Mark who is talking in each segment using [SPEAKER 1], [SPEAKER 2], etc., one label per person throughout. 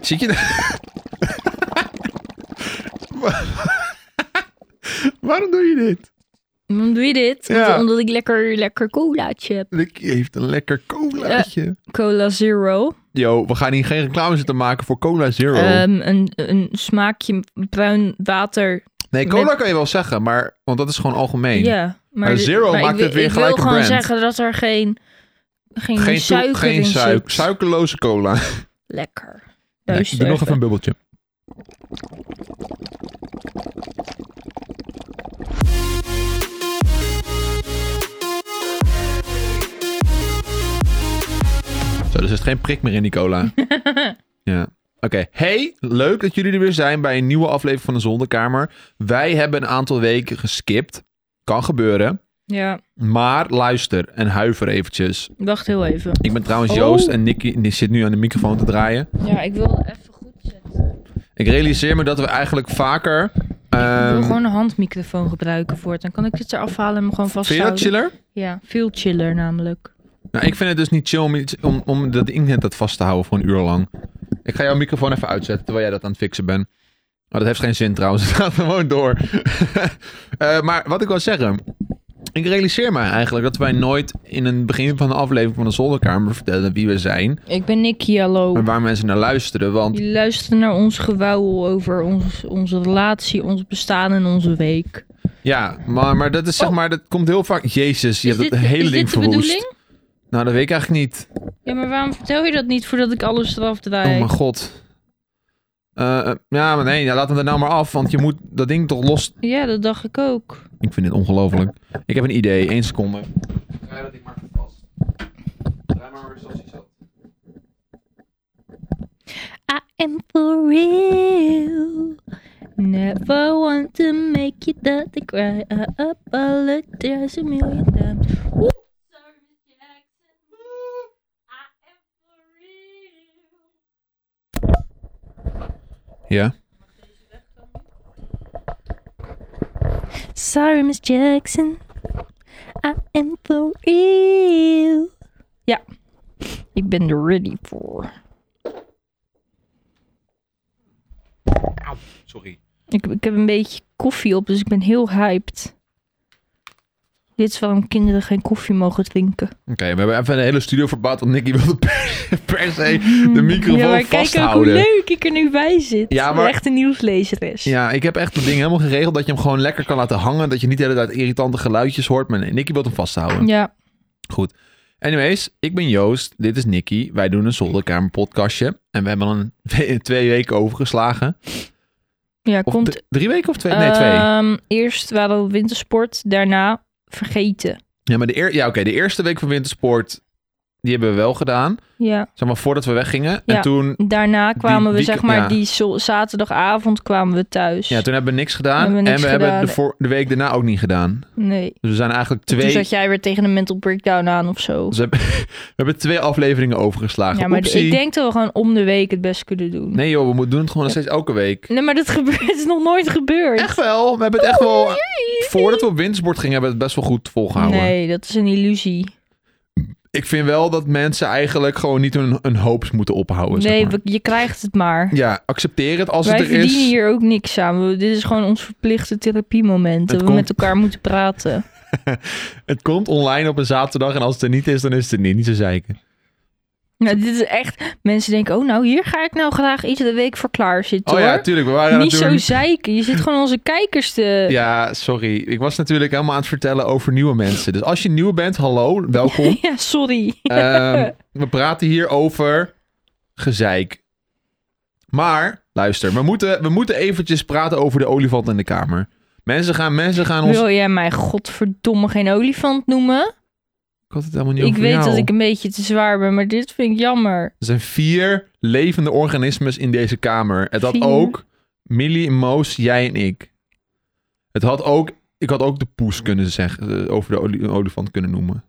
[SPEAKER 1] Zit je daar? Waarom doe je dit?
[SPEAKER 2] Waarom doe je dit?
[SPEAKER 1] Ja.
[SPEAKER 2] Omdat- Omdat ik lekker, lekker colaatje heb.
[SPEAKER 1] Lucky heeft een lekker colaatje.
[SPEAKER 2] Cola Zero.
[SPEAKER 1] Yo, we gaan hier geen reclame zitten maken voor Cola Zero.
[SPEAKER 2] Ehm, een, een smaakje bruin water.
[SPEAKER 1] nee, cola
[SPEAKER 2] met-
[SPEAKER 1] kan je wel zeggen, maar, want dat is gewoon algemeen.
[SPEAKER 2] Ja. Maar,
[SPEAKER 1] Maar
[SPEAKER 2] de-
[SPEAKER 1] Zero
[SPEAKER 2] maar
[SPEAKER 1] maakt
[SPEAKER 2] ik, wil-
[SPEAKER 1] het weer
[SPEAKER 2] ik
[SPEAKER 1] gelijk een
[SPEAKER 2] wil gewoon
[SPEAKER 1] brand.
[SPEAKER 2] zeggen dat er geen, geen,
[SPEAKER 1] Geen, toe-
[SPEAKER 2] suiker
[SPEAKER 1] geen
[SPEAKER 2] in zit.
[SPEAKER 1] suik, suikerloze cola.
[SPEAKER 2] Lekker.
[SPEAKER 1] Nee,
[SPEAKER 2] Luister
[SPEAKER 1] doe nog even een bubbeltje. Zo, dus er zit geen prik meer in die cola. ja. Oké, hey, leuk dat jullie er weer zijn bij een nieuwe aflevering van de Zondekamer. Wij hebben een aantal weken geskipt. Kan gebeuren.
[SPEAKER 2] Ja,
[SPEAKER 1] Maar luister en huiver eventjes.
[SPEAKER 2] wacht heel even.
[SPEAKER 1] Ik ben trouwens
[SPEAKER 2] Oh.
[SPEAKER 1] Joost en Nicky die zit nu aan de microfoon te draaien.
[SPEAKER 2] Ja, ik wil even goed zetten.
[SPEAKER 1] Ik realiseer me dat we eigenlijk vaker.
[SPEAKER 2] ik
[SPEAKER 1] ehm
[SPEAKER 2] wil gewoon een handmicrofoon gebruiken voor het. Dan kan ik dit eraf halen en hem gewoon
[SPEAKER 1] vind je
[SPEAKER 2] vasthouden.
[SPEAKER 1] dat chiller?
[SPEAKER 2] Ja, veel chiller namelijk.
[SPEAKER 1] Nou, ik vind het dus niet chill om, iets- om, om dat internet dat vast te houden voor een uur lang. Ik ga jouw microfoon even uitzetten terwijl jij dat aan het fixen bent. Maar dat heeft geen zin trouwens. Het gaat gewoon door. Eh, maar wat ik wil zeggen. Ik realiseer me eigenlijk dat wij nooit in het begin van de aflevering van de zolderkamer vertelden wie we zijn.
[SPEAKER 2] Ik ben Nicky, hallo.
[SPEAKER 1] En waar mensen naar luisteren. Want
[SPEAKER 2] Jullie luisteren naar ons gewauwel over ons, onze relatie, ons bestaan en onze week.
[SPEAKER 1] ja, maar, maar dat is zeg
[SPEAKER 2] Oh.
[SPEAKER 1] maar, dat komt heel vaak. Jezus, je
[SPEAKER 2] is
[SPEAKER 1] hebt
[SPEAKER 2] dit,
[SPEAKER 1] het hele
[SPEAKER 2] is
[SPEAKER 1] ding
[SPEAKER 2] dit de
[SPEAKER 1] verwoest.
[SPEAKER 2] bedoeling?
[SPEAKER 1] Nou, dat weet ik eigenlijk niet.
[SPEAKER 2] Ja, maar waarom vertel je dat niet voordat ik alles eraf draai?
[SPEAKER 1] Oh mijn god. Eh, eh, ja, maar nee, ja, laat hem er nou maar af, want je moet dat ding toch los...
[SPEAKER 2] Ja, dat dacht ik ook.
[SPEAKER 1] Ik vind dit ongelooflijk. Ik heb een idee, één seconde. Draai dat ding maar goed vast. Draai maar weer zoals hij zat.
[SPEAKER 2] I am for real. Never want to make you dirty cry. I apologize a million times. Oeh.
[SPEAKER 1] Ja?
[SPEAKER 2] Sorry, Miss Jackson. I am for real. Ja, ik ben er ready for.
[SPEAKER 1] Sorry.
[SPEAKER 2] Ik, ik heb een beetje koffie op, dus ik ben heel hyped. Dit is waarom kinderen geen koffie mogen drinken.
[SPEAKER 1] Oké, we hebben even een hele studio verbouwd, want Nicky wilde per, per se de microfoon
[SPEAKER 2] Mm, ja, maar kijk ook hoe
[SPEAKER 1] vasthouden.
[SPEAKER 2] leuk ik er nu bij zit.
[SPEAKER 1] Ja,
[SPEAKER 2] Ja,
[SPEAKER 1] maar-
[SPEAKER 2] maar... Echt een nieuwslezeres.
[SPEAKER 1] ja, ik heb echt het ding helemaal geregeld dat je hem gewoon lekker kan laten hangen. Dat je niet de hele tijd irritante geluidjes hoort. Maar nee, Nicky wil hem vasthouden.
[SPEAKER 2] ja.
[SPEAKER 1] Goed. Anyways, ik ben Joost. Dit is Nicky. Wij doen een zolderkamer podcastje. En we hebben al een, we- twee weken overgeslagen.
[SPEAKER 2] Ja,
[SPEAKER 1] Of
[SPEAKER 2] komt...
[SPEAKER 1] dr- drie weken of twee? Nee, twee.
[SPEAKER 2] Ehm, eerst waren we wintersport, daarna vergeten.
[SPEAKER 1] Ja, maar de, eer, ja, oké, de eerste week van Wintersport, die hebben we wel gedaan.
[SPEAKER 2] Ja,
[SPEAKER 1] Zeg maar voordat we weggingen. En
[SPEAKER 2] Ja.
[SPEAKER 1] toen,
[SPEAKER 2] daarna kwamen we
[SPEAKER 1] die-
[SPEAKER 2] zeg maar
[SPEAKER 1] ja.
[SPEAKER 2] die zo- zaterdagavond kwamen we thuis.
[SPEAKER 1] ja, toen hebben we niks gedaan.
[SPEAKER 2] Hebben we niks
[SPEAKER 1] en we hebben
[SPEAKER 2] gedaan.
[SPEAKER 1] de, voor, de week daarna ook niet gedaan.
[SPEAKER 2] Nee.
[SPEAKER 1] Dus we zijn eigenlijk twee...
[SPEAKER 2] Toen zat jij weer tegen een mental breakdown aan of zo.
[SPEAKER 1] dus we, hebben, we hebben twee afleveringen overgeslagen.
[SPEAKER 2] Ja, maar
[SPEAKER 1] Oepsie.
[SPEAKER 2] ik denk dat we gewoon om de week het best kunnen doen. Nee,
[SPEAKER 1] Nee joh, we moeten doen het gewoon nog steeds elke week.
[SPEAKER 2] maar dat gebeurt, het is nog nooit gebeurd.
[SPEAKER 1] Echt wel. We hebben het echt wel...
[SPEAKER 2] Jee.
[SPEAKER 1] Voordat we op Wintersport gingen, hebben we het best wel goed volgehouden.
[SPEAKER 2] Nee, dat is een illusie.
[SPEAKER 1] Oh, Ik vind wel dat mensen eigenlijk gewoon niet hun, hun hoops moeten ophouden. zeg
[SPEAKER 2] Nee,
[SPEAKER 1] maar.
[SPEAKER 2] we- je krijgt het maar.
[SPEAKER 1] Ja, accepteer het als
[SPEAKER 2] Wij
[SPEAKER 1] het er is.
[SPEAKER 2] verdienen hier ook niks aan. We- dit is gewoon ons verplichte therapiemoment.
[SPEAKER 1] Het
[SPEAKER 2] Dat we
[SPEAKER 1] komt-
[SPEAKER 2] met elkaar moeten praten.
[SPEAKER 1] Het komt online op een zaterdag en als het er niet is, dan is het er niet. Niet zo zeiken.
[SPEAKER 2] Nou, dit is echt... Mensen denken, oh nou, hier ga ik nou graag iedere week voor klaar zitten
[SPEAKER 1] Oh
[SPEAKER 2] hoor.
[SPEAKER 1] ja, tuurlijk. We waren aan
[SPEAKER 2] Niet
[SPEAKER 1] het
[SPEAKER 2] zo
[SPEAKER 1] doen.
[SPEAKER 2] zeiken. Je zit gewoon onze kijkers te...
[SPEAKER 1] Ja, sorry. Ik was natuurlijk helemaal aan het vertellen over nieuwe mensen. Dus als je nieuw bent, hallo, welkom.
[SPEAKER 2] Ja, sorry.
[SPEAKER 1] Ehm, we praten hier over gezeik. Maar, luister, we moeten, we moeten eventjes praten over de olifant in de kamer. Mensen gaan, mensen gaan ons...
[SPEAKER 2] Wil jij mij godverdomme geen olifant noemen?
[SPEAKER 1] Ik had het helemaal niet
[SPEAKER 2] Ik
[SPEAKER 1] over
[SPEAKER 2] weet
[SPEAKER 1] jou.
[SPEAKER 2] dat ik een beetje te zwaar ben, maar dit vind ik jammer.
[SPEAKER 1] Er zijn vier levende organismes in deze kamer. Het had
[SPEAKER 2] Vier?
[SPEAKER 1] ook Millie, Moos, jij en ik. Het had ook... Ik had ook de
[SPEAKER 2] Oh.
[SPEAKER 1] poes kunnen zeggen, eh, over de oli- olifant kunnen noemen.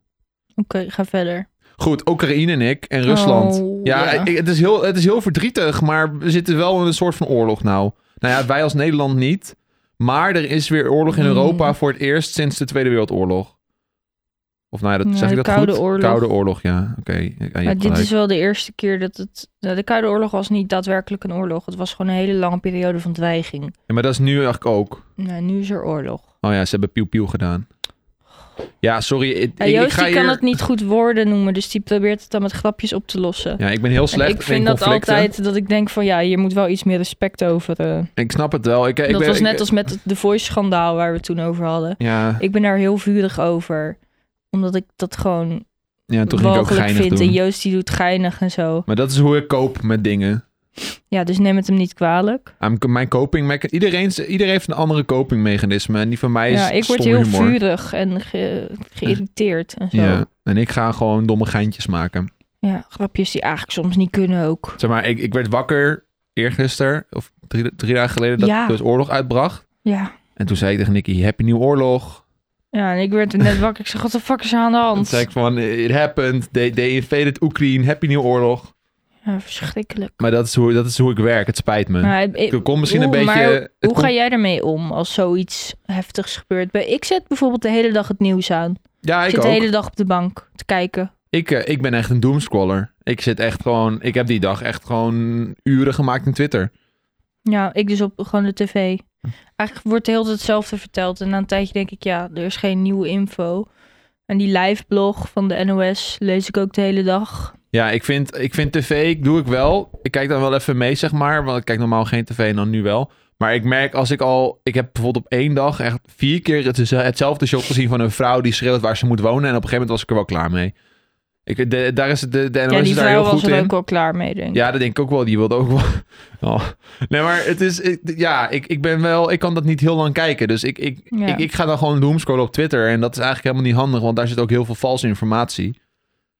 [SPEAKER 2] Oké, ga verder.
[SPEAKER 1] Goed, Oekraïne en ik en Rusland.
[SPEAKER 2] Oh,
[SPEAKER 1] ja,
[SPEAKER 2] ja.
[SPEAKER 1] ik- het, is heel, het is heel verdrietig, maar we zitten wel in een soort van oorlog nou. Nou ja, wij als Nederland niet. Maar er is weer oorlog in
[SPEAKER 2] Mm.
[SPEAKER 1] Europa voor het eerst sinds de Tweede Wereldoorlog. Of nou ja, dat,
[SPEAKER 2] Ja,
[SPEAKER 1] zeg ik
[SPEAKER 2] de
[SPEAKER 1] dat
[SPEAKER 2] Koude
[SPEAKER 1] goed?
[SPEAKER 2] Oorlog.
[SPEAKER 1] Koude oorlog, ja. Oké, ja, je hebt
[SPEAKER 2] Maar dit
[SPEAKER 1] gelijk.
[SPEAKER 2] is wel de eerste keer dat het... nou, de Koude Oorlog was niet daadwerkelijk een oorlog. Het was gewoon een hele lange periode van dweiging.
[SPEAKER 1] Ja, maar dat is nu eigenlijk ook.
[SPEAKER 2] Nou, nu is er oorlog.
[SPEAKER 1] Oh ja, ze hebben piu-piu gedaan. Ja, sorry. Ik,
[SPEAKER 2] Ja,
[SPEAKER 1] ik- ik
[SPEAKER 2] Joost
[SPEAKER 1] ga
[SPEAKER 2] die kan
[SPEAKER 1] hier-
[SPEAKER 2] het niet goed woorden noemen, dus die probeert het dan met grapjes op te lossen.
[SPEAKER 1] Ja, ik ben heel
[SPEAKER 2] En
[SPEAKER 1] slecht
[SPEAKER 2] ik vind
[SPEAKER 1] in
[SPEAKER 2] dat
[SPEAKER 1] conflicten.
[SPEAKER 2] altijd dat ik denk van ja, je moet wel iets meer respect over. eh.
[SPEAKER 1] Ik snap het wel. Ik, ik
[SPEAKER 2] dat
[SPEAKER 1] ben,
[SPEAKER 2] was
[SPEAKER 1] ik-
[SPEAKER 2] net als met het- de voice-schandaal waar we het toen over hadden.
[SPEAKER 1] Ja,
[SPEAKER 2] Ik ben daar heel vurig over, omdat ik dat gewoon
[SPEAKER 1] ja toen ging ik ook
[SPEAKER 2] walgelijk
[SPEAKER 1] geinig
[SPEAKER 2] vind.
[SPEAKER 1] doen.
[SPEAKER 2] En Joost die doet geinig en zo.
[SPEAKER 1] Maar dat is hoe ik koop met dingen.
[SPEAKER 2] Ja, dus neem het hem niet kwalijk.
[SPEAKER 1] Aan mijn coping mecha- iedereen, iedereen heeft een andere copingmechanisme. En die van mij is
[SPEAKER 2] Ja, ik word
[SPEAKER 1] stomme
[SPEAKER 2] heel
[SPEAKER 1] humor.
[SPEAKER 2] vurig en ge- geïrriteerd en zo.
[SPEAKER 1] Ja,
[SPEAKER 2] Ja.
[SPEAKER 1] en ik ga gewoon domme geintjes maken.
[SPEAKER 2] grapjes die eigenlijk soms niet kunnen ook.
[SPEAKER 1] Zeg maar, ik, ik werd wakker eergisteren, of drie, drie dagen geleden, dat
[SPEAKER 2] Ja.
[SPEAKER 1] dus oorlog uitbracht.
[SPEAKER 2] Ja.
[SPEAKER 1] En toen zei ik tegen Nicky, happy nieuw oorlog.
[SPEAKER 2] Ja, en ik werd net wakker. Ik zeg, wat de fuck is er aan de
[SPEAKER 1] En toen
[SPEAKER 2] hand?
[SPEAKER 1] zei ik van, it happened, they, they invaded Oekraïne, happy nieuw oorlog.
[SPEAKER 2] Ja, verschrikkelijk.
[SPEAKER 1] Maar dat is, hoe, dat is hoe ik werk, het spijt me.
[SPEAKER 2] Maar, ik-
[SPEAKER 1] Ik kom misschien een
[SPEAKER 2] Oeh,
[SPEAKER 1] beetje...
[SPEAKER 2] maar
[SPEAKER 1] het
[SPEAKER 2] Hoe
[SPEAKER 1] komt-
[SPEAKER 2] ga jij ermee om als zoiets heftigs gebeurt? Bij- Ik zet bijvoorbeeld de hele dag het nieuws aan. Ik,
[SPEAKER 1] Ja, ik
[SPEAKER 2] zit
[SPEAKER 1] ook.
[SPEAKER 2] de hele dag op de bank te kijken.
[SPEAKER 1] Ik, eh, ik ben echt een doomscroller. Ik zit echt gewoon... Ik heb die dag echt gewoon uren gemaakt in Twitter.
[SPEAKER 2] Ja, ik dus op gewoon de tv.
[SPEAKER 1] Hm.
[SPEAKER 2] Eigenlijk wordt de hele tijd hetzelfde verteld. En na een tijdje denk ik, ja, er is geen nieuwe info. En die live blog van de NOS lees ik ook de hele dag.
[SPEAKER 1] Ja, ik vind, ik vind tv, ik doe ik wel. Ik kijk dan wel even mee, zeg maar. Want ik kijk normaal geen tv en dan nu wel. Maar ik merk als ik al... Ik heb bijvoorbeeld op één dag echt vier keer het, hetzelfde shot gezien van een vrouw die schreeuwt waar ze moet wonen. En op een gegeven moment was ik er wel klaar mee. Ik, de, daar is het- de, de NOS
[SPEAKER 2] ja,
[SPEAKER 1] is
[SPEAKER 2] die
[SPEAKER 1] daar heel
[SPEAKER 2] vrouw
[SPEAKER 1] goed
[SPEAKER 2] was
[SPEAKER 1] in.
[SPEAKER 2] er ook al klaar mee, denk ik.
[SPEAKER 1] Ja, dat denk ik ook wel. Die wilde ook wel. Oh. Nee, maar het is. ik- ja, ik, ik ben wel. Ik kan dat niet heel lang kijken. Dus ik, ik,
[SPEAKER 2] Ja.
[SPEAKER 1] ik, ik ga dan gewoon doomscrollen op Twitter. En dat is eigenlijk helemaal niet handig. Want daar zit ook heel veel valse informatie.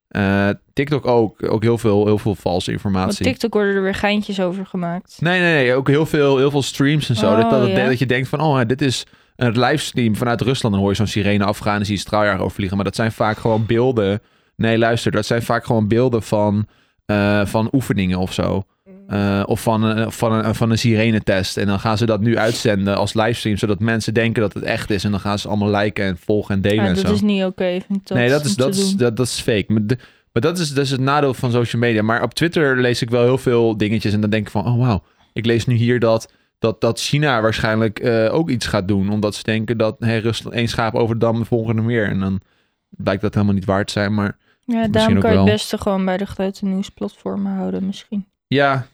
[SPEAKER 1] Eh, TikTok ook. Ook heel veel, heel veel valse
[SPEAKER 2] Op
[SPEAKER 1] informatie.
[SPEAKER 2] TikTok worden er weer geintjes over gemaakt.
[SPEAKER 1] Nee, nee, nee. Ook heel veel, heel veel streams en zo.
[SPEAKER 2] Oh,
[SPEAKER 1] dat, dat,
[SPEAKER 2] ja.
[SPEAKER 1] dat je denkt van, oh, dit is een livestream vanuit Rusland. Dan hoor je zo'n sirene afgaan en zie je straaljaar overvliegen. Maar dat zijn vaak gewoon beelden. Nee, luister, dat zijn vaak gewoon beelden van, eh, van oefeningen of zo. Eh, of van, een- van, een, van een sirenetest. En dan gaan ze dat nu uitzenden als livestream, zodat mensen denken dat het echt is. En dan gaan ze allemaal liken en volgen en delen
[SPEAKER 2] Ja,
[SPEAKER 1] en
[SPEAKER 2] dat
[SPEAKER 1] zo
[SPEAKER 2] is niet oké, vind ik dat.
[SPEAKER 1] nee, dat
[SPEAKER 2] om
[SPEAKER 1] is,
[SPEAKER 2] te
[SPEAKER 1] dat, is,
[SPEAKER 2] doen.
[SPEAKER 1] dat, dat is fake. Maar, de- maar dat, is, dat is het nadeel van social media. Maar op Twitter lees ik wel heel veel dingetjes. En dan denk ik van, oh wauw, ik lees nu hier dat, dat, dat China waarschijnlijk eh, ook iets gaat doen. Omdat ze denken dat hey, Rusland één schaap over de dam, de volgende meer. En dan blijkt dat helemaal niet waard te zijn. Maar
[SPEAKER 2] Ja,
[SPEAKER 1] Misschien
[SPEAKER 2] daarom
[SPEAKER 1] ook
[SPEAKER 2] kan je het
[SPEAKER 1] wel.
[SPEAKER 2] beste gewoon bij de grote nieuwsplatformen houden misschien.
[SPEAKER 1] ja,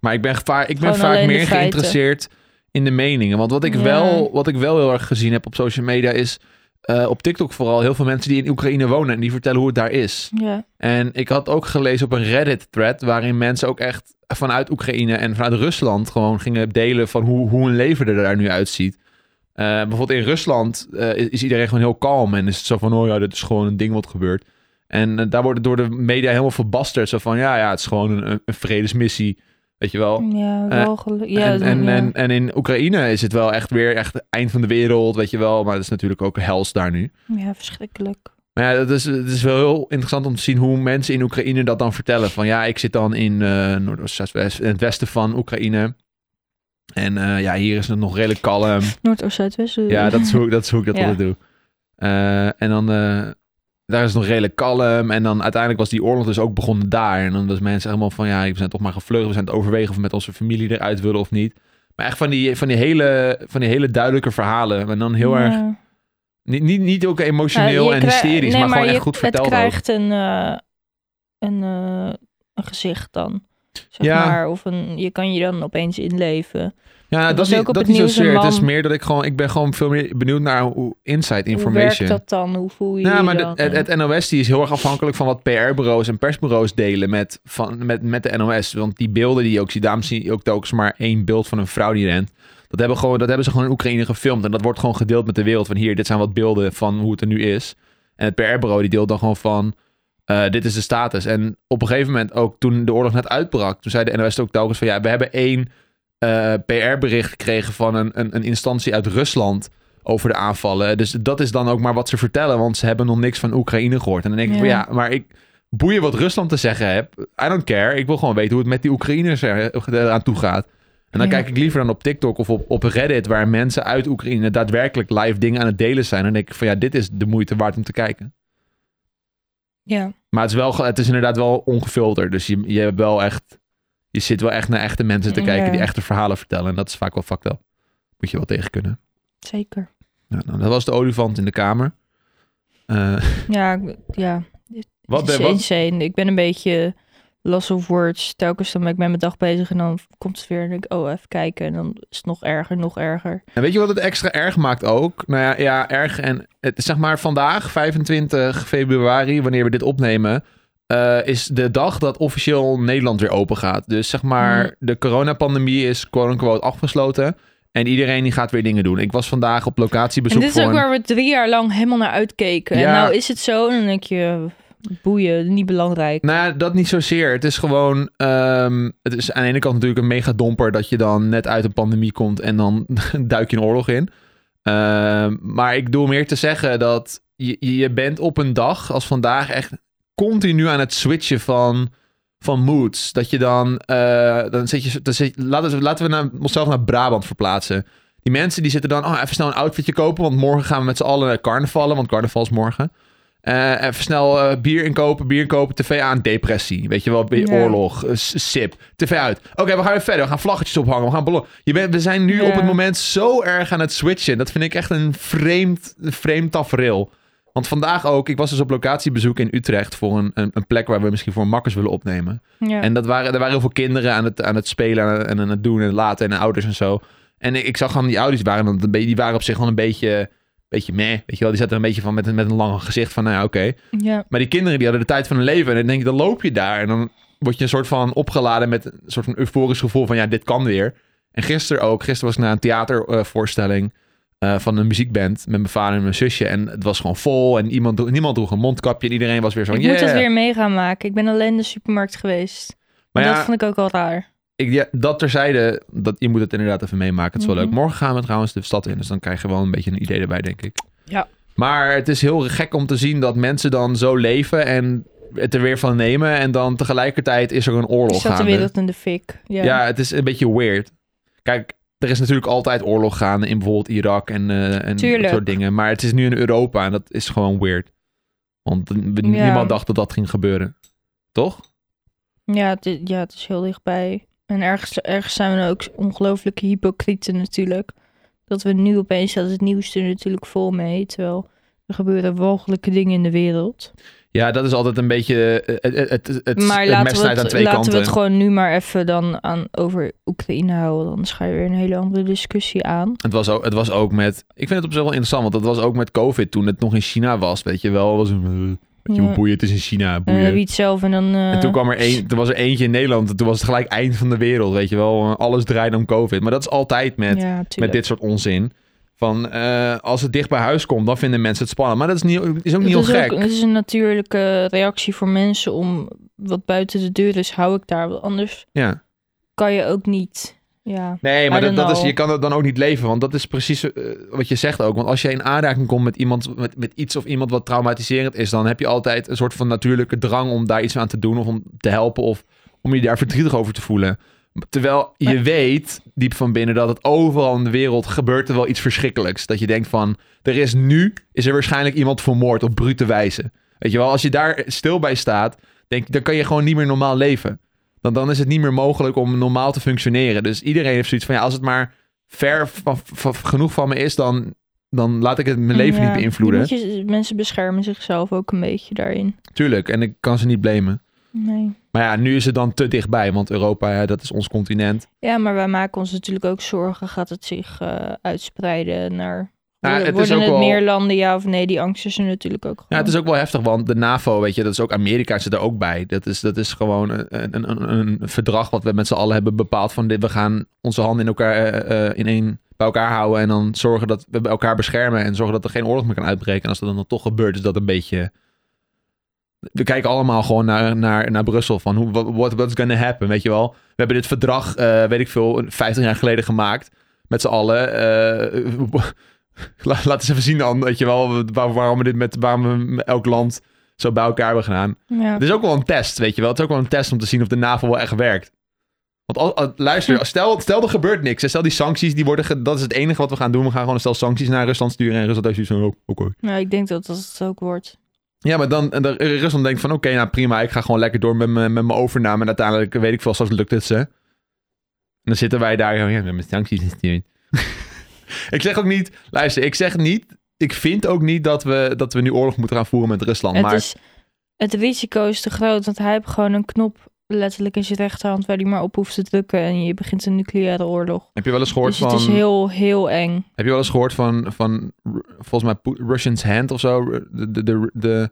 [SPEAKER 1] maar ik ben, geva- ik ben
[SPEAKER 2] Gewoon
[SPEAKER 1] vaak
[SPEAKER 2] alleen de
[SPEAKER 1] meer
[SPEAKER 2] feiten.
[SPEAKER 1] geïnteresseerd in de meningen. Want wat ik,
[SPEAKER 2] Ja.
[SPEAKER 1] wel, wat ik wel heel erg gezien heb op social media is... eh, op TikTok vooral heel veel mensen die in Oekraïne wonen en die vertellen hoe het daar is.
[SPEAKER 2] Ja,
[SPEAKER 1] En ik had ook gelezen op een Reddit-thread... waarin mensen ook echt vanuit Oekraïne en vanuit Rusland... gewoon gingen delen van hoe, hoe hun leven er daar nu uitziet. Eh, bijvoorbeeld in Rusland eh, is, is iedereen gewoon heel kalm... en is het zo van, oh ja, dit is gewoon een ding wat gebeurt. En eh, daar wordt het door de media helemaal verbasterd. Zo van, ja, ja, het is gewoon een, een- een vredesmissie, weet je wel.
[SPEAKER 2] ja, wel gelu- ja,
[SPEAKER 1] Oh, eh, en, en,
[SPEAKER 2] ja.
[SPEAKER 1] en, en in Oekraïne is het wel echt weer echt het eind van de wereld, weet je wel. Maar dat is natuurlijk ook hels daar nu.
[SPEAKER 2] ja, verschrikkelijk.
[SPEAKER 1] Maar ja, dat is, het is wel heel interessant om te zien hoe mensen in Oekraïne dat dan vertellen. Van ja, ik zit dan in eh noord oost zuidwest, in het westen van Oekraïne. En eh, ja, hier is het nog redelijk kalm.
[SPEAKER 2] Noord- of Zuidwesten.
[SPEAKER 1] Ja, dat is hoe, dat is hoe ik dat
[SPEAKER 2] Ja.
[SPEAKER 1] altijd doe. Eh, en dan, eh, daar is het nog redelijk kalm. En dan uiteindelijk was die oorlog dus ook begonnen daar. En dan was mensen helemaal van, ja, we zijn toch maar gevlucht. We zijn het overwegen of we met onze familie eruit willen of niet. Maar echt van die, van die, hele, van die hele duidelijke verhalen. En dan heel
[SPEAKER 2] Ja.
[SPEAKER 1] erg niet, niet, niet ook emotioneel
[SPEAKER 2] Ja, Eh, je
[SPEAKER 1] en
[SPEAKER 2] krij-
[SPEAKER 1] hysterisch,
[SPEAKER 2] nee,
[SPEAKER 1] maar, gewoon
[SPEAKER 2] je-
[SPEAKER 1] echt goed verteld.
[SPEAKER 2] Het
[SPEAKER 1] ook.
[SPEAKER 2] krijgt een, eh, een, eh, een gezicht dan. Zeg
[SPEAKER 1] Ja.
[SPEAKER 2] maar, of een, je kan je dan opeens inleven.
[SPEAKER 1] Ja, nou, dat,
[SPEAKER 2] was
[SPEAKER 1] niet,
[SPEAKER 2] ook op
[SPEAKER 1] dat
[SPEAKER 2] het
[SPEAKER 1] niet
[SPEAKER 2] nieuws
[SPEAKER 1] zozeer.
[SPEAKER 2] een
[SPEAKER 1] Het is
[SPEAKER 2] man-
[SPEAKER 1] meer dat ik gewoon, ik ben gewoon veel meer benieuwd naar hoe inside
[SPEAKER 2] Hoe werkt
[SPEAKER 1] information.
[SPEAKER 2] dat dan? Hoe voel je
[SPEAKER 1] Ja,
[SPEAKER 2] je
[SPEAKER 1] maar
[SPEAKER 2] dan?
[SPEAKER 1] de- het, het NOS die is heel erg afhankelijk van wat PR-bureaus en persbureaus delen met, van, met, met de NOS. Want die beelden die je ook ziet, daarom zie je ook telkens maar één beeld van een vrouw die rent. Dat hebben, gewoon, dat hebben ze gewoon in Oekraïne gefilmd. En dat wordt gewoon gedeeld met de wereld. Van hier, dit zijn wat beelden van hoe het er nu is. En het PR-bureau die deelt dan gewoon van, eh, dit is de status. En op een gegeven moment ook toen de oorlog net uitbrak, toen zei de NOS ook telkens van ja, we hebben één eh, PR-bericht gekregen van een, een, een instantie uit Rusland over de aanvallen. Dus dat is dan ook maar wat ze vertellen, want ze hebben nog niks van Oekraïne gehoord. En dan denk ik van
[SPEAKER 2] Ja.
[SPEAKER 1] ja, maar ik boeien wat Rusland te zeggen heb. I don't care. Ik wil gewoon weten hoe het met die Oekraïners er- eh, eraan toe gaat. En dan
[SPEAKER 2] Ja.
[SPEAKER 1] kijk ik liever dan op TikTok of op, op Reddit, waar mensen uit Oekraïne daadwerkelijk live dingen aan het delen zijn. En dan denk ik van ja, dit is de moeite waard om te kijken.
[SPEAKER 2] Ja.
[SPEAKER 1] Maar het is, wel, ge- het is inderdaad wel ongefilterd. Dus je, je, hebt wel echt, je zit wel echt naar echte mensen te kijken
[SPEAKER 2] Ja.
[SPEAKER 1] die echte verhalen vertellen. En dat is vaak wel fucked up. Moet je wel tegen kunnen.
[SPEAKER 2] Zeker.
[SPEAKER 1] Ja, nou, dat was de olifant in de kamer. Eh,
[SPEAKER 2] Ja, ik- ja.
[SPEAKER 1] wat,
[SPEAKER 2] het is
[SPEAKER 1] ben- wat,
[SPEAKER 2] insane. Ik ben een beetje loss of words. Telkens dan ben ik met mijn dag bezig en dan komt het weer en denk ik, oh, even kijken. En dan is het nog erger, nog erger.
[SPEAKER 1] En weet je wat het extra erg maakt ook? Nou ja, ja erg. En het, zeg maar vandaag, 25 februari, wanneer we dit opnemen, eh, is de dag dat officieel Nederland weer open gaat. Dus zeg maar,
[SPEAKER 2] Mhm.
[SPEAKER 1] de coronapandemie is quote-unquote afgesloten. En iedereen die gaat weer dingen doen. Ik was vandaag op
[SPEAKER 2] en
[SPEAKER 1] locatiebezoek
[SPEAKER 2] dit is
[SPEAKER 1] voor
[SPEAKER 2] ook
[SPEAKER 1] een-
[SPEAKER 2] waar we drie jaar lang helemaal naar uitkeken.
[SPEAKER 1] Ja.
[SPEAKER 2] En nou is het zo en dan denk je, boeien, niet belangrijk.
[SPEAKER 1] Nou ja, dat niet zozeer. Het is gewoon. ehm, het is aan de ene kant natuurlijk een mega domper dat je dan net uit een pandemie komt en dan duik je een oorlog in. Ehm, maar ik doe meer te zeggen dat je, je bent op een dag als vandaag echt continu aan het switchen van, van moods. Dat je dan. eh, dan zit je, dan zit, laten, we- laten we naar, onszelf naar Brabant verplaatsen. Die mensen die zitten dan. Oh, even snel een outfitje kopen. Want morgen gaan we met z'n allen naar carnavallen. Want carnaval is morgen. Eh, even snel eh, bier inkopen, bier inkopen, tv aan, depressie. Weet je wel, weer
[SPEAKER 2] Ja.
[SPEAKER 1] oorlog, eh, s- sip, tv uit. Oké, we gaan weer verder. We gaan vlaggetjes ophangen, we gaan ballon. Je bent, we zijn nu
[SPEAKER 2] Ja.
[SPEAKER 1] op het moment zo erg aan het switchen. Dat vind ik echt een vreemd, een vreemd tafereel. Want vandaag ook, ik was dus op locatiebezoek in Utrecht voor een, een, een plek waar we misschien voor makkers willen opnemen.
[SPEAKER 2] Ja.
[SPEAKER 1] En dat waren, er waren heel veel kinderen aan het, aan het spelen en aan het doen en laten en ouders en zo. En ik, ik zag gewoon die ouders waren, dan een be- die waren op zich wel een beetje, beetje meh, weet je wel. Die zaten er een beetje van met een, met een lang gezicht van, nou ja, oké.
[SPEAKER 2] ja.
[SPEAKER 1] Maar die kinderen, die hadden de tijd van hun leven. En dan denk ik, dan loop je daar en dan word je een soort van opgeladen met een soort van euforisch gevoel van, ja, dit kan weer. En gisteren ook, gisteren was ik naar een theatervoorstelling eh, van een muziekband met mijn vader en mijn zusje. En het was gewoon vol en iemand, dro- niemand droeg een mondkapje en iedereen was weer zo,
[SPEAKER 2] Ik
[SPEAKER 1] yeah.
[SPEAKER 2] moet dat weer mee gaan maken. Ik ben alleen in de supermarkt geweest.
[SPEAKER 1] Maar
[SPEAKER 2] dat
[SPEAKER 1] ja,
[SPEAKER 2] vond ik ook al raar.
[SPEAKER 1] ik, ja, dat terzijde, dat, je moet het inderdaad even meemaken. Het is wel
[SPEAKER 2] Mhm.
[SPEAKER 1] leuk. Morgen gaan we trouwens de stad in, dus dan krijg je wel een beetje een idee erbij, denk ik.
[SPEAKER 2] Ja.
[SPEAKER 1] Maar het is heel gek om te zien dat mensen dan zo leven en het er weer van nemen. En dan tegelijkertijd is er een
[SPEAKER 2] Ik
[SPEAKER 1] oorlog
[SPEAKER 2] Dus zat de
[SPEAKER 1] gaande.
[SPEAKER 2] wereld in de fik. Ja.
[SPEAKER 1] ja. het is een beetje weird. Kijk, er is natuurlijk altijd oorlog gaande in bijvoorbeeld Irak en, eh en dat
[SPEAKER 2] Tuurlijk.
[SPEAKER 1] soort dingen. Maar het is nu in Europa en dat is gewoon weird. Want we-
[SPEAKER 2] Ja.
[SPEAKER 1] niemand dacht dat dat ging gebeuren. Toch?
[SPEAKER 2] Ja, het, i- ja, het is heel dichtbij. En ergens, ergens zijn we dan ook ongelooflijke hypocrieten natuurlijk. Dat we nu opeens, dat het nieuws er natuurlijk vol mee. Terwijl er gebeuren walgelijke dingen in de wereld.
[SPEAKER 1] Ja, dat is altijd een beetje eh, het, het, het, het,
[SPEAKER 2] maar
[SPEAKER 1] het mes
[SPEAKER 2] laten, we
[SPEAKER 1] snijdt
[SPEAKER 2] het,
[SPEAKER 1] aan twee
[SPEAKER 2] laten
[SPEAKER 1] kanten.
[SPEAKER 2] we het gewoon nu maar even dan aan, over Oekraïne houden. Anders ga je weer een hele andere discussie aan.
[SPEAKER 1] Het was, ook, het was ook met. Ik vind het op zich wel interessant, want dat was ook met COVID toen het nog in China was. Weet je wel, was een. eh, weet je,
[SPEAKER 2] Ja.
[SPEAKER 1] boeien, het is in China.
[SPEAKER 2] Dan heb
[SPEAKER 1] Boeien.
[SPEAKER 2] je het zelf en dan... eh,
[SPEAKER 1] en toen kwam er een, toen was er eentje in Nederland. en Toen was het gelijk eind van de wereld. Weet je wel, alles draaide om COVID. Maar dat is altijd met,
[SPEAKER 2] ja,
[SPEAKER 1] met
[SPEAKER 2] tuurlijk.
[SPEAKER 1] dit soort onzin. Van eh, als het dicht bij huis komt, dan vinden mensen het spannend. Maar dat is, niet, is ook niet heel
[SPEAKER 2] Het is,
[SPEAKER 1] gek.
[SPEAKER 2] ook, het is een natuurlijke reactie voor mensen om wat buiten de deur is, hou ik daar. Want anders
[SPEAKER 1] Ja.
[SPEAKER 2] kan je ook niet. Ja,
[SPEAKER 1] Nee,
[SPEAKER 2] I
[SPEAKER 1] maar dat,
[SPEAKER 2] don't
[SPEAKER 1] dat is,
[SPEAKER 2] know.
[SPEAKER 1] je kan dat dan ook niet leven. Want dat is precies eh, wat je zegt ook. Want als je in aanraking komt met, iemand, met, met iets of iemand wat traumatiserend is... dan heb je altijd een soort van natuurlijke drang om daar iets aan te doen... of om te helpen of om je daar verdrietig over te voelen. Terwijl je
[SPEAKER 2] Maar-
[SPEAKER 1] weet, diep van binnen, dat het overal in de wereld gebeurt er wel iets verschrikkelijks. Dat je denkt van, er is nu, is er waarschijnlijk iemand vermoord op brute wijze. Weet je wel, als je daar stil bij staat, denk, dan kan je gewoon niet meer normaal leven. Dan, dan is het niet meer mogelijk om normaal te functioneren. Dus iedereen heeft zoiets van, ja, als het maar ver van, van- genoeg van me is, dan, dan laat ik het mijn leven
[SPEAKER 2] Ja,
[SPEAKER 1] niet
[SPEAKER 2] je
[SPEAKER 1] beïnvloeden.
[SPEAKER 2] moet je- mensen beschermen zichzelf ook een beetje daarin.
[SPEAKER 1] Tuurlijk, en ik kan ze niet blamen.
[SPEAKER 2] Nee.
[SPEAKER 1] Maar ja, nu is het dan te dichtbij, want Europa, ja, dat is ons continent.
[SPEAKER 2] Ja, maar wij maken ons natuurlijk ook zorgen. Gaat het zich eh, uitspreiden naar...
[SPEAKER 1] Ja,
[SPEAKER 2] worden
[SPEAKER 1] het is
[SPEAKER 2] worden
[SPEAKER 1] ook
[SPEAKER 2] het
[SPEAKER 1] wel-
[SPEAKER 2] meer landen, ja of nee? Die angst is er natuurlijk ook
[SPEAKER 1] Ja,
[SPEAKER 2] gewoon.
[SPEAKER 1] het is ook wel heftig, want de NAVO, weet je, dat is ook Amerika zit er ook bij. Dat is, dat is gewoon een, een, een, een verdrag wat we met z'n allen hebben bepaald van dit, we gaan onze handen in elkaar eh, eh, in één bij elkaar houden en dan zorgen dat we elkaar beschermen en zorgen dat er geen oorlog meer kan uitbreken. En als dat dan toch gebeurt, is dat een beetje... We kijken allemaal gewoon naar, naar, naar Brussel van hoe, what, what- what's gonna happen, weet je wel. We hebben dit verdrag, eh, weet ik veel, 50 jaar geleden gemaakt met z'n allen. eh, La- laat eens even zien dan, weet je wel, waar- waarom we dit met waarom we elk land zo bij elkaar hebben gedaan.
[SPEAKER 2] Ja.
[SPEAKER 1] Het is ook wel een test, weet je wel. Het is ook wel een test om te zien of de NAVO wel echt werkt. Want al- al- luister, stel, stel er gebeurt niks. hè. Stel die sancties, die worden ge- dat is het enige wat we gaan doen. We gaan gewoon een stel sancties naar Rusland sturen en Rusland heeft zoiets van, oh, oké.
[SPEAKER 2] Nou, ik denk dat dat het ook wordt.
[SPEAKER 1] Ja, maar dan en de rest dan denkt van oké, nou prima, ik ga gewoon lekker door met mijn met mijn overname. En uiteindelijk weet ik veel, straks lukt het ze. En dan zitten wij daar, ja, met mijn sancties gestuurd. ik zeg ook niet, luister, ik zeg niet, ik vind ook niet dat we, dat we nu oorlog moeten gaan voeren met Rusland.
[SPEAKER 2] Het,
[SPEAKER 1] maar
[SPEAKER 2] is, het risico is te groot, want hij heeft gewoon een knop letterlijk in zijn rechterhand waar hij maar op hoeft te drukken en je begint een nucleaire oorlog.
[SPEAKER 1] heb je wel eens gehoord
[SPEAKER 2] dus
[SPEAKER 1] van...
[SPEAKER 2] het is heel, heel eng.
[SPEAKER 1] Heb je wel eens gehoord van, van Ru- volgens mij Pu- Russian's Hand of zo? Ru- De, de, de, de-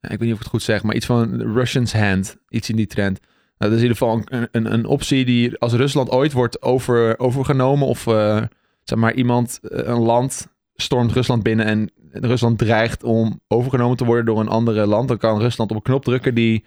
[SPEAKER 1] ja, ik weet niet of ik het goed zeg, maar iets van Russian's Hand. Iets in die trend. Nou, dat is in ieder geval een, een, een optie die als Rusland ooit wordt over, overgenomen of eh, zeg maar iemand, eh, een land stormt Rusland binnen en Rusland dreigt om overgenomen te worden door een andere land, dan kan Rusland op een knop drukken die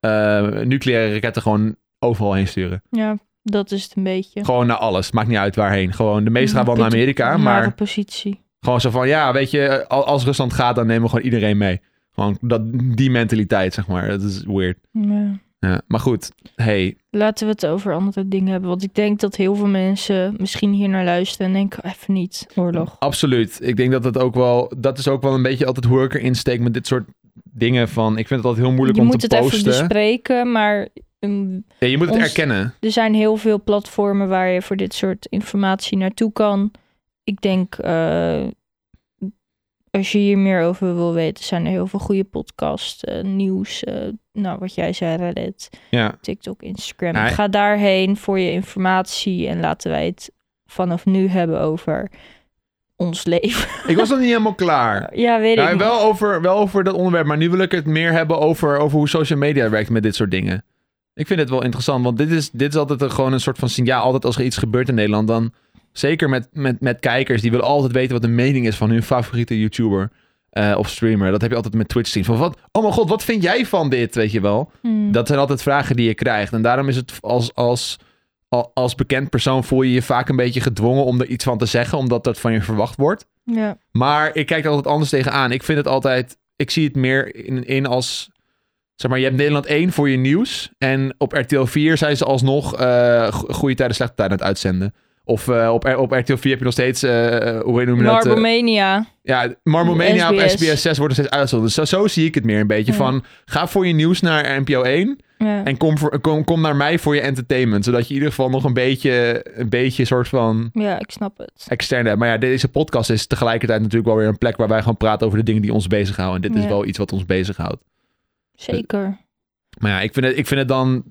[SPEAKER 1] eh, nucleaire raketten gewoon overal heen sturen.
[SPEAKER 2] Ja, dat is het een beetje.
[SPEAKER 1] Gewoon naar alles. Maakt niet uit waarheen. Gewoon de meeste gaan wel naar
[SPEAKER 2] Putin-
[SPEAKER 1] Amerika, maar...
[SPEAKER 2] Nare positie.
[SPEAKER 1] Gewoon zo van, ja, weet je, al- als Rusland gaat, dan nemen we gewoon iedereen mee. Gewoon dat, die mentaliteit, zeg maar. Dat is weird.
[SPEAKER 2] Ja.
[SPEAKER 1] Ja, maar goed, hey,
[SPEAKER 2] Laten we het over andere dingen hebben. Want ik denk dat heel veel mensen misschien hier naar luisteren en denken: "Oh, even niet, oorlog.
[SPEAKER 1] absoluut. Ik denk dat dat ook wel, dat is ook wel een beetje altijd hoe ik erin steek met dit soort dingen van, ik vind het altijd heel moeilijk
[SPEAKER 2] Je
[SPEAKER 1] om
[SPEAKER 2] moet
[SPEAKER 1] te
[SPEAKER 2] het even
[SPEAKER 1] posten.
[SPEAKER 2] bespreken, maar mm,
[SPEAKER 1] ja, je moet het
[SPEAKER 2] ons-
[SPEAKER 1] erkennen.
[SPEAKER 2] er zijn heel veel platformen waar je voor dit soort informatie naartoe kan. Ik denk, eh, als je hier meer over wil weten, zijn er heel veel goede podcasts, eh, nieuws. eh, nou, wat jij zei, Reddit,
[SPEAKER 1] Ja,
[SPEAKER 2] TikTok, Instagram.
[SPEAKER 1] Nou,
[SPEAKER 2] Ga daarheen voor je informatie en laten wij het vanaf nu hebben over ons leven.
[SPEAKER 1] ik was nog niet helemaal klaar.
[SPEAKER 2] ja, weet
[SPEAKER 1] Ja,
[SPEAKER 2] ik.
[SPEAKER 1] Nou, wel over, wel over dat onderwerp, maar nu wil ik het meer hebben over, over hoe social media werkt met dit soort dingen. Ik vind het wel interessant, want dit is, dit is altijd een, gewoon een soort van signaal. Altijd als er iets gebeurt in Nederland, dan zeker met, met, met kijkers, die willen altijd weten wat de mening is van hun favoriete YouTuber eh, of streamer. Dat heb je altijd met Twitch-teams. Van wat, oh mijn god, wat vind jij van dit? Weet je wel.
[SPEAKER 2] Hmm.
[SPEAKER 1] Dat zijn altijd vragen die je krijgt. En daarom is het als, als, al- als bekend persoon voel je je vaak een beetje gedwongen om er iets van te zeggen, omdat dat van je verwacht wordt.
[SPEAKER 2] Ja.
[SPEAKER 1] Maar ik kijk er altijd anders tegenaan. Ik vind het altijd. Ik zie het meer in, in als. Zeg maar, je hebt Nederland 1 voor je nieuws. En op RTL 4 zijn ze alsnog eh, go- goede tijden, slechte tijden aan het uitzenden. Of eh, op, R- op RTL 4 heb je nog steeds. eh, hoe noem je dat? eh,
[SPEAKER 2] Marbomania.
[SPEAKER 1] ja, Marmomania op
[SPEAKER 2] SBS.
[SPEAKER 1] SBS 6 wordt nog steeds uitgezonden. Dus zo, zo zie ik het meer een beetje.
[SPEAKER 2] Ja.
[SPEAKER 1] Van ga voor je nieuws naar NPO 1.
[SPEAKER 2] Ja.
[SPEAKER 1] En kom, voor, kom, kom naar mij voor je entertainment. Zodat je in ieder geval nog een beetje. Een beetje soort van
[SPEAKER 2] ja, ik snap het.
[SPEAKER 1] externe. Maar ja, deze podcast is tegelijkertijd natuurlijk wel weer een plek waar wij gewoon praten over de dingen die ons bezighouden. En dit is
[SPEAKER 2] Ja.
[SPEAKER 1] wel iets wat ons bezighoudt.
[SPEAKER 2] Zeker.
[SPEAKER 1] Maar ja, ik vind het, ik vind het dan,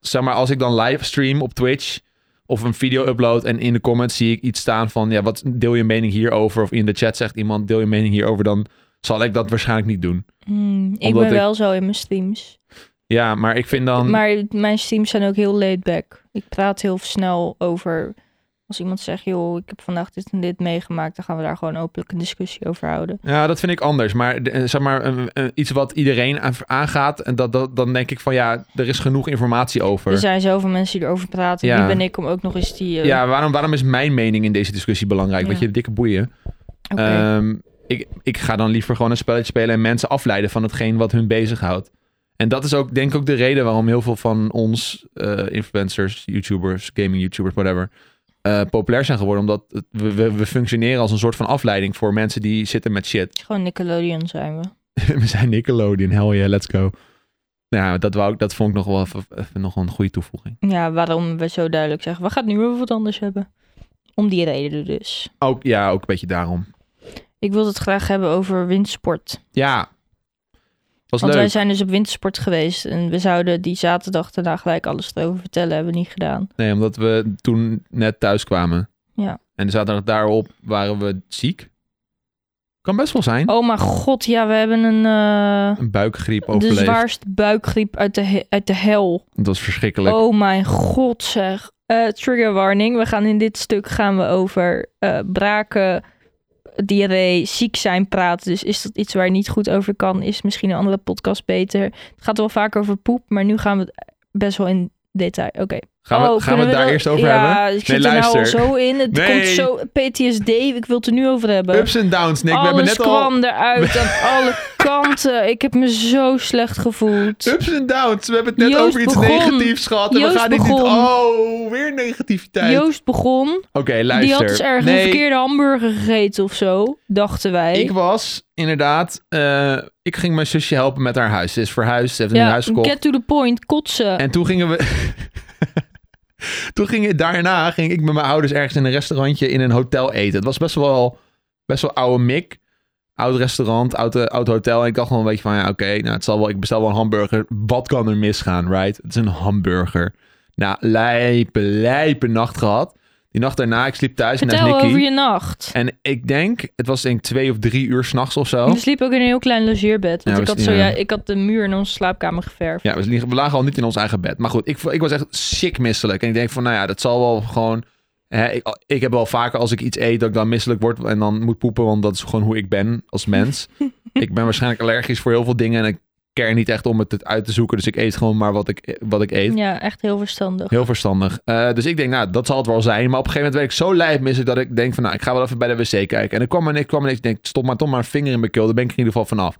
[SPEAKER 1] zeg maar, als ik dan livestream op Twitch of een video upload en in de comments zie ik iets staan van, ja, wat deel je mening hierover? Of in de chat zegt iemand, deel je mening hierover, dan zal ik dat waarschijnlijk niet doen.
[SPEAKER 2] Hmm, ik
[SPEAKER 1] Omdat
[SPEAKER 2] ben
[SPEAKER 1] ik-
[SPEAKER 2] wel zo in mijn streams.
[SPEAKER 1] Ja, maar ik vind dan,
[SPEAKER 2] Maar mijn streams zijn ook heel laid back. Ik praat heel snel over. Als iemand zegt, joh, ik heb vandaag dit en dit meegemaakt, dan gaan we daar gewoon openlijk een discussie over houden.
[SPEAKER 1] ja, dat vind ik anders. Maar de- eh, zeg maar, een- een- iets wat iedereen aan- aangaat, en dat, dat, dan denk ik van, ja, er is genoeg informatie over.
[SPEAKER 2] Er zijn zoveel mensen die erover praten.
[SPEAKER 1] Ja.
[SPEAKER 2] Wie ben ik om ook nog eens die. eh,
[SPEAKER 1] Ja, waarom, waarom is mijn mening in deze discussie belangrijk?
[SPEAKER 2] Ja.
[SPEAKER 1] Weet je, dikke boeien.
[SPEAKER 2] oké.
[SPEAKER 1] Ehm, ik, ik ga dan liever gewoon een spelletje spelen en mensen afleiden van hetgeen wat hun bezighoudt. En dat is ook, denk ik, ook de reden waarom heel veel van ons eh, influencers, YouTubers, gaming YouTubers, whatever, eh, populair zijn geworden. Omdat het- we, we, we functioneren als een soort van afleiding voor mensen die zitten met shit.
[SPEAKER 2] Gewoon Nickelodeon zijn we.
[SPEAKER 1] we zijn Nickelodeon, hell yeah, let's go. Nou, dat, wou ik, dat vond ik nog wel even, even nog wel een goede toevoeging.
[SPEAKER 2] Ja, waarom we zo duidelijk zeggen, we gaan het nu over wat anders hebben. Om die reden dus.
[SPEAKER 1] Ook, ja, ook een beetje daarom.
[SPEAKER 2] Ik wil het graag hebben over windsport.
[SPEAKER 1] Ja. Was
[SPEAKER 2] Want
[SPEAKER 1] leuk.
[SPEAKER 2] wij zijn dus op wintersport geweest en we zouden die zaterdag daarna gelijk alles erover vertellen, hebben we niet gedaan.
[SPEAKER 1] Nee, omdat we toen net thuis kwamen.
[SPEAKER 2] Ja.
[SPEAKER 1] En de zaterdag daarop waren we ziek. Kan best wel zijn.
[SPEAKER 2] Oh mijn god, ja, we hebben een eh,
[SPEAKER 1] Een buikgriep
[SPEAKER 2] de
[SPEAKER 1] overleefd.
[SPEAKER 2] zwaarste buikgriep uit de, he- uit de hel.
[SPEAKER 1] Dat was verschrikkelijk.
[SPEAKER 2] Oh mijn god zeg. Eh, trigger warning, we gaan in dit stuk gaan we over eh, braken, diarree, ziek zijn praten. Dus is dat iets waar je niet goed over kan, is misschien een andere podcast beter. Het gaat wel vaak over poep, maar nu gaan we het best wel in detail. Oké,
[SPEAKER 1] Gaan we,
[SPEAKER 2] Oh,
[SPEAKER 1] gaan we
[SPEAKER 2] kunnen
[SPEAKER 1] het daar
[SPEAKER 2] dat-
[SPEAKER 1] eerst over
[SPEAKER 2] ja,
[SPEAKER 1] hebben?
[SPEAKER 2] ik zit er nou al zo in. Het
[SPEAKER 1] Nee.
[SPEAKER 2] komt zo... PTSD, ik wil het er nu over hebben.
[SPEAKER 1] Ups en downs, Nick. We hebben
[SPEAKER 2] Alles
[SPEAKER 1] net al...
[SPEAKER 2] kwam eruit aan alle kanten. Ik heb me zo slecht gevoeld.
[SPEAKER 1] Ups en downs. We hebben het net
[SPEAKER 2] Joost
[SPEAKER 1] over iets
[SPEAKER 2] begon.
[SPEAKER 1] negatiefs gehad. En we
[SPEAKER 2] Joost
[SPEAKER 1] gaan dit niet...
[SPEAKER 2] begon.
[SPEAKER 1] Oh, weer negativiteit. Oké,
[SPEAKER 2] Joost begon.
[SPEAKER 1] luister.
[SPEAKER 2] Die had dus ergens een
[SPEAKER 1] nee,
[SPEAKER 2] verkeerde hamburger gegeten of zo, dachten wij.
[SPEAKER 1] ik was inderdaad... eh, ik ging mijn zusje helpen met haar huis. Ze is verhuisd. Ze heeft een
[SPEAKER 2] ja,
[SPEAKER 1] huis gekocht.
[SPEAKER 2] get to the point, kotsen.
[SPEAKER 1] En toen gingen we... toen ging daarna ging ik met mijn ouders ergens in een restaurantje in een hotel eten. Het was best wel, best wel oude mik. Oud restaurant, oud, eh, oud hotel. En ik dacht gewoon een beetje van, ja, oké, nou, het zal wel, ik bestel wel een hamburger. Wat kan er misgaan, right? Het is een hamburger. Nou, lijpe, lijpe nacht gehad. Die nacht daarna, ik sliep thuis naast
[SPEAKER 2] Vertel
[SPEAKER 1] Nicky.
[SPEAKER 2] over je nacht.
[SPEAKER 1] En ik denk, het was denk ik twee of drie uur s'nachts of zo.
[SPEAKER 2] We sliepen ook in een heel klein logeerbed. Want
[SPEAKER 1] Ja,
[SPEAKER 2] ik,
[SPEAKER 1] we
[SPEAKER 2] had zo,
[SPEAKER 1] sliepen-
[SPEAKER 2] ja, ik had de muur in onze slaapkamer geverfd.
[SPEAKER 1] Ja, we, liegen- we lagen al niet in ons eigen bed. Maar goed, ik, ik was echt sick misselijk. En ik denk van, nou ja, dat zal wel gewoon... Hè, ik, ik heb wel vaker als ik iets eet dat ik dan misselijk word en dan moet poepen. Want dat is gewoon hoe ik ben als mens. ik ben waarschijnlijk allergisch voor heel veel dingen en ik care niet echt om het uit te zoeken. Dus ik eet gewoon maar wat ik, wat ik eet.
[SPEAKER 2] Ja, echt heel verstandig.
[SPEAKER 1] Heel verstandig. Eh, dus ik denk, nou, dat zal het wel zijn. Maar op een gegeven moment werd ik zo lijpmisselijk dat ik denk van, nou, ik ga wel even bij de wc kijken. En ik kwam en ik kwam en ik denk, stop maar toch maar een vinger in mijn keel. Daar ben ik in ieder geval vanaf.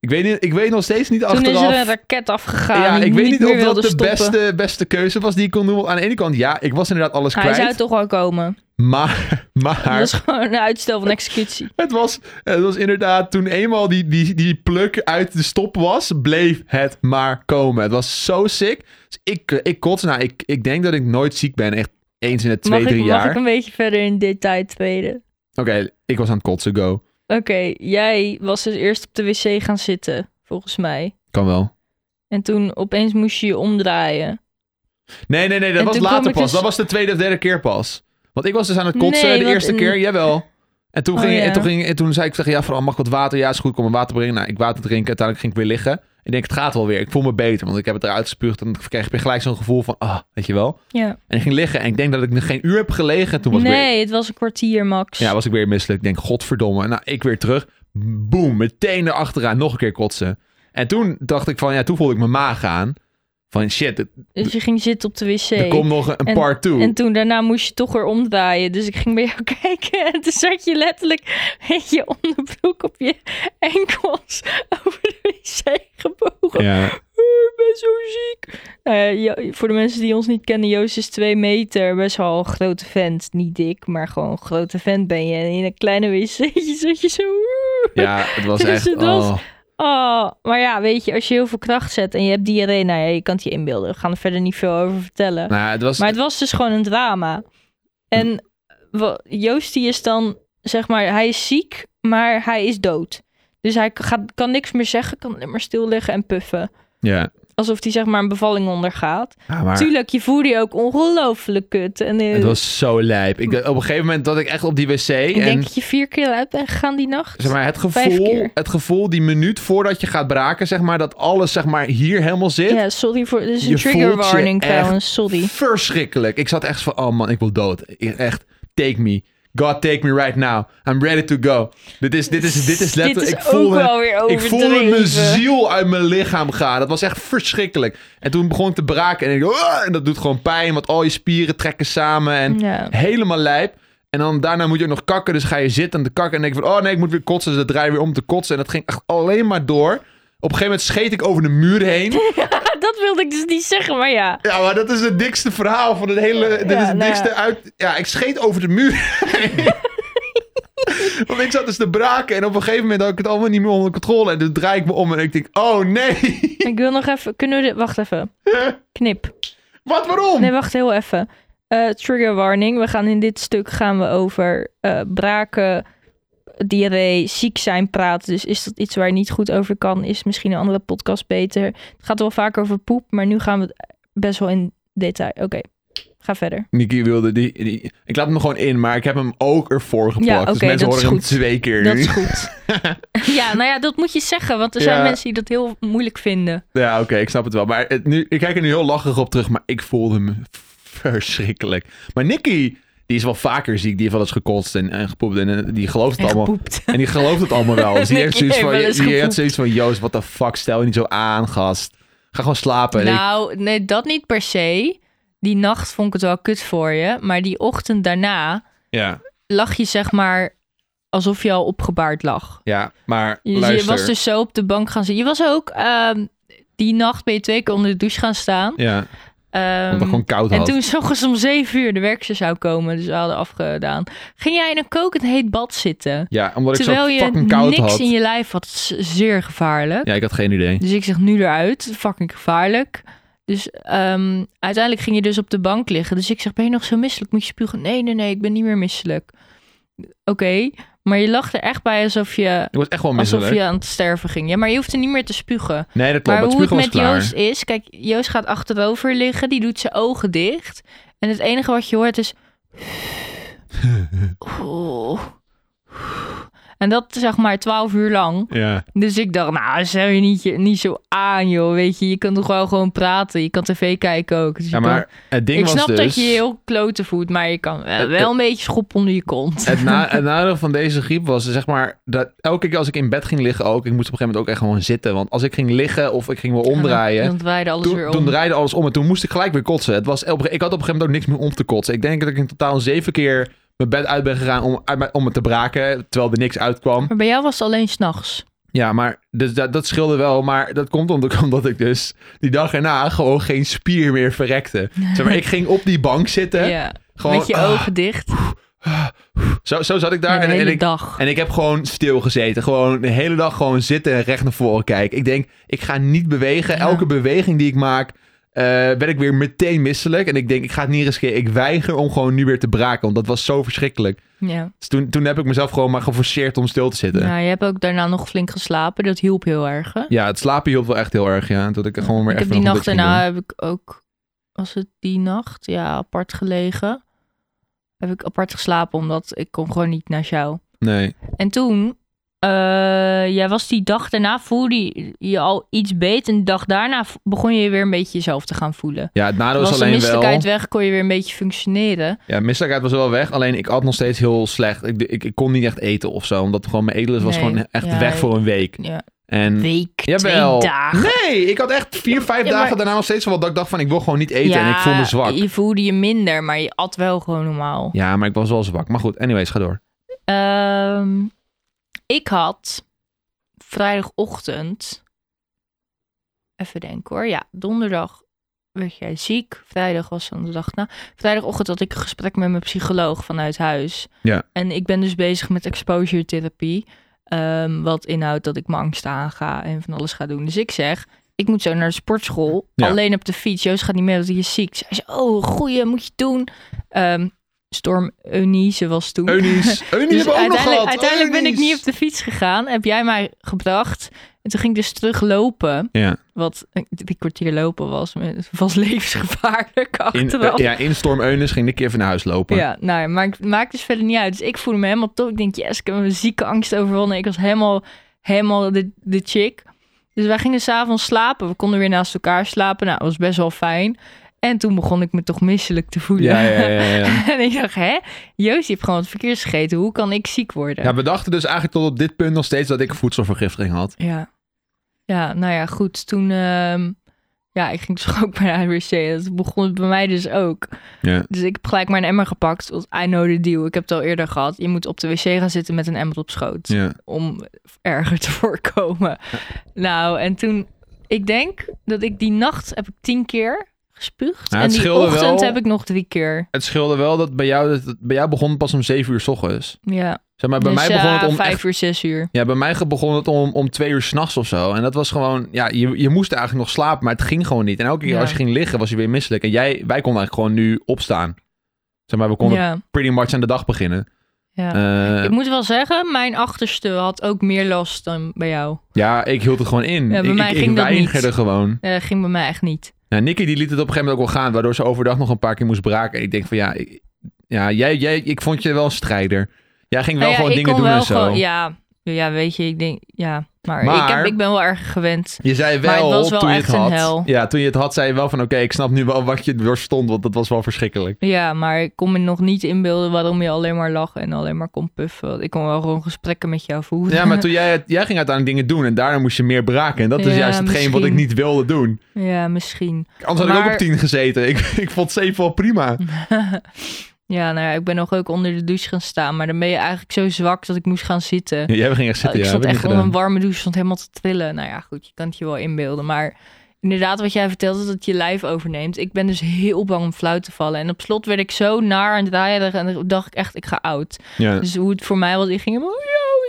[SPEAKER 1] Ik weet, niet, ik weet nog steeds niet
[SPEAKER 2] Toen
[SPEAKER 1] achteraf.
[SPEAKER 2] is er een raket afgegaan.
[SPEAKER 1] Ja,
[SPEAKER 2] die
[SPEAKER 1] ik weet niet
[SPEAKER 2] meer
[SPEAKER 1] of dat
[SPEAKER 2] wilde
[SPEAKER 1] de
[SPEAKER 2] stoppen.
[SPEAKER 1] beste, beste keuze was die ik kon doen. Want Aan de ene kant, ja, ik was inderdaad alles
[SPEAKER 2] Hij
[SPEAKER 1] kwijt.
[SPEAKER 2] zou toch wel komen.
[SPEAKER 1] Maar, maar
[SPEAKER 2] Dat is gewoon een uitstel van executie.
[SPEAKER 1] het, was, het was inderdaad, toen eenmaal die, die, die pluk uit de stop was, bleef het maar komen. Het was zo sick. Dus ik, eh, ik kots. Nou, ik, ik denk dat ik nooit ziek ben. Echt eens in de twee,
[SPEAKER 2] mag,
[SPEAKER 1] drie
[SPEAKER 2] ik,
[SPEAKER 1] jaar.
[SPEAKER 2] mag ik een beetje verder in detail treden?
[SPEAKER 1] Oké, ik was aan het kotsen, go.
[SPEAKER 2] Oké, jij was dus eerst op de wc gaan zitten, volgens mij.
[SPEAKER 1] Kan wel.
[SPEAKER 2] En toen opeens moest je je omdraaien.
[SPEAKER 1] Nee, nee, nee, dat
[SPEAKER 2] En
[SPEAKER 1] was
[SPEAKER 2] toen kwam
[SPEAKER 1] later
[SPEAKER 2] ik
[SPEAKER 1] pas.
[SPEAKER 2] dus-
[SPEAKER 1] Dat was de tweede of derde keer pas. Want ik was dus aan het kotsen
[SPEAKER 2] Nee,
[SPEAKER 1] de
[SPEAKER 2] want
[SPEAKER 1] eerste
[SPEAKER 2] in-
[SPEAKER 1] keer, jawel. En toen,
[SPEAKER 2] Oh,
[SPEAKER 1] ging,
[SPEAKER 2] ja.
[SPEAKER 1] en, toen ging, en toen zei ik tegen ja, vooral mag ik wat water? Ja, is goed, kom een water brengen. Nou, ik water drinken, uiteindelijk ging ik weer liggen. Ik denk, het gaat wel weer. Ik voel me beter, want ik heb het eruit gespuugd. En dan kreeg ik weer gelijk zo'n gevoel van, ah, weet je wel.
[SPEAKER 2] Ja.
[SPEAKER 1] En ik ging liggen en ik denk dat ik nog geen uur heb gelegen. En toen was ik weer,
[SPEAKER 2] Nee, het was een kwartier max.
[SPEAKER 1] ja, was ik weer misselijk. Ik denk, godverdomme. Nou, ik weer terug. Boom, meteen erachteraan, nog een keer kotsen. En toen dacht ik van, ja, toen voelde ik mijn maag aan. Van shit, het-
[SPEAKER 2] Dus je ging zitten op de wc.
[SPEAKER 1] er komt nog een, een
[SPEAKER 2] En-
[SPEAKER 1] part toe.
[SPEAKER 2] En toen daarna moest je toch weer omdraaien. Dus ik ging bij jou kijken. En toen zat je letterlijk met je onderbroek op je enkels over de wc gebogen.
[SPEAKER 1] Ja.
[SPEAKER 2] Ik ben zo ziek. Nou ja, Jo- voor de mensen die ons niet kennen, Joost is twee meter. Best wel een grote vent. Niet dik, maar gewoon een grote vent ben je. En in een kleine wc'tje zat je zo...
[SPEAKER 1] Ja, het was
[SPEAKER 2] Dus
[SPEAKER 1] echt...
[SPEAKER 2] het was-
[SPEAKER 1] oh.
[SPEAKER 2] Oh, maar ja, weet je, als je heel veel kracht zet en je hebt diarree, nou ja, je kan het je inbeelden. We gaan er verder niet veel over vertellen.
[SPEAKER 1] Nou, ja, het was...
[SPEAKER 2] Maar het was dus gewoon een drama. En wa- Joost die is dan, zeg maar, hij is ziek, maar hij is dood. Dus hij k- gaat, kan niks meer zeggen, kan alleen maar stil liggen en puffen.
[SPEAKER 1] Ja,
[SPEAKER 2] Alsof hij zeg maar een bevalling ondergaat.
[SPEAKER 1] ja, maar
[SPEAKER 2] Tuurlijk, je voelde je ook ongelooflijk kut. En eh,
[SPEAKER 1] het was zo lijp. Ik, op een gegeven moment dat ik echt op die wc
[SPEAKER 2] ik
[SPEAKER 1] en...
[SPEAKER 2] denk dat je vier keer uit bent gegaan die nacht.
[SPEAKER 1] Zeg maar, het
[SPEAKER 2] Vijf
[SPEAKER 1] gevoel,
[SPEAKER 2] keer.
[SPEAKER 1] het gevoel, die minuut voordat je gaat braken, zeg maar, dat alles zeg maar, hier helemaal zit.
[SPEAKER 2] ja, sorry voor. Dit is een
[SPEAKER 1] Je
[SPEAKER 2] trigger
[SPEAKER 1] voelt je
[SPEAKER 2] warning
[SPEAKER 1] echt
[SPEAKER 2] trouwens, sorry.
[SPEAKER 1] Verschrikkelijk. Ik zat echt van, oh man, ik wil dood. Ik- Echt, take me. God, take me right now. I'm ready to go. Dit is, dit is, dit is
[SPEAKER 2] Dit
[SPEAKER 1] letterlijk...
[SPEAKER 2] is
[SPEAKER 1] ik
[SPEAKER 2] ook
[SPEAKER 1] voelde het-
[SPEAKER 2] wel weer
[SPEAKER 1] Ik voelde
[SPEAKER 2] overdreven.
[SPEAKER 1] mijn ziel uit mijn lichaam gaan. Dat was echt verschrikkelijk. En toen begon ik te braken. En, ik, "Ah!" en dat doet gewoon pijn, want al je spieren trekken samen. En
[SPEAKER 2] Ja.
[SPEAKER 1] helemaal lijp. En dan daarna moet je ook nog kakken. Dus ga je zitten en te kakken. En denk je van, oh nee, ik moet weer kotsen. Dus dan draai je weer om te kotsen. En dat ging echt alleen maar door. Op een gegeven moment scheet ik over de muur heen.
[SPEAKER 2] Dat wilde ik dus niet zeggen, maar ja.
[SPEAKER 1] Ja, maar dat is het dikste verhaal van het hele... Dit
[SPEAKER 2] Ja,
[SPEAKER 1] is het
[SPEAKER 2] nou
[SPEAKER 1] dikste
[SPEAKER 2] ja.
[SPEAKER 1] uit... Ja, ik scheet over de muur heen. Want ik zat dus te braken. En op een gegeven moment had ik het allemaal niet meer onder controle. En toen draai ik me om en ik denk, oh nee.
[SPEAKER 2] Ik wil nog even. Kunnen we dit. Wacht even. Knip.
[SPEAKER 1] Wat, waarom?
[SPEAKER 2] Nee, wacht heel even. Eh, trigger warning. We gaan in dit stuk gaan we over eh, braken, diarree, ziek zijn praten. Dus is dat iets waar je niet goed over kan? Is misschien een andere podcast beter? Het gaat wel vaak over poep, maar nu gaan we het best wel in detail. Oké, ga verder.
[SPEAKER 1] Niki wilde die, die- Ik laat hem gewoon in, maar ik heb hem ook ervoor gepakt.
[SPEAKER 2] Ja,
[SPEAKER 1] dus
[SPEAKER 2] oké,
[SPEAKER 1] mensen horen
[SPEAKER 2] dat is
[SPEAKER 1] hem
[SPEAKER 2] goed.
[SPEAKER 1] twee keer
[SPEAKER 2] Dat
[SPEAKER 1] nu.
[SPEAKER 2] is goed. ja, nou ja, dat moet je zeggen, want er
[SPEAKER 1] Ja.
[SPEAKER 2] zijn mensen die dat heel moeilijk vinden.
[SPEAKER 1] Ja, oké, ik snap het wel. Maar het, nu, ik kijk er nu heel lachig op terug, maar ik voelde me verschrikkelijk. Maar Nicky, die is wel vaker ziek. Die heeft wel eens gekotst en, en gepoept en eh, die gelooft het
[SPEAKER 2] En
[SPEAKER 1] allemaal.
[SPEAKER 2] gepoept.
[SPEAKER 1] En die gelooft het allemaal wel. Dus die heeft
[SPEAKER 2] Nicky
[SPEAKER 1] zoiets
[SPEAKER 2] heeft
[SPEAKER 1] van,
[SPEAKER 2] wel eens
[SPEAKER 1] die heeft
[SPEAKER 2] gepoept.
[SPEAKER 1] zoiets van, Joost, what the fuck, stel je niet zo aan, gast. Ga gewoon slapen. En ik-
[SPEAKER 2] Nou, nee, dat niet per se. die nacht vond ik het wel kut voor je. Maar die ochtend daarna
[SPEAKER 1] Ja,
[SPEAKER 2] lag je zeg maar alsof je al opgebaard lag.
[SPEAKER 1] ja maar
[SPEAKER 2] Je, je
[SPEAKER 1] luister.
[SPEAKER 2] was dus zo op de bank gaan zitten. Je was ook ehm, die nacht ben je twee keer onder de douche gaan staan.
[SPEAKER 1] Ja,
[SPEAKER 2] Ehm,
[SPEAKER 1] omdat ik gewoon koud
[SPEAKER 2] en
[SPEAKER 1] had.
[SPEAKER 2] toen s'ochtends om zeven uur de werkster zou komen, dus we hadden afgedaan. Ging jij in een kokend heet bad zitten?
[SPEAKER 1] Ja, omdat ik zo
[SPEAKER 2] terwijl je
[SPEAKER 1] fucking koud
[SPEAKER 2] niks
[SPEAKER 1] had.
[SPEAKER 2] in je lijf had. Z- Zeer gevaarlijk.
[SPEAKER 1] Ja, ik had geen idee.
[SPEAKER 2] Dus ik zeg nu eruit, fucking gevaarlijk. Dus ehm, uiteindelijk ging je dus op de bank liggen. Dus ik zeg, ben je nog zo misselijk? Moet je spugen? Nee, nee, nee, ik ben niet meer misselijk. Oké, maar je lag er echt bij alsof je,
[SPEAKER 1] Ik was echt wel misselijk.
[SPEAKER 2] alsof je aan het sterven ging. Ja, maar je hoefde niet meer te spugen.
[SPEAKER 1] Nee, dat klopt.
[SPEAKER 2] Maar
[SPEAKER 1] het
[SPEAKER 2] hoe het
[SPEAKER 1] spugen was
[SPEAKER 2] met
[SPEAKER 1] klaar.
[SPEAKER 2] Joost is, kijk, Joost gaat achterover liggen, die doet zijn ogen dicht. En het enige wat je hoort is... Oeh. En dat zeg maar twaalf uur lang.
[SPEAKER 1] Ja.
[SPEAKER 2] Dus ik dacht, nou, zou je niet, je- niet zo aan, joh. Weet je, je kan toch wel gewoon praten. Je kan tv kijken ook. Dus je
[SPEAKER 1] ja,
[SPEAKER 2] kan-
[SPEAKER 1] maar het ding
[SPEAKER 2] ik
[SPEAKER 1] was
[SPEAKER 2] snap
[SPEAKER 1] dus... Eh,
[SPEAKER 2] dat je je heel kloten voelt, maar je kan wel,
[SPEAKER 1] Het-
[SPEAKER 2] wel een beetje schop onder je kont.
[SPEAKER 1] Het, na, het nadeel van deze griep was zeg maar dat elke keer als ik in bed ging liggen ook, ik moest op een gegeven moment ook echt gewoon zitten. Want als ik ging liggen of ik ging me omdraaien,
[SPEAKER 2] Dan draaide alles weer
[SPEAKER 1] toen,
[SPEAKER 2] om.
[SPEAKER 1] toen draaide alles om en toen moest ik gelijk weer kotsen. Het was, op- ik had op een gegeven moment ook niks meer om te kotsen. Ik denk dat ik in totaal zeven keer mijn bed uit ben gegaan om, uit mijn- om het te braken, terwijl er niks uitkwam.
[SPEAKER 2] Maar bij jou was het alleen s'nachts.
[SPEAKER 1] Ja, maar dus dat, dat scheelde wel. Maar dat komt omdat, omdat ik dus die dag erna gewoon geen spier meer verrekte. Zeg maar, ik ging op die bank zitten.
[SPEAKER 2] Ja,
[SPEAKER 1] Gewoon,
[SPEAKER 2] met je
[SPEAKER 1] ah,
[SPEAKER 2] ogen dicht.
[SPEAKER 1] zo, zo zat ik daar.
[SPEAKER 2] Ja, de
[SPEAKER 1] en, en
[SPEAKER 2] hele
[SPEAKER 1] ik,
[SPEAKER 2] dag.
[SPEAKER 1] En ik heb gewoon stilgezeten. Gewoon de hele dag gewoon zitten en recht naar voren kijken. Ik denk, ik ga niet bewegen.
[SPEAKER 2] Ja.
[SPEAKER 1] Elke beweging die ik maak, eh ben ik weer meteen misselijk. En ik denk, ik ga het niet riskeren. Ik weiger om gewoon nu weer te braken. Want dat was zo verschrikkelijk.
[SPEAKER 2] Ja.
[SPEAKER 1] Dus toen, toen heb ik mezelf gewoon maar geforceerd om stil te zitten. Ja,
[SPEAKER 2] Nou, je hebt ook daarna nog flink geslapen. Dat hielp heel erg, hè?
[SPEAKER 1] het slapen hielp wel echt heel erg. Ja, dat ik er gewoon weer
[SPEAKER 2] ik
[SPEAKER 1] echt
[SPEAKER 2] heb die
[SPEAKER 1] nog
[SPEAKER 2] nacht
[SPEAKER 1] wat ging
[SPEAKER 2] daarna heb ik ook, was het die nacht? Ja, apart gelegen. Heb ik apart geslapen, omdat ik kon gewoon niet naar jou.
[SPEAKER 1] doen. Nee.
[SPEAKER 2] En toen, eh, jij was die dag daarna, voelde je je al iets beter. En de dag daarna v- begon je weer een beetje jezelf te gaan voelen.
[SPEAKER 1] Ja, het nadeel was,
[SPEAKER 2] was de
[SPEAKER 1] alleen wel...
[SPEAKER 2] misselijkheid weg, kon je weer een beetje functioneren.
[SPEAKER 1] Ja, misselijkheid was wel weg. Alleen ik at nog steeds heel slecht. Ik, ik, ik kon niet echt eten of zo. Omdat gewoon mijn eetlust was
[SPEAKER 2] Nee.
[SPEAKER 1] gewoon echt
[SPEAKER 2] Ja,
[SPEAKER 1] weg
[SPEAKER 2] ik-
[SPEAKER 1] voor een week.
[SPEAKER 2] Ja.
[SPEAKER 1] En
[SPEAKER 2] Week,
[SPEAKER 1] Jawel.
[SPEAKER 2] twee dagen.
[SPEAKER 1] Nee, ik had echt vier, vijf
[SPEAKER 2] Ja, maar-
[SPEAKER 1] dagen daarna nog steeds wel dat ik dacht van ik wil gewoon niet eten en ik voel me zwak.
[SPEAKER 2] Je voelde je minder, maar je at wel gewoon normaal.
[SPEAKER 1] Ja, maar ik was wel zwak. Maar goed, anyways, ga door.
[SPEAKER 2] Ehm, ik had vrijdagochtend. Even denken hoor. Ja, donderdag werd jij ziek. Vrijdag was dan de dag na. Vrijdagochtend had ik een gesprek met mijn psycholoog vanuit huis.
[SPEAKER 1] Ja.
[SPEAKER 2] En ik ben dus bezig met exposure therapie. ehm, wat inhoudt dat ik mijn angst aanga en van alles ga doen. Dus ik zeg, ik moet zo naar de sportschool.
[SPEAKER 1] Ja.
[SPEAKER 2] Alleen op de fiets. Joost gaat niet mee, want hij is ziek. Zij zei, oh goeie, moet je doen. Ehm, Storm Eunice was toen.
[SPEAKER 1] Eunice, Eunice hebben
[SPEAKER 2] Dus
[SPEAKER 1] we ook nog
[SPEAKER 2] uiteindelijk,
[SPEAKER 1] gehad.
[SPEAKER 2] uiteindelijk ben ik
[SPEAKER 1] Eunice.
[SPEAKER 2] niet op de fiets gegaan. Heb jij mij gebracht. En toen ging ik dus teruglopen.
[SPEAKER 1] Ja,
[SPEAKER 2] Wat eh, drie kwartier lopen was. maar Het was levensgevaarlijk
[SPEAKER 1] in, eh,
[SPEAKER 2] achteraf.
[SPEAKER 1] ja, in Storm Eunice ging ik een keer van naar huis lopen.
[SPEAKER 2] Ja, nou ja, maakt, maakt dus verder niet uit. Dus ik voelde me helemaal top. Ik denk, yes, ik heb mijn zieke angst overwonnen. Ik was helemaal, helemaal de, de chick. Dus wij gingen s'avonds slapen. We konden weer naast elkaar slapen. Nou, dat was best wel fijn. En toen begon ik me toch misselijk te voelen.
[SPEAKER 1] ja, ja, ja, ja, ja.
[SPEAKER 2] en ik dacht, hè? Joost, je hebt gewoon het verkeers gegeten. Hoe kan ik ziek worden?
[SPEAKER 1] Ja, we dachten dus eigenlijk tot op dit punt nog steeds dat ik voedselvergiftiging had.
[SPEAKER 2] Ja. Ja, nou ja, goed. Toen, ehm, ja, ik ging dus ook bij de ADWC. Dat begon het bij mij dus ook.
[SPEAKER 1] Ja.
[SPEAKER 2] Dus ik heb gelijk maar een emmer gepakt. Want I know the deal. Ik heb het al eerder gehad. Je moet op de wc gaan zitten met een emmer op schoot.
[SPEAKER 1] Ja.
[SPEAKER 2] Om erger te voorkomen. Nou, en toen... Ik denk dat ik die nacht heb ik tien keer gespuugd.
[SPEAKER 1] Ja,
[SPEAKER 2] en
[SPEAKER 1] het
[SPEAKER 2] die
[SPEAKER 1] scheelde
[SPEAKER 2] ochtend
[SPEAKER 1] wel.
[SPEAKER 2] heb ik nog drie keer.
[SPEAKER 1] Het scheelde wel dat bij jou, dat, bij jou begon het pas om 7 uur s ochtends.
[SPEAKER 2] Ja.
[SPEAKER 1] Zeg maar, bij
[SPEAKER 2] Dus,
[SPEAKER 1] mij begon
[SPEAKER 2] ja,
[SPEAKER 1] het om
[SPEAKER 2] vijf
[SPEAKER 1] echt
[SPEAKER 2] uur, zes uur.
[SPEAKER 1] Ja, bij mij ge- begon het om, om twee uur s'nachts of zo. En dat was gewoon, ja, je, je moest eigenlijk nog slapen, maar het ging gewoon niet. En elke keer
[SPEAKER 2] Ja.
[SPEAKER 1] als je ging liggen, was je weer misselijk. En jij, wij konden eigenlijk gewoon nu opstaan. Zeg maar, we konden
[SPEAKER 2] Ja,
[SPEAKER 1] pretty much aan de dag beginnen.
[SPEAKER 2] ja.
[SPEAKER 1] Eh,
[SPEAKER 2] ik moet wel zeggen, mijn achterste had ook meer last dan bij jou.
[SPEAKER 1] ja, ik hield het gewoon in.
[SPEAKER 2] Ja, bij
[SPEAKER 1] ik
[SPEAKER 2] mij
[SPEAKER 1] ik,
[SPEAKER 2] ging
[SPEAKER 1] ik
[SPEAKER 2] dat niet.
[SPEAKER 1] weigerde gewoon.
[SPEAKER 2] Eh, ging bij mij echt niet.
[SPEAKER 1] Nou, Nicky die liet het op een gegeven moment ook wel gaan, waardoor ze overdag nog een paar keer moest braken. En ik denk van, ja, ik, ja jij, jij, ik vond je wel een strijder. Jij ging wel
[SPEAKER 2] Nou ja,
[SPEAKER 1] gewoon
[SPEAKER 2] ik
[SPEAKER 1] dingen
[SPEAKER 2] kon
[SPEAKER 1] doen
[SPEAKER 2] wel
[SPEAKER 1] en zo.
[SPEAKER 2] gewoon- ja, ja, weet je, ik denk, ja. Maar, ik,
[SPEAKER 1] Maar-
[SPEAKER 2] heb, ik ben wel erg gewend.
[SPEAKER 1] Je zei wel,
[SPEAKER 2] Maar het was wel
[SPEAKER 1] toen
[SPEAKER 2] echt
[SPEAKER 1] je
[SPEAKER 2] een
[SPEAKER 1] het had.
[SPEAKER 2] hel.
[SPEAKER 1] Ja, toen je het had, zei je wel van oké, ik snap nu wel wat je doorstond, want dat was wel verschrikkelijk.
[SPEAKER 2] Ja, maar ik kon me nog niet inbeelden waarom je alleen maar lag en alleen maar kon puffen. Want Ik kon wel gewoon gesprekken met jou voeren.
[SPEAKER 1] Ja, maar toen jij, het- jij ging uiteindelijk dingen doen en daarna moest je meer braken. En dat is
[SPEAKER 2] Ja,
[SPEAKER 1] juist hetgeen wat ik
[SPEAKER 2] misschien.
[SPEAKER 1] niet wilde doen.
[SPEAKER 2] Ja, misschien.
[SPEAKER 1] Anders had ik ook
[SPEAKER 2] Maar-
[SPEAKER 1] op 10 gezeten. Ik, ik vond 7 wel prima.
[SPEAKER 2] ja, nou ja, ik ben nog ook onder de douche gaan staan. Maar dan ben je eigenlijk zo zwak dat ik moest gaan zitten.
[SPEAKER 1] Jij ging echt zitten,
[SPEAKER 2] ik
[SPEAKER 1] ja.
[SPEAKER 2] stond
[SPEAKER 1] heb
[SPEAKER 2] echt
[SPEAKER 1] niet
[SPEAKER 2] onder een
[SPEAKER 1] gedaan.
[SPEAKER 2] warme douche, stond helemaal te trillen. Nou ja, goed, je kan het je wel inbeelden. Maar inderdaad, wat jij vertelde, dat je lijf overneemt. Ik ben dus heel bang om flauw te vallen. En op slot werd ik zo naar aan het rijden en dan dacht ik echt, ik ga oud.
[SPEAKER 1] Ja.
[SPEAKER 2] Dus hoe het voor mij was, ik ging helemaal,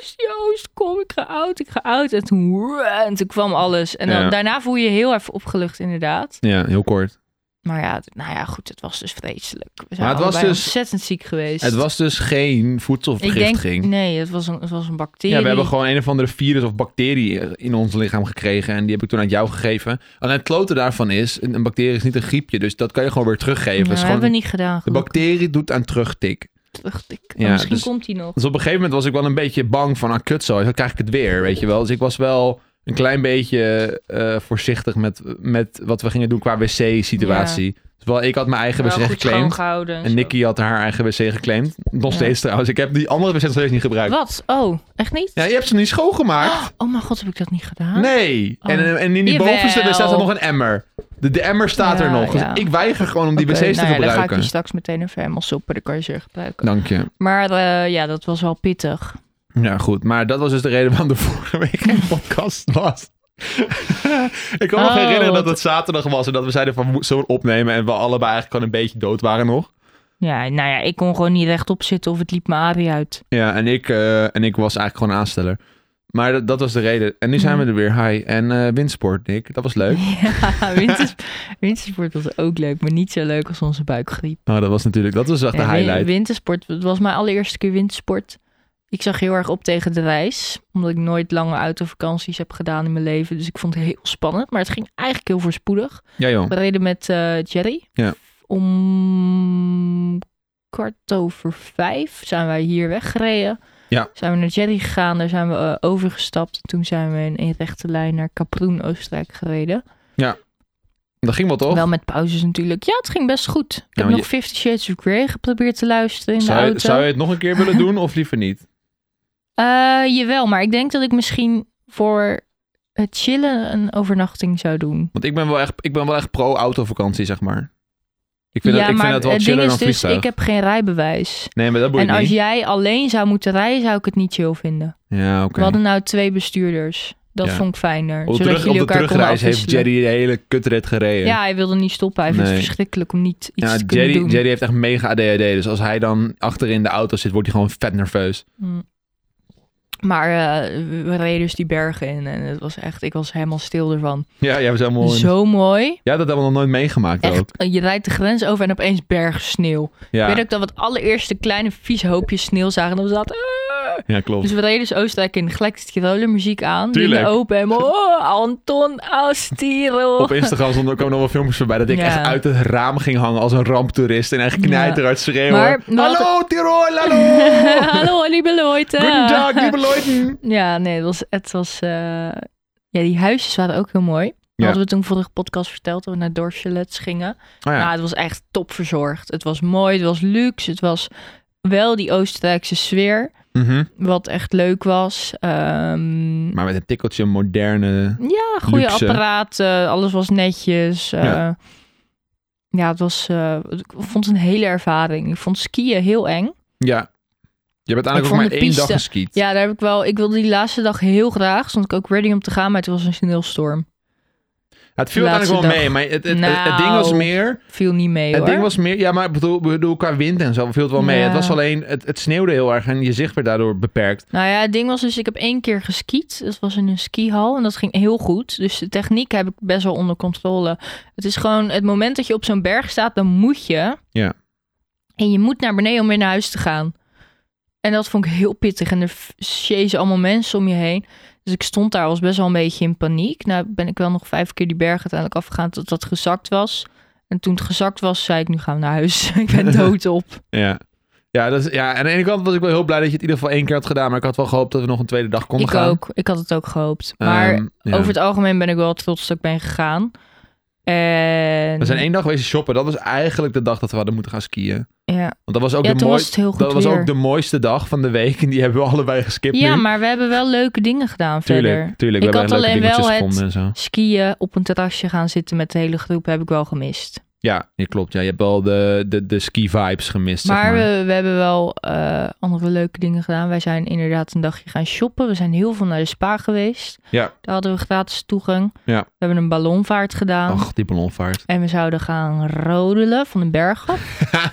[SPEAKER 2] Joost, Joost, kom, ik ga oud, ik ga oud. En toen, en toen kwam alles. En dan,
[SPEAKER 1] Ja.
[SPEAKER 2] daarna voel je je heel even opgelucht, inderdaad.
[SPEAKER 1] ja, heel kort.
[SPEAKER 2] Maar ja, het- nou ja, goed, het was dus vreselijk. We zijn
[SPEAKER 1] Maar het was
[SPEAKER 2] allebei
[SPEAKER 1] dus-
[SPEAKER 2] ontzettend ziek geweest.
[SPEAKER 1] Het was dus geen
[SPEAKER 2] ik denk,
[SPEAKER 1] voedselvergiftiging.
[SPEAKER 2] nee, het was een, het was een bacterie.
[SPEAKER 1] Ja, we hebben gewoon een of andere virus of bacterie in ons lichaam gekregen. En die heb ik toen aan jou gegeven. Alleen het klote daarvan is, een een bacterie is niet een griepje. Dus dat kan je gewoon weer teruggeven.
[SPEAKER 2] Nou,
[SPEAKER 1] Het is
[SPEAKER 2] we
[SPEAKER 1] gewoon-
[SPEAKER 2] hebben niet gedaan.
[SPEAKER 1] de
[SPEAKER 2] gelukkig.
[SPEAKER 1] bacterie doet aan terugtik.
[SPEAKER 2] Dacht ik.
[SPEAKER 1] Ja,
[SPEAKER 2] misschien
[SPEAKER 1] dus-
[SPEAKER 2] komt hij nog.
[SPEAKER 1] Dus op een gegeven moment was ik wel een beetje bang van, ah kut zo, dan krijg ik het weer, weet je wel. Dus ik was wel een klein beetje eh, voorzichtig met, met wat we gingen doen qua wc-situatie. Dus wel, ik had mijn eigen wc
[SPEAKER 2] Wel goed
[SPEAKER 1] geclaimd.
[SPEAKER 2] schoongehouden.
[SPEAKER 1] En
[SPEAKER 2] zo.
[SPEAKER 1] Nikki had haar eigen wc geclaimd. Nog
[SPEAKER 2] Ja.
[SPEAKER 1] steeds trouwens. Ik heb die andere wc nog steeds niet gebruikt.
[SPEAKER 2] Wat? Oh, echt niet?
[SPEAKER 1] Ja, je hebt ze niet schoongemaakt.
[SPEAKER 2] Oh mijn god, heb ik dat niet gedaan?
[SPEAKER 1] Nee.
[SPEAKER 2] Oh.
[SPEAKER 1] En, eh, en in die
[SPEAKER 2] Jawel.
[SPEAKER 1] bovenste er staat er nog een emmer. De, de emmer staat er
[SPEAKER 2] Ja,
[SPEAKER 1] nog. Dus
[SPEAKER 2] ja.
[SPEAKER 1] ik weiger gewoon om die
[SPEAKER 2] Oké,
[SPEAKER 1] wc's te
[SPEAKER 2] nou ja, Dan ga ik
[SPEAKER 1] gebruiken. Nou.
[SPEAKER 2] die straks meteen even helemaal soppen. Dan kan je ze weer gebruiken.
[SPEAKER 1] Dank je.
[SPEAKER 2] Maar eh, ja, dat was wel pittig.
[SPEAKER 1] Ja, goed. Maar dat was dus de reden waarom de vorige week geen podcast was. ik kan me nog
[SPEAKER 2] Oh,
[SPEAKER 1] herinneren dat
[SPEAKER 2] wat-
[SPEAKER 1] het zaterdag was en dat we zeiden van we moeten zo opnemen en we allebei eigenlijk gewoon een beetje dood waren nog.
[SPEAKER 2] Ja, nou ja, ik kon gewoon niet rechtop zitten of het liep me arie uit.
[SPEAKER 1] Ja, en ik, eh, en ik was eigenlijk gewoon aansteller. Maar dat, dat was de reden. En nu zijn we er weer. Hi. En eh, windsport, Nick. Dat was leuk.
[SPEAKER 2] Ja, winters, wintersport was ook leuk, maar niet zo leuk als onze buikgriep.
[SPEAKER 1] Oh, dat was natuurlijk, dat was echt de
[SPEAKER 2] Ja, win-
[SPEAKER 1] highlight.
[SPEAKER 2] Wintersport, het was mijn allereerste keer wintersport. Ik zag heel erg op tegen de reis, omdat ik nooit lange autovakanties heb gedaan in mijn leven. Dus ik vond het heel spannend, maar het ging eigenlijk heel voorspoedig.
[SPEAKER 1] Ja joh.
[SPEAKER 2] We reden met eh, Jerry.
[SPEAKER 1] Hm. Ja.
[SPEAKER 2] Om kwart over vijf zijn wij hier weggereden.
[SPEAKER 1] Ja.
[SPEAKER 2] Zijn we naar Jerry gegaan, daar zijn we eh, overgestapt. Toen zijn we in een rechte lijn naar Kaproen, Oostenrijk gereden.
[SPEAKER 1] Dat ging wel toch?
[SPEAKER 2] Wel met pauzes natuurlijk. Ja, het ging best goed. Ik
[SPEAKER 1] maar
[SPEAKER 2] heb nog
[SPEAKER 1] je-
[SPEAKER 2] Fifty Shades of Grey geprobeerd te luisteren in de
[SPEAKER 1] zou, je,
[SPEAKER 2] auto.
[SPEAKER 1] zou je het nog een keer willen doen of liever niet?
[SPEAKER 2] Eh, jawel, maar ik denk dat ik misschien voor het chillen een overnachting zou doen.
[SPEAKER 1] Want ik ben wel echt, ik ben wel echt pro autovakantie zeg maar. Ik vind,
[SPEAKER 2] ja,
[SPEAKER 1] dat, ik
[SPEAKER 2] maar
[SPEAKER 1] vind dat wel
[SPEAKER 2] het ding
[SPEAKER 1] chiller
[SPEAKER 2] is
[SPEAKER 1] dan
[SPEAKER 2] dus,
[SPEAKER 1] vliegtuig.
[SPEAKER 2] ik heb geen rijbewijs.
[SPEAKER 1] Nee, maar dat boeit
[SPEAKER 2] En als
[SPEAKER 1] niet.
[SPEAKER 2] jij alleen zou moeten rijden, zou ik het niet chill vinden.
[SPEAKER 1] Ja, oké.
[SPEAKER 2] We hadden nou twee bestuurders. Dat
[SPEAKER 1] Ja.
[SPEAKER 2] vond ik fijner.
[SPEAKER 1] Op de,
[SPEAKER 2] zodat
[SPEAKER 1] terug, op
[SPEAKER 2] jullie
[SPEAKER 1] de
[SPEAKER 2] elkaar konden
[SPEAKER 1] terugreis heeft
[SPEAKER 2] afwisselen.
[SPEAKER 1] Jerry de hele kutrit gereden.
[SPEAKER 2] Ja, hij wilde niet stoppen. Hij vindt
[SPEAKER 1] Nee.
[SPEAKER 2] het verschrikkelijk om niet iets
[SPEAKER 1] Ja,
[SPEAKER 2] te kunnen
[SPEAKER 1] Jerry,
[SPEAKER 2] doen.
[SPEAKER 1] Jerry heeft echt mega ADHD. Dus als hij dan achterin de auto zit, wordt hij gewoon vet nerveus.
[SPEAKER 2] Mm. Maar eh, we reden dus die bergen in en het was echt, ik was helemaal stil ervan.
[SPEAKER 1] Ja, jij was helemaal... in-
[SPEAKER 2] Zo mooi.
[SPEAKER 1] Ja, dat hebben we nog nooit meegemaakt ook.
[SPEAKER 2] Echt, je rijdt de grens over en opeens bergen sneeuw. Ik
[SPEAKER 1] Ja,
[SPEAKER 2] weet ook dat we het allereerste kleine vies hoopje sneeuw zagen. En we zaten... "Ah."
[SPEAKER 1] ja klopt.
[SPEAKER 2] Dus we reden dus Oostenrijk in. Gelijk de Tiroler muziek aan.
[SPEAKER 1] Tuurlijk.
[SPEAKER 2] Dingen open. En oh, Anton aus Tirol.
[SPEAKER 1] Op Instagram stonden- kwamen nog wel filmpjes voorbij dat ik
[SPEAKER 2] Ja.
[SPEAKER 1] echt uit het raam ging hangen als een ramptoerist. En echt knijterhard schreeuwen.
[SPEAKER 2] Maar- maar-
[SPEAKER 1] hallo, Tirol, hallo!
[SPEAKER 2] Hallo, lieve Leute.
[SPEAKER 1] Goedendag, lieve Leuten!
[SPEAKER 2] Ja, nee, het was... Het was eh, Ja, die huisjes waren ook heel mooi.
[SPEAKER 1] Ja.
[SPEAKER 2] Dat hadden we toen vorige podcast verteld, dat we naar Dorselets gingen.
[SPEAKER 1] Oh
[SPEAKER 2] Nou,
[SPEAKER 1] ja,
[SPEAKER 2] het was echt top verzorgd. Het was mooi, het was luxe. Het was wel die Oostenrijkse sfeer,
[SPEAKER 1] mhm.
[SPEAKER 2] wat echt leuk was. Ehm,
[SPEAKER 1] maar met een tikkeltje moderne...
[SPEAKER 2] Ja, goede
[SPEAKER 1] Luxe.
[SPEAKER 2] apparaten. Alles was netjes. eh,
[SPEAKER 1] Ja.
[SPEAKER 2] ja. het was... eh, ik vond het een hele ervaring. Ik vond skiën heel eng.
[SPEAKER 1] Ja. Je hebt
[SPEAKER 2] Ik
[SPEAKER 1] uiteindelijk ook
[SPEAKER 2] vond
[SPEAKER 1] maar
[SPEAKER 2] de
[SPEAKER 1] één dag
[SPEAKER 2] piste-
[SPEAKER 1] geskiet.
[SPEAKER 2] Ja, daar heb ik wel... Ik wilde die laatste dag heel graag. Stond ik ook ready om te gaan, maar het was een sneeuwstorm.
[SPEAKER 1] Het viel
[SPEAKER 2] De
[SPEAKER 1] uiteindelijk wel
[SPEAKER 2] laatste
[SPEAKER 1] mee,
[SPEAKER 2] dag.
[SPEAKER 1] maar het, het, het- het
[SPEAKER 2] Nou.
[SPEAKER 1] ding was meer...
[SPEAKER 2] Viel niet mee,
[SPEAKER 1] Het
[SPEAKER 2] hoor.
[SPEAKER 1] ding was meer, ja, maar ik bedoel, bedoel qua wind en zo viel het wel mee.
[SPEAKER 2] Ja.
[SPEAKER 1] Het was alleen, het, het sneeuwde heel erg en je zicht werd daardoor beperkt.
[SPEAKER 2] Nou ja, het ding was dus... Ik heb één keer geskiet. Dat was in een skihal en dat ging heel goed. Dus de techniek heb ik best wel onder controle. Het is gewoon... Het moment dat je op zo'n berg staat, dan moet je...
[SPEAKER 1] Ja.
[SPEAKER 2] En je moet naar beneden om weer naar huis te gaan. En dat vond ik heel pittig. En er f- chasen allemaal mensen om je heen. Dus ik stond daar, was best wel een beetje in paniek. Nou ben ik wel nog vijf keer die berg uiteindelijk afgegaan tot dat gezakt was. En toen het gezakt was, zei ik, nu gaan we naar huis. ik ben dood op.
[SPEAKER 1] Ja. Ja, dat is, ja, aan de ene kant was ik wel heel blij dat je het in ieder geval één keer had gedaan. Maar ik had wel gehoopt dat we nog een tweede dag konden
[SPEAKER 2] ik
[SPEAKER 1] gaan.
[SPEAKER 2] ook. Ik had het ook gehoopt. Maar
[SPEAKER 1] Ehm, ja.
[SPEAKER 2] over het algemeen ben ik wel trots dat ik ben gegaan. En...
[SPEAKER 1] We zijn één dag geweest shoppen. Dat was eigenlijk de dag dat we hadden moeten gaan skiën.
[SPEAKER 2] Ja,
[SPEAKER 1] Want dat was ook,
[SPEAKER 2] ja
[SPEAKER 1] de,
[SPEAKER 2] toen
[SPEAKER 1] mooi...
[SPEAKER 2] was het heel goed
[SPEAKER 1] dat was
[SPEAKER 2] weer.
[SPEAKER 1] ook de mooiste dag van de week. En die hebben we allebei geskipt
[SPEAKER 2] Ja,
[SPEAKER 1] nu.
[SPEAKER 2] maar we hebben wel leuke dingen gedaan verder.
[SPEAKER 1] Tuurlijk, tuurlijk. We
[SPEAKER 2] Ik
[SPEAKER 1] hebben
[SPEAKER 2] had
[SPEAKER 1] leuke
[SPEAKER 2] alleen
[SPEAKER 1] dingetjes
[SPEAKER 2] wel het-
[SPEAKER 1] gevonden en zo.
[SPEAKER 2] Skiën, op een terrasje gaan zitten met de hele groep heb ik wel gemist.
[SPEAKER 1] Ja, je klopt. Ja. Je hebt wel de, de, de ski-vibes gemist, zeg
[SPEAKER 2] maar
[SPEAKER 1] maar.
[SPEAKER 2] we, we hebben wel eh, andere leuke dingen gedaan. Wij zijn inderdaad een dagje gaan shoppen. We zijn heel veel naar de spa geweest.
[SPEAKER 1] Ja.
[SPEAKER 2] Daar hadden we gratis toegang.
[SPEAKER 1] Ja.
[SPEAKER 2] We hebben een ballonvaart gedaan.
[SPEAKER 1] Ach, die ballonvaart.
[SPEAKER 2] En we zouden gaan rodelen van de bergen.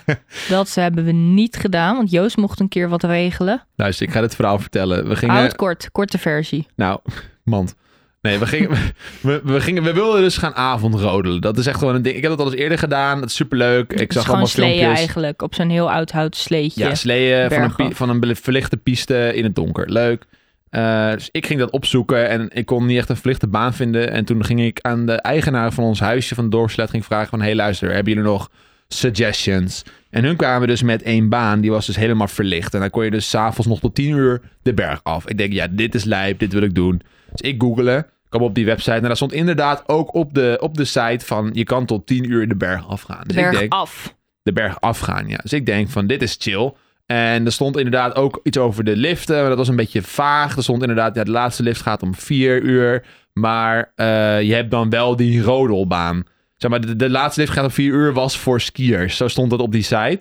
[SPEAKER 2] dat hebben we niet gedaan, want Joost mocht een keer wat regelen.
[SPEAKER 1] Luister, ik ga dit verhaal vertellen. We gingen...
[SPEAKER 2] Houd kort, korte versie.
[SPEAKER 1] Nou, mand. Nee, we gingen, we, we gingen, we wilden dus gaan avondrodelen. Dat is echt gewoon een ding. Ik heb dat al eens eerder gedaan. Dat is superleuk. Ik
[SPEAKER 2] Het is
[SPEAKER 1] zag
[SPEAKER 2] gewoon
[SPEAKER 1] allemaal
[SPEAKER 2] sleeën
[SPEAKER 1] filmpjes.
[SPEAKER 2] eigenlijk, op zo'n heel oud houten sleetje.
[SPEAKER 1] Ja, dus sleeën van een,
[SPEAKER 2] Bergen.
[SPEAKER 1] pi- van een bele- verlichte piste in het donker. Leuk. Eh, dus ik ging dat opzoeken en ik kon niet echt een verlichte baan vinden. En toen ging ik aan de eigenaar van ons huisje van Dorpslet ging vragen van... Hey, luister, hebben jullie nog suggestions? En hun kwamen dus met één baan, die was dus helemaal verlicht. En dan kon je dus s'avonds nog tot tien uur de berg af. Ik denk, ja, dit is lijp, dit wil ik doen. Dus ik googelen, kwam op die website. En daar stond inderdaad ook op de, op de site van... je kan tot tien uur de berg afgaan.
[SPEAKER 2] de
[SPEAKER 1] Dus
[SPEAKER 2] berg
[SPEAKER 1] ik denk,
[SPEAKER 2] af.
[SPEAKER 1] de berg afgaan. Ja. Dus ik denk van dit is chill. En er stond inderdaad ook iets over de liften. Maar dat was een beetje vaag. Er stond inderdaad, ja, de laatste lift gaat om vier uur. Maar eh, je hebt dan wel die rodelbaan. Zeg maar, de, de laatste lift gaat om vier uur was voor skiers. Zo stond dat op die site.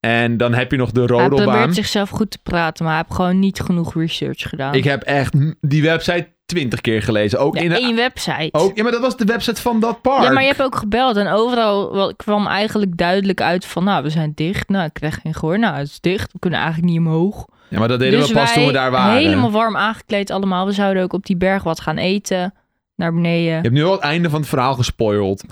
[SPEAKER 1] En dan heb je nog de
[SPEAKER 2] Hij
[SPEAKER 1] rodelbaan.
[SPEAKER 2] probeert zichzelf goed te praten, maar hij heeft gewoon niet genoeg research gedaan.
[SPEAKER 1] Ik heb echt m- die website twintig keer gelezen. Ook
[SPEAKER 2] Ja,
[SPEAKER 1] in de, Oh,
[SPEAKER 2] één website.
[SPEAKER 1] ook, ja, maar dat was de website van dat park.
[SPEAKER 2] Ja, maar je hebt ook gebeld en overal wel- kwam eigenlijk duidelijk uit van, nou, we zijn dicht. Nou, ik krijg geen gehoor. Nou, het is dicht. We kunnen eigenlijk niet omhoog. Dus
[SPEAKER 1] Ja, maar dat deden we pas
[SPEAKER 2] wij
[SPEAKER 1] toen we daar waren.
[SPEAKER 2] helemaal warm aangekleed allemaal. We zouden ook op die berg wat gaan eten. Naar beneden.
[SPEAKER 1] Je hebt nu al het einde van het verhaal gespoild.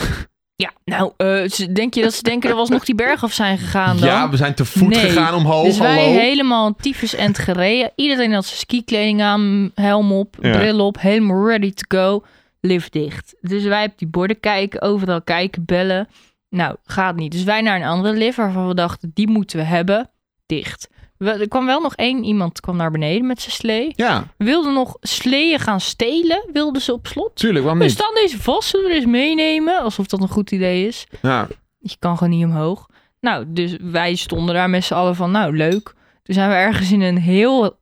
[SPEAKER 2] Ja, nou, eh, ze- denk je dat ze denken dat we alsnog die berg af zijn gegaan dan?
[SPEAKER 1] Ja, we zijn te voet
[SPEAKER 2] Nee.
[SPEAKER 1] gegaan omhoog.
[SPEAKER 2] dus wij
[SPEAKER 1] Oh, hallo.
[SPEAKER 2] helemaal een tyfus end gereden. Iedereen had zijn skikleding aan, helm op,
[SPEAKER 1] Ja.
[SPEAKER 2] bril op, helemaal ready to go. Lift dicht. Dus wij op die borden kijken, overal kijken, bellen. Nou, gaat niet. Dus wij naar een andere lift waarvan we dachten, die moeten we hebben. Dicht. We- er kwam wel nog één iemand kwam naar beneden met zijn slee.
[SPEAKER 1] Ja,
[SPEAKER 2] Wilden nog sleeën gaan stelen, wilden ze op slot.
[SPEAKER 1] tuurlijk, waarom
[SPEAKER 2] Dus
[SPEAKER 1] niet?
[SPEAKER 2] dan deze vast, zullen we eens meenemen? Alsof dat een goed idee is.
[SPEAKER 1] Ja,
[SPEAKER 2] Je kan gewoon niet omhoog. Nou, dus wij stonden daar met z'n allen van, nou leuk. Toen zijn we ergens in een heel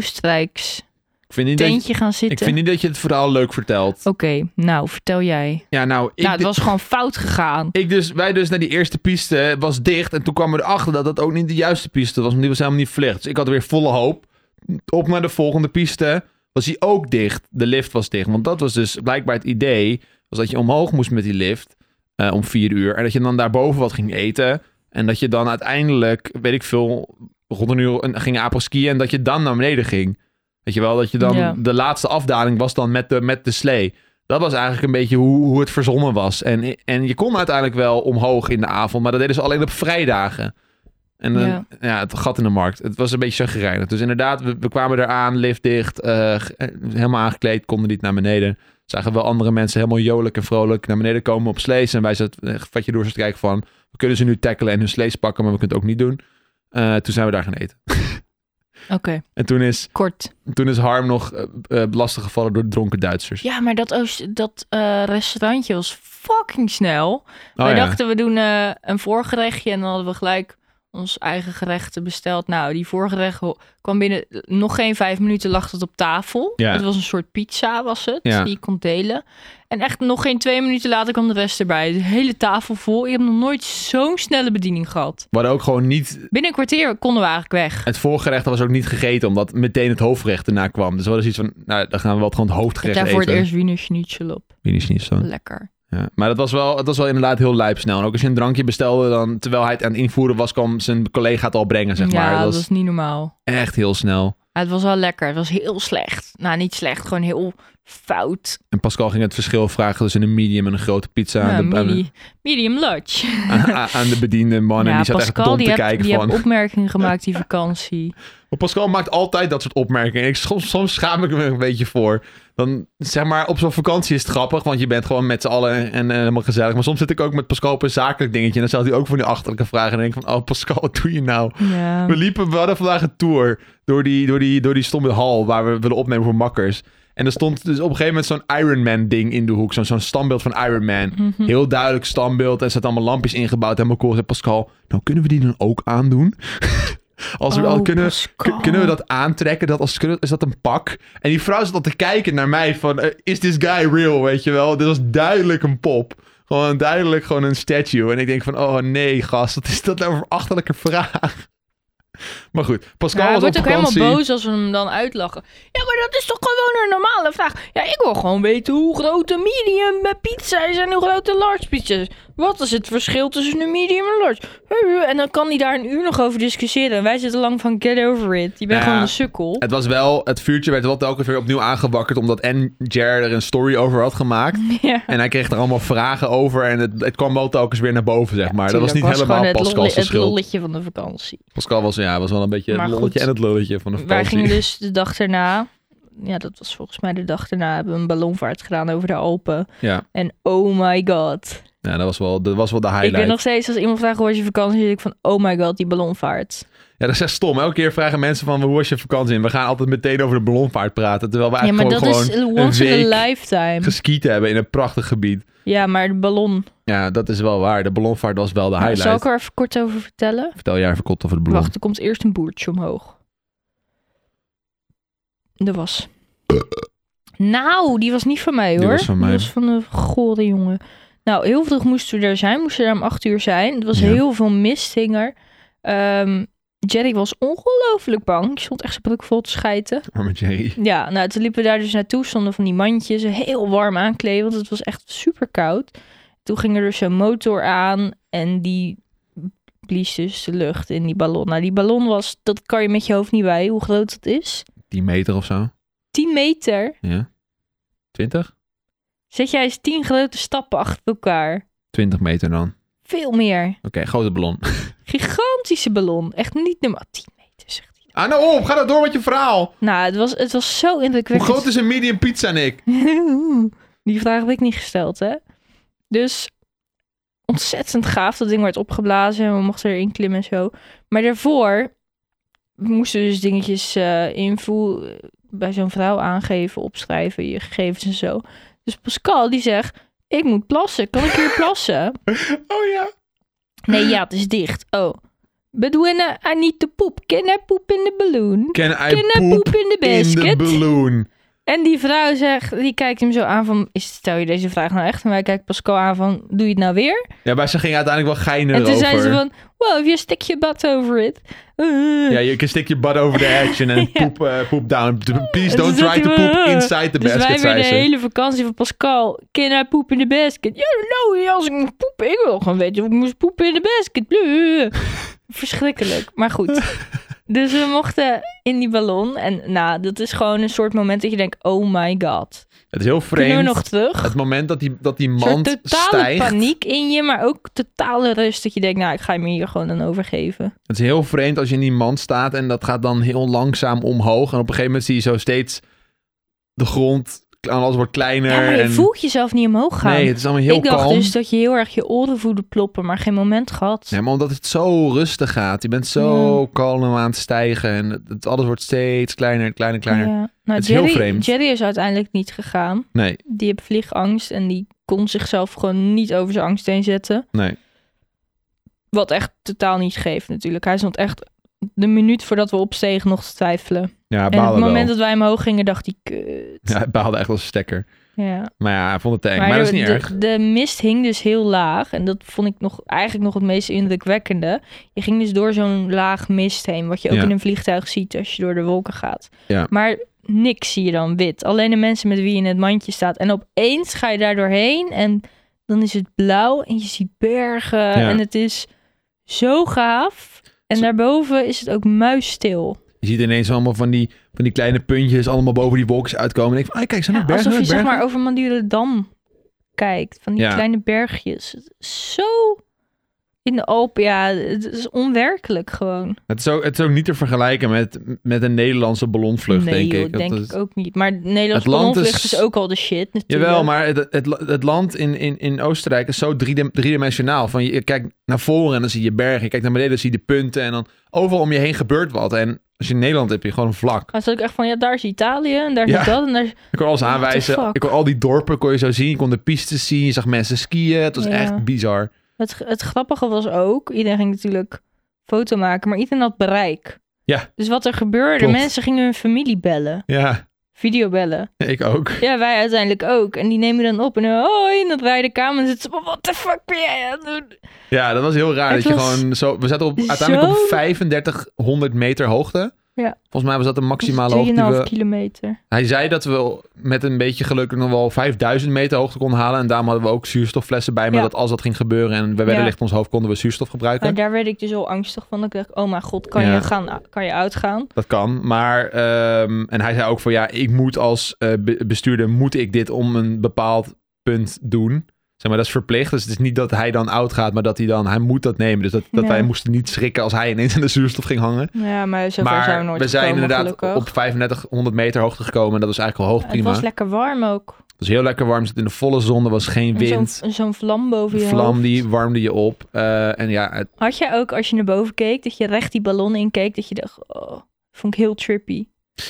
[SPEAKER 2] Oostenrijks
[SPEAKER 1] ik, vind niet dat je,
[SPEAKER 2] tentje gaan
[SPEAKER 1] ik
[SPEAKER 2] zitten.
[SPEAKER 1] vind niet dat je het verhaal leuk vertelt.
[SPEAKER 2] Oké, nou vertel jij.
[SPEAKER 1] Ja, nou, ik,
[SPEAKER 2] nou, het
[SPEAKER 1] di-
[SPEAKER 2] was gewoon fout gegaan.
[SPEAKER 1] ik dus, wij dus naar die eerste piste, het was dicht. En toen kwamen we erachter dat dat ook niet de juiste piste was, want die was helemaal niet verlicht. Dus ik had weer volle hoop. Op naar de volgende piste was die ook dicht. De lift was dicht, want dat was dus blijkbaar het idee, was dat je omhoog moest met die lift eh, om vier uur. En dat je dan daarboven wat ging eten. En dat je dan uiteindelijk, weet ik veel, rond een uur een- ging skiën en dat je dan naar beneden ging. Weet je wel, dat je dan
[SPEAKER 2] Ja.
[SPEAKER 1] de laatste afdaling was dan met de, met de slee. Dat was eigenlijk een beetje hoe, hoe het verzonnen was. En, en je kon uiteindelijk wel omhoog in de avond, maar dat deden ze alleen op vrijdagen. En dan, ja.
[SPEAKER 2] Ja.
[SPEAKER 1] het gat in de markt. Het was een beetje chagrijnig. Dus inderdaad, we, we kwamen eraan, lift dicht, eh, g- eh, helemaal aangekleed, konden niet naar beneden. Zagen wel andere mensen helemaal jolijk en vrolijk naar beneden komen op slees. En wij zaten echt vatje door ze te kijken van, we kunnen ze nu tackelen en hun slees pakken, maar we kunnen het ook niet doen. Eh, toen zijn we daar gaan eten.
[SPEAKER 2] Oké,
[SPEAKER 1] En toen is,
[SPEAKER 2] kort.
[SPEAKER 1] toen is Harm nog eh, eh, lastiggevallen door dronken Duitsers.
[SPEAKER 2] Ja, maar dat, Oost, dat eh, restaurantje was fucking snel.
[SPEAKER 1] Oh
[SPEAKER 2] wij
[SPEAKER 1] ja.
[SPEAKER 2] dachten, we doen eh, een voorgerechtje en dan hadden we gelijk ons eigen gerechten besteld. Nou, die voorgerecht ho- kwam binnen nog geen vijf minuten lag het op tafel.
[SPEAKER 1] Ja.
[SPEAKER 2] Het was een soort pizza, was het,
[SPEAKER 1] Ja.
[SPEAKER 2] die ik kon delen. En echt nog geen twee minuten later kwam de rest erbij. De hele tafel vol. Ik heb nog nooit zo'n snelle bediening gehad.
[SPEAKER 1] We hadden ook gewoon niet
[SPEAKER 2] Binnen een kwartier konden we eigenlijk weg.
[SPEAKER 1] Het voorgerecht was ook niet gegeten, omdat meteen het hoofdgerecht erna kwam. Dus we hadden zoiets van, nou, dan gaan we wel gewoon het
[SPEAKER 2] Ik heb
[SPEAKER 1] hoofdgerecht
[SPEAKER 2] daarvoor het
[SPEAKER 1] eten. Hm.
[SPEAKER 2] eerst Wiener Schnitzel op.
[SPEAKER 1] Mini niet zo.
[SPEAKER 2] Lekker.
[SPEAKER 1] Ja. Maar dat was wel, het was wel inderdaad heel lijpsnel. En ook als je een drankje bestelde, dan, terwijl hij het aan het invoeren was, kwam zijn collega het al brengen, zeg maar.
[SPEAKER 2] ja,
[SPEAKER 1] Dat
[SPEAKER 2] dat
[SPEAKER 1] was
[SPEAKER 2] is niet normaal.
[SPEAKER 1] echt heel snel.
[SPEAKER 2] Ja, het was wel lekker. Het was heel slecht. Nou, niet slecht. Gewoon heel fout.
[SPEAKER 1] En Pascal ging het verschil vragen tussen een medium en een grote pizza
[SPEAKER 2] Ja,
[SPEAKER 1] aan, de, aan,
[SPEAKER 2] medi- Nou, medium large.
[SPEAKER 1] de- aan- aan- aan de bediende man. en
[SPEAKER 2] ja,
[SPEAKER 1] Oh, die zat echt
[SPEAKER 2] Pascal,
[SPEAKER 1] dom
[SPEAKER 2] die
[SPEAKER 1] te
[SPEAKER 2] heeft,
[SPEAKER 1] kijken
[SPEAKER 2] die
[SPEAKER 1] van...
[SPEAKER 2] heeft opmerkingen gemaakt die vakantie.
[SPEAKER 1] Maar Pascal maakt altijd dat soort opmerkingen. Ik, soms, soms schaam ik me een beetje voor. Dan, zeg maar, op zo'n vakantie is het grappig, want je bent gewoon met z'n allen en, en helemaal gezellig. Maar soms zit ik ook met Pascal op een zakelijk dingetje. En dan stelt hij ook van die achterlijke vragen. En dan denk ik van, oh Pascal, wat doe je nou?
[SPEAKER 2] Ja.
[SPEAKER 1] We liepen, we hadden vandaag een tour door die, door, die, door die stomme hal waar we willen opnemen voor makkers. En er stond dus op een gegeven moment zo'n Iron Man ding in de hoek. Zo'n zo'n standbeeld van Iron Man. Heel duidelijk standbeeld. En er zaten allemaal lampjes ingebouwd. En cool. zei Pascal, nou kunnen we die dan ook aandoen? Als we,
[SPEAKER 2] Oh,
[SPEAKER 1] al kunnen,
[SPEAKER 2] Pascal.
[SPEAKER 1] kun- kunnen we dat aantrekken? Dat als, kunnen- is dat een pak? En die vrouw zat al te kijken naar mij van, eh, is this guy real? Weet je wel? Dit was duidelijk een pop. Gewoon duidelijk gewoon een statue. En ik denk van, oh nee gast, wat is dat nou voor achterlijke vraag? Maar goed, Pascal
[SPEAKER 2] Ja, hij
[SPEAKER 1] was op
[SPEAKER 2] wordt ook
[SPEAKER 1] vakantie.
[SPEAKER 2] helemaal boos als we hem dan uitlachen. Ja, maar dat is toch gewoon een normale vraag? Ja, ik wil gewoon weten hoe groot een medium eh, pizza is en hoe groot een large pizza is. Wat is het verschil tussen een medium en een large? En dan kan hij daar een uur nog over discussiëren. En wij zitten lang van get over it. Je bent
[SPEAKER 1] Ja.
[SPEAKER 2] gewoon een sukkel.
[SPEAKER 1] Het was wel, het vuurtje werd wel telkens weer opnieuw aangewakkerd. Omdat en Jer er een story over had gemaakt.
[SPEAKER 2] Ja.
[SPEAKER 1] En hij kreeg er allemaal vragen over. En het, het kwam wel telkens weer naar boven, zeg maar. dat was
[SPEAKER 2] Tuurlijk,
[SPEAKER 1] niet
[SPEAKER 2] gewoon
[SPEAKER 1] helemaal
[SPEAKER 2] het
[SPEAKER 1] Pascal's
[SPEAKER 2] lolle- het
[SPEAKER 1] schuld.
[SPEAKER 2] lolletje van de vakantie.
[SPEAKER 1] Pascal was, ja, was wel een beetje
[SPEAKER 2] Maar
[SPEAKER 1] het lolletje
[SPEAKER 2] goed.
[SPEAKER 1] en het lulletje van de vakantie.
[SPEAKER 2] Wij gingen dus de dag daarna... Ja, dat was volgens mij de dag daarna. Hebben we een ballonvaart gedaan over de Alpen.
[SPEAKER 1] Ja,
[SPEAKER 2] En oh my god.
[SPEAKER 1] ja dat, was wel, dat was wel de highlight.
[SPEAKER 2] Ik ben nog steeds, als iemand vraagt hoe was je vakantie, denk ik van, oh my god, die ballonvaart.
[SPEAKER 1] Ja, dat is echt stom. Elke keer vragen mensen van, hoe was je vakantie? En we gaan altijd meteen over de ballonvaart praten. Terwijl we
[SPEAKER 2] Ja, maar
[SPEAKER 1] eigenlijk
[SPEAKER 2] dat
[SPEAKER 1] gewoon,
[SPEAKER 2] is ehm,
[SPEAKER 1] gewoon
[SPEAKER 2] once
[SPEAKER 1] een
[SPEAKER 2] in
[SPEAKER 1] week
[SPEAKER 2] a lifetime.
[SPEAKER 1] geskiet hebben in een prachtig gebied.
[SPEAKER 2] Ja, maar de ballon.
[SPEAKER 1] Ja, dat is wel waar. De ballonvaart was wel de
[SPEAKER 2] Nou,
[SPEAKER 1] highlight.
[SPEAKER 2] zal ik er even kort over vertellen?
[SPEAKER 1] Vertel jij even kort over de ballon.
[SPEAKER 2] Wacht, er komt eerst een boertje omhoog. Er was. nou, die was niet van mij hoor.
[SPEAKER 1] Die was van mij.
[SPEAKER 2] de gore jongen. Nou, heel vroeg moesten we er zijn. Moesten we daar om acht uur zijn. Het was
[SPEAKER 1] Ja.
[SPEAKER 2] heel veel mishinger. Ehm Jerry was ongelooflijk bang. Die stond echt zijn broek vol te schijten.
[SPEAKER 1] Arme Jerry.
[SPEAKER 2] Ja, nou, toen liepen we daar dus naartoe, stonden van die mandjes, heel warm aankleden, want het was echt super koud. Toen ging er dus een motor aan en die blies dus de lucht in die ballon. Nou, die ballon was, dat kan je met je hoofd niet bij, hoe groot dat is.
[SPEAKER 1] 10 meter of zo.
[SPEAKER 2] 10 meter.
[SPEAKER 1] Ja. 20?
[SPEAKER 2] Zet jij eens 10 grote stappen achter elkaar.
[SPEAKER 1] 20 meter dan. Oké,
[SPEAKER 2] Veel meer.
[SPEAKER 1] grote ballon.
[SPEAKER 2] Gigantische ballon. Echt niet normaal. 10 meter, zegt hij.
[SPEAKER 1] Ah, nou op. Ga nou door met je verhaal.
[SPEAKER 2] Nou, het was, het was zo
[SPEAKER 1] Hoe
[SPEAKER 2] indrukwekkend.
[SPEAKER 1] groot is een medium pizza, Nick?
[SPEAKER 2] Die vraag heb ik niet gesteld, hè? Dus ontzettend gaaf. Dat ding werd opgeblazen en we mochten erin klimmen en zo. Maar daarvoor moesten we dus dingetjes eh invoer bij zo'n vrouw aangeven, opschrijven, je gegevens en zo. Dus Pascal die zegt, ik moet plassen. Kan ik hier plassen?
[SPEAKER 1] Oh ja.
[SPEAKER 2] Nee, ja, het is dicht. Oh. But when I need to poop, can I poop in the balloon?
[SPEAKER 1] Can I
[SPEAKER 2] Can I
[SPEAKER 1] poop
[SPEAKER 2] poop in the
[SPEAKER 1] in the
[SPEAKER 2] basket?
[SPEAKER 1] balloon?
[SPEAKER 2] En die vrouw zegt, die kijkt hem zo aan van, is, stel je deze vraag nou echt? En wij kijken Pascal aan van, doe je het nou weer?
[SPEAKER 1] Ja, maar ze ging uiteindelijk wel geinen
[SPEAKER 2] en toen
[SPEAKER 1] over.
[SPEAKER 2] zei ze van, wow, you stick your butt over it. Uh.
[SPEAKER 1] Ja, je kan stick je butt over the edge en dan
[SPEAKER 2] Ja.
[SPEAKER 1] poep, eh, poep down. Please don't
[SPEAKER 2] En toen zat
[SPEAKER 1] try to
[SPEAKER 2] hij
[SPEAKER 1] poop
[SPEAKER 2] wel-
[SPEAKER 1] inside the
[SPEAKER 2] dus
[SPEAKER 1] basket,
[SPEAKER 2] wij
[SPEAKER 1] zei
[SPEAKER 2] weer de
[SPEAKER 1] ze.
[SPEAKER 2] hele vakantie van Pascal, can I poep in the basket? Ja, nou, als ik moet poepen, ik wil gewoon weten of ik moest poepen in de basket. Bleh. Verschrikkelijk, maar goed. Dus we mochten in die ballon. En nou, dat is gewoon een soort moment dat je denkt, oh my god.
[SPEAKER 1] Het is heel
[SPEAKER 2] Kunnen we
[SPEAKER 1] vreemd.
[SPEAKER 2] nog terug?
[SPEAKER 1] Het moment dat die, dat die
[SPEAKER 2] Een soort
[SPEAKER 1] mand
[SPEAKER 2] totale
[SPEAKER 1] stijgt.
[SPEAKER 2] paniek in je, maar ook totale rust. Dat je denkt, nou, ik ga me hier gewoon aan overgeven.
[SPEAKER 1] Het is heel vreemd als je in die mand staat en dat gaat dan heel langzaam omhoog. En op een gegeven moment zie je zo steeds de grond, alles wordt kleiner.
[SPEAKER 2] ja, maar je
[SPEAKER 1] en...
[SPEAKER 2] voelt jezelf niet omhoog gaan.
[SPEAKER 1] Nee, het is allemaal heel
[SPEAKER 2] ik dacht
[SPEAKER 1] kalm.
[SPEAKER 2] dus dat je heel erg je oren voelde ploppen, maar geen moment gehad.
[SPEAKER 1] Nee, maar omdat het zo rustig gaat. Je bent zo kalm aan het stijgen. En het- het, alles wordt steeds kleiner, kleiner, kleiner.
[SPEAKER 2] Ja. Nou,
[SPEAKER 1] Het is heel
[SPEAKER 2] Jerry,
[SPEAKER 1] vreemd.
[SPEAKER 2] Jerry is uiteindelijk niet gegaan.
[SPEAKER 1] Nee,
[SPEAKER 2] Die heeft vliegangst en die kon zichzelf gewoon niet over zijn angst heen zetten.
[SPEAKER 1] nee.
[SPEAKER 2] Wat echt totaal niet geeft natuurlijk. Hij stond echt de minuut voordat we opstegen nog te twijfelen.
[SPEAKER 1] Ja, hij
[SPEAKER 2] en op het
[SPEAKER 1] baalde
[SPEAKER 2] moment
[SPEAKER 1] wel.
[SPEAKER 2] dat wij omhoog gingen, dacht hij, kut.
[SPEAKER 1] Ja, hij baalde echt als een stekker.
[SPEAKER 2] ja.
[SPEAKER 1] Maar ja, hij vond het eng. Maar, dat is niet
[SPEAKER 2] de,
[SPEAKER 1] erg.
[SPEAKER 2] De, mist hing dus heel laag. En dat vond ik nog, eigenlijk nog het meest indrukwekkende. Je ging dus door zo'n laag mist heen. Wat je ook
[SPEAKER 1] Ja.
[SPEAKER 2] in een vliegtuig ziet als je door de wolken gaat.
[SPEAKER 1] Ja.
[SPEAKER 2] Maar niks zie je dan wit. Alleen de mensen met wie je in het mandje staat. En opeens ga je daar doorheen. En dan is het blauw. En je ziet bergen. En het is zo gaaf. En
[SPEAKER 1] Zo-
[SPEAKER 2] daarboven is het ook muisstil.
[SPEAKER 1] Je ziet ineens allemaal van die, van die kleine puntjes allemaal boven die wolkjes uitkomen. En ik van, ah, kijk, zijn
[SPEAKER 2] Ja,
[SPEAKER 1] er bergen?
[SPEAKER 2] alsof je zeg
[SPEAKER 1] bergen?
[SPEAKER 2] maar over Madurodam kijkt. Van die
[SPEAKER 1] Ja.
[SPEAKER 2] kleine bergjes. Het is Zo in de Alpen. Ja, het is onwerkelijk gewoon.
[SPEAKER 1] Het, is ook, het is ook niet te vergelijken met, met een Nederlandse ballonvlucht,
[SPEAKER 2] nee,
[SPEAKER 1] denk
[SPEAKER 2] joh,
[SPEAKER 1] ik. Dat
[SPEAKER 2] denk
[SPEAKER 1] is-
[SPEAKER 2] ik ook niet. Maar Nederlands
[SPEAKER 1] Het land
[SPEAKER 2] ballonvlucht
[SPEAKER 1] is-
[SPEAKER 2] is... ook al de shit natuurlijk.
[SPEAKER 1] Jawel, maar het, het, het land in, in, in Oostenrijk is zo driedem- driedimensionaal. Van je, je kijkt naar voren en dan zie je bergen. Je kijkt naar beneden, dan zie je de punten. En dan overal om je heen gebeurt wat. En als je in Nederland hebt, heb je gewoon een vlak.
[SPEAKER 2] Maar het is ook echt van, ja, daar is Italië en daar
[SPEAKER 1] Ja.
[SPEAKER 2] is dat en daar is...
[SPEAKER 1] Ik kon alles
[SPEAKER 2] What the
[SPEAKER 1] aanwijzen.
[SPEAKER 2] fuck?
[SPEAKER 1] Ik kon al die dorpen kon je zo zien. Je kon de pistes zien. Je zag mensen skiën. Het was
[SPEAKER 2] Ja.
[SPEAKER 1] echt bizar.
[SPEAKER 2] Het, het grappige was ook, iedereen ging natuurlijk foto maken, maar iedereen had bereik.
[SPEAKER 1] Ja.
[SPEAKER 2] Dus wat er gebeurde,
[SPEAKER 1] Klopt.
[SPEAKER 2] mensen gingen hun familie bellen,
[SPEAKER 1] Ja,
[SPEAKER 2] videobellen.
[SPEAKER 1] ik ook.
[SPEAKER 2] Ja, wij uiteindelijk ook. En die nemen dan op en dan, hoi, en dan draai je de kamer en zitten ze, wat de fuck ben jij aan het doen?
[SPEAKER 1] Ja, dat was heel raar.
[SPEAKER 2] Het
[SPEAKER 1] dat je
[SPEAKER 2] was
[SPEAKER 1] gewoon zo, we zaten op, uiteindelijk
[SPEAKER 2] zo-
[SPEAKER 1] op 3500 meter hoogte.
[SPEAKER 2] Ja.
[SPEAKER 1] Volgens mij was dat de
[SPEAKER 2] Dat is
[SPEAKER 1] maximale hoogte die
[SPEAKER 2] 3,5
[SPEAKER 1] we...
[SPEAKER 2] kilometer.
[SPEAKER 1] Hij zei dat we met een beetje geluk nog wel 5000 meter hoogte konden halen. En daarom hadden we ook zuurstofflessen bij. Maar
[SPEAKER 2] Ja.
[SPEAKER 1] dat als dat ging gebeuren en we werden
[SPEAKER 2] Ja.
[SPEAKER 1] licht in ons hoofd, konden we zuurstof gebruiken.
[SPEAKER 2] Maar daar werd ik dus al angstig van. Ik dacht, oh mijn god, kan,
[SPEAKER 1] Ja.
[SPEAKER 2] je, gaan, kan je uitgaan?
[SPEAKER 1] Dat kan. Maar, ehm, en hij zei ook van ja, ik moet als eh, be- bestuurder, moet ik dit om een bepaald punt doen. Zeg maar, dat is verplicht. Dus het is niet dat hij dan oud gaat, maar dat hij dan, hij moet dat nemen. Dus dat, dat
[SPEAKER 2] Ja.
[SPEAKER 1] wij moesten niet schrikken als hij ineens aan de zuurstof ging hangen.
[SPEAKER 2] Ja, maar zover
[SPEAKER 1] maar
[SPEAKER 2] zijn we nooit
[SPEAKER 1] we zijn
[SPEAKER 2] gekomen,
[SPEAKER 1] inderdaad
[SPEAKER 2] gelukkig.
[SPEAKER 1] op 3500 meter hoogte gekomen. En dat was eigenlijk al hoog
[SPEAKER 2] Het
[SPEAKER 1] prima.
[SPEAKER 2] was lekker warm ook.
[SPEAKER 1] Het was heel lekker warm. Zit in de volle zon, er was geen
[SPEAKER 2] En
[SPEAKER 1] wind.
[SPEAKER 2] Zo'n zo'n vlam boven
[SPEAKER 1] De
[SPEAKER 2] je
[SPEAKER 1] vlam
[SPEAKER 2] hoofd.
[SPEAKER 1] die warmde je op. Eh, en ja, het-
[SPEAKER 2] Had jij ook, als je naar boven keek, dat je recht die ballon inkeek, dat je dacht, oh, vond ik heel trippy.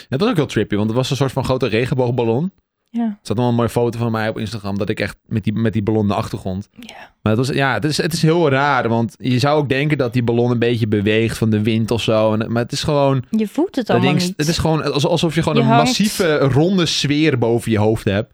[SPEAKER 1] het was ook heel trippy, want het was een soort van grote regenboogballon.
[SPEAKER 2] Ja.
[SPEAKER 1] Er zat nog een mooie foto van mij op Instagram, dat ik echt met die, met die ballon in de achtergrond.
[SPEAKER 2] Ja.
[SPEAKER 1] Maar het, was, ja, het, is, het is heel raar, want je zou ook denken dat die ballon een beetje beweegt van de wind of zo. En, maar het is gewoon,
[SPEAKER 2] Je voelt het
[SPEAKER 1] dat
[SPEAKER 2] allemaal
[SPEAKER 1] ding,
[SPEAKER 2] niet.
[SPEAKER 1] het is gewoon als- alsof je gewoon
[SPEAKER 2] Je
[SPEAKER 1] een
[SPEAKER 2] hangt.
[SPEAKER 1] massieve eh, ronde sfeer boven je hoofd hebt.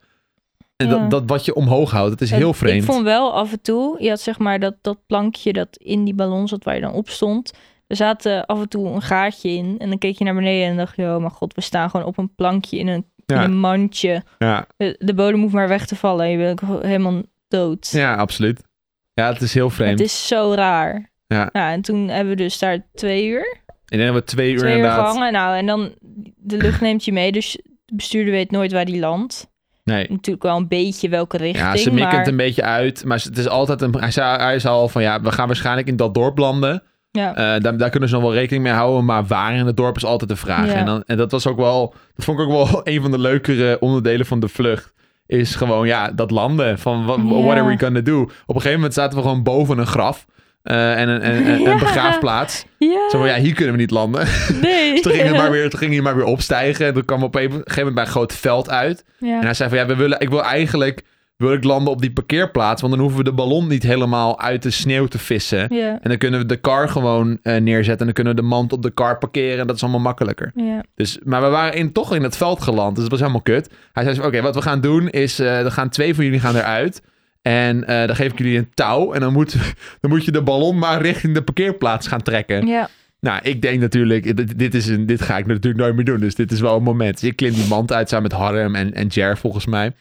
[SPEAKER 1] En
[SPEAKER 2] Ja.
[SPEAKER 1] dat, dat wat je omhoog houdt, het is
[SPEAKER 2] En
[SPEAKER 1] heel vreemd.
[SPEAKER 2] Ik vond wel af en toe, je had zeg maar dat, dat plankje dat in die ballon zat waar je dan op stond. Er zaten af en toe een gaatje in en dan keek je naar beneden en dacht je, oh mijn god, we staan gewoon op een plankje in een, in
[SPEAKER 1] ja,
[SPEAKER 2] een mandje.
[SPEAKER 1] ja,
[SPEAKER 2] De de bodem hoeft maar weg te vallen en je bent ook helemaal dood.
[SPEAKER 1] ja, absoluut. Ja, het is heel vreemd.
[SPEAKER 2] Het is zo raar.
[SPEAKER 1] Ja.
[SPEAKER 2] en toen hebben we dus daar twee uur
[SPEAKER 1] Ik denk dat we twee uur
[SPEAKER 2] twee uur
[SPEAKER 1] inderdaad...
[SPEAKER 2] gehangen. Nou, en dan de lucht neemt je mee, dus de bestuurder weet nooit waar die landt.
[SPEAKER 1] Nee.
[SPEAKER 2] Natuurlijk wel een beetje welke richting,
[SPEAKER 1] Ja, ze mikken
[SPEAKER 2] maar
[SPEAKER 1] het een beetje uit. Maar het is altijd een. Hij zei, hij zei al van ja, we gaan waarschijnlijk in dat dorp landen.
[SPEAKER 2] ja,
[SPEAKER 1] Eh, daar, daar kunnen ze nog wel rekening mee houden. Maar waar in het dorp is altijd de vraag.
[SPEAKER 2] Ja.
[SPEAKER 1] En, dan, en dat was ook wel. Dat vond ik ook wel een van de leukere onderdelen van de vlucht. Is gewoon ja, dat landen. Van wa-
[SPEAKER 2] Ja.
[SPEAKER 1] what are we gonna do? Op een gegeven moment zaten we gewoon boven een graf. eh, en een, en, en-
[SPEAKER 2] Ja.
[SPEAKER 1] een begraafplaats.
[SPEAKER 2] ja,
[SPEAKER 1] Zo van ja, hier kunnen we niet landen.
[SPEAKER 2] nee.
[SPEAKER 1] Dus toen ging hij maar weer, toen ging hij maar weer opstijgen. En toen kwam we op een gegeven moment bij een groot veld uit. En
[SPEAKER 2] Ja.
[SPEAKER 1] hij zei van ja, we willen, ik wil eigenlijk wil ik landen op die parkeerplaats. Want dan hoeven we de ballon niet helemaal uit de sneeuw te vissen.
[SPEAKER 2] Ja.
[SPEAKER 1] En dan kunnen we de car gewoon eh, neerzetten. En dan kunnen we de mand op de car parkeren. En dat is allemaal makkelijker.
[SPEAKER 2] Ja.
[SPEAKER 1] Dus, maar we waren in, toch in het veld geland. Dus dat was helemaal kut. Hij zei: zo, Oké, wat we gaan doen is. eh er gaan twee van jullie gaan eruit. En eh, dan geef ik jullie een touw. En dan moet, dan moet je de ballon maar richting de parkeerplaats gaan trekken.
[SPEAKER 2] Ja.
[SPEAKER 1] Nou, ik denk natuurlijk, dit, dit is een, dit ga ik natuurlijk nooit meer doen. Dus dit is wel een moment. Je klimt die mand uit samen met Harm en, en Jer, volgens mij.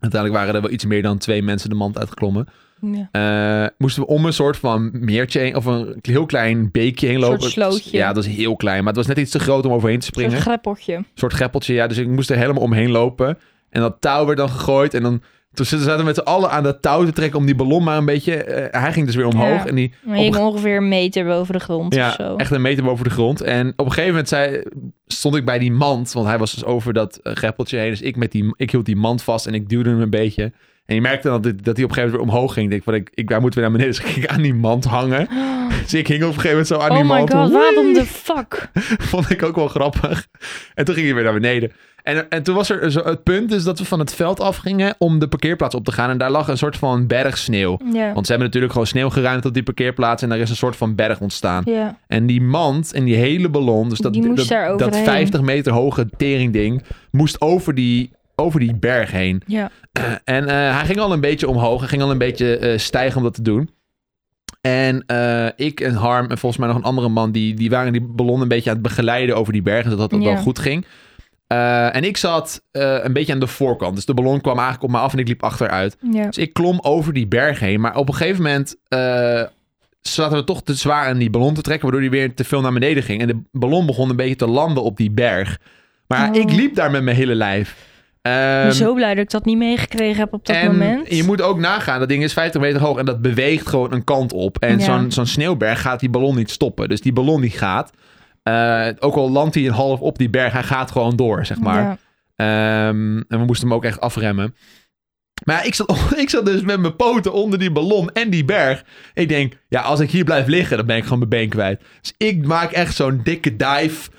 [SPEAKER 1] Uiteindelijk waren er wel iets meer dan twee mensen de mand uitgeklommen.
[SPEAKER 2] Ja.
[SPEAKER 1] Eh, moesten we om een soort van meertje heen, of een heel klein beekje heen
[SPEAKER 2] soort
[SPEAKER 1] lopen.
[SPEAKER 2] slootje.
[SPEAKER 1] Ja, dat is heel klein. Maar het was net iets te groot om overheen te
[SPEAKER 2] Een
[SPEAKER 1] springen.
[SPEAKER 2] soort greppeltje.
[SPEAKER 1] Een soort greppeltje, ja. Dus ik moest er helemaal omheen lopen. En dat touw werd dan gegooid. En dan toen zaten we met z'n allen aan dat touw te trekken om die ballon maar een beetje... eh, hij ging dus weer omhoog.
[SPEAKER 2] Ja.
[SPEAKER 1] En die
[SPEAKER 2] Maar je hing ongeveer een meter boven de grond of zo.
[SPEAKER 1] echt een meter boven de grond. En op een gegeven moment zei, stond ik bij die mand, want hij was dus over dat eh, greppeltje heen. Dus ik, met die, ik hield die mand vast en ik duwde hem een beetje. En je merkte dan dat, dat hij op een gegeven moment weer omhoog ging. Ik denk, van, ik, ik, wij moeten weer naar beneden. Dus ik ging aan die mand hangen. Dus ik hing op een gegeven moment zo aan die
[SPEAKER 2] Oh my
[SPEAKER 1] mand.
[SPEAKER 2] god, waarom
[SPEAKER 1] Wee!
[SPEAKER 2] de fuck?
[SPEAKER 1] Vond ik ook wel grappig. En toen ging hij weer naar beneden. En, en toen was er zo, het punt dus dat we van het veld afgingen om de parkeerplaats op te gaan. En daar lag een soort van berg sneeuw.
[SPEAKER 2] Ja.
[SPEAKER 1] Want ze hebben natuurlijk gewoon sneeuw geruimd op die parkeerplaats. En daar is een soort van berg ontstaan.
[SPEAKER 2] Ja.
[SPEAKER 1] En die mand en die hele ballon, dus dat,
[SPEAKER 2] Die moest daar
[SPEAKER 1] dat, dat
[SPEAKER 2] overheen.
[SPEAKER 1] 50 meter hoge teringding, moest over die, over die berg heen.
[SPEAKER 2] Ja.
[SPEAKER 1] En eh, hij ging al een beetje omhoog, hij ging al een beetje eh, stijgen om dat te doen. En eh, ik en Harm en volgens mij nog een andere man, die, die waren die ballon een beetje aan het begeleiden over die bergen, zodat dat
[SPEAKER 2] Ja.
[SPEAKER 1] wel goed ging. Eh, en ik zat eh, een beetje aan de voorkant, dus de ballon kwam eigenlijk op me af en ik liep achteruit.
[SPEAKER 2] Ja.
[SPEAKER 1] Dus ik klom over die berg heen. Maar op een gegeven moment eh, zaten we toch te zwaar aan die ballon te trekken, waardoor die weer te veel naar beneden ging. En de ballon begon een beetje te landen op die berg. Maar
[SPEAKER 3] Oh.
[SPEAKER 1] ik liep daar met mijn hele lijf.
[SPEAKER 3] Ik ben
[SPEAKER 1] Ehm,
[SPEAKER 3] zo blij dat ik dat niet meegekregen heb op dat
[SPEAKER 1] en
[SPEAKER 3] moment.
[SPEAKER 1] je moet ook nagaan, dat ding is 50 meter hoog en dat beweegt gewoon een kant op. En
[SPEAKER 3] Ja.
[SPEAKER 1] zo'n zo'n sneeuwberg gaat die ballon niet stoppen. Dus die ballon die gaat, eh, ook al landt hij een half op die berg, hij gaat gewoon door, zeg maar.
[SPEAKER 3] Ja.
[SPEAKER 1] Ehm, en we moesten hem ook echt afremmen. Maar ja, ik zat, ik zat dus met mijn poten onder die ballon en die berg. Ik denk, ja, als ik hier blijf liggen, dan ben ik gewoon mijn been kwijt. Dus ik maak echt zo'n dikke dive.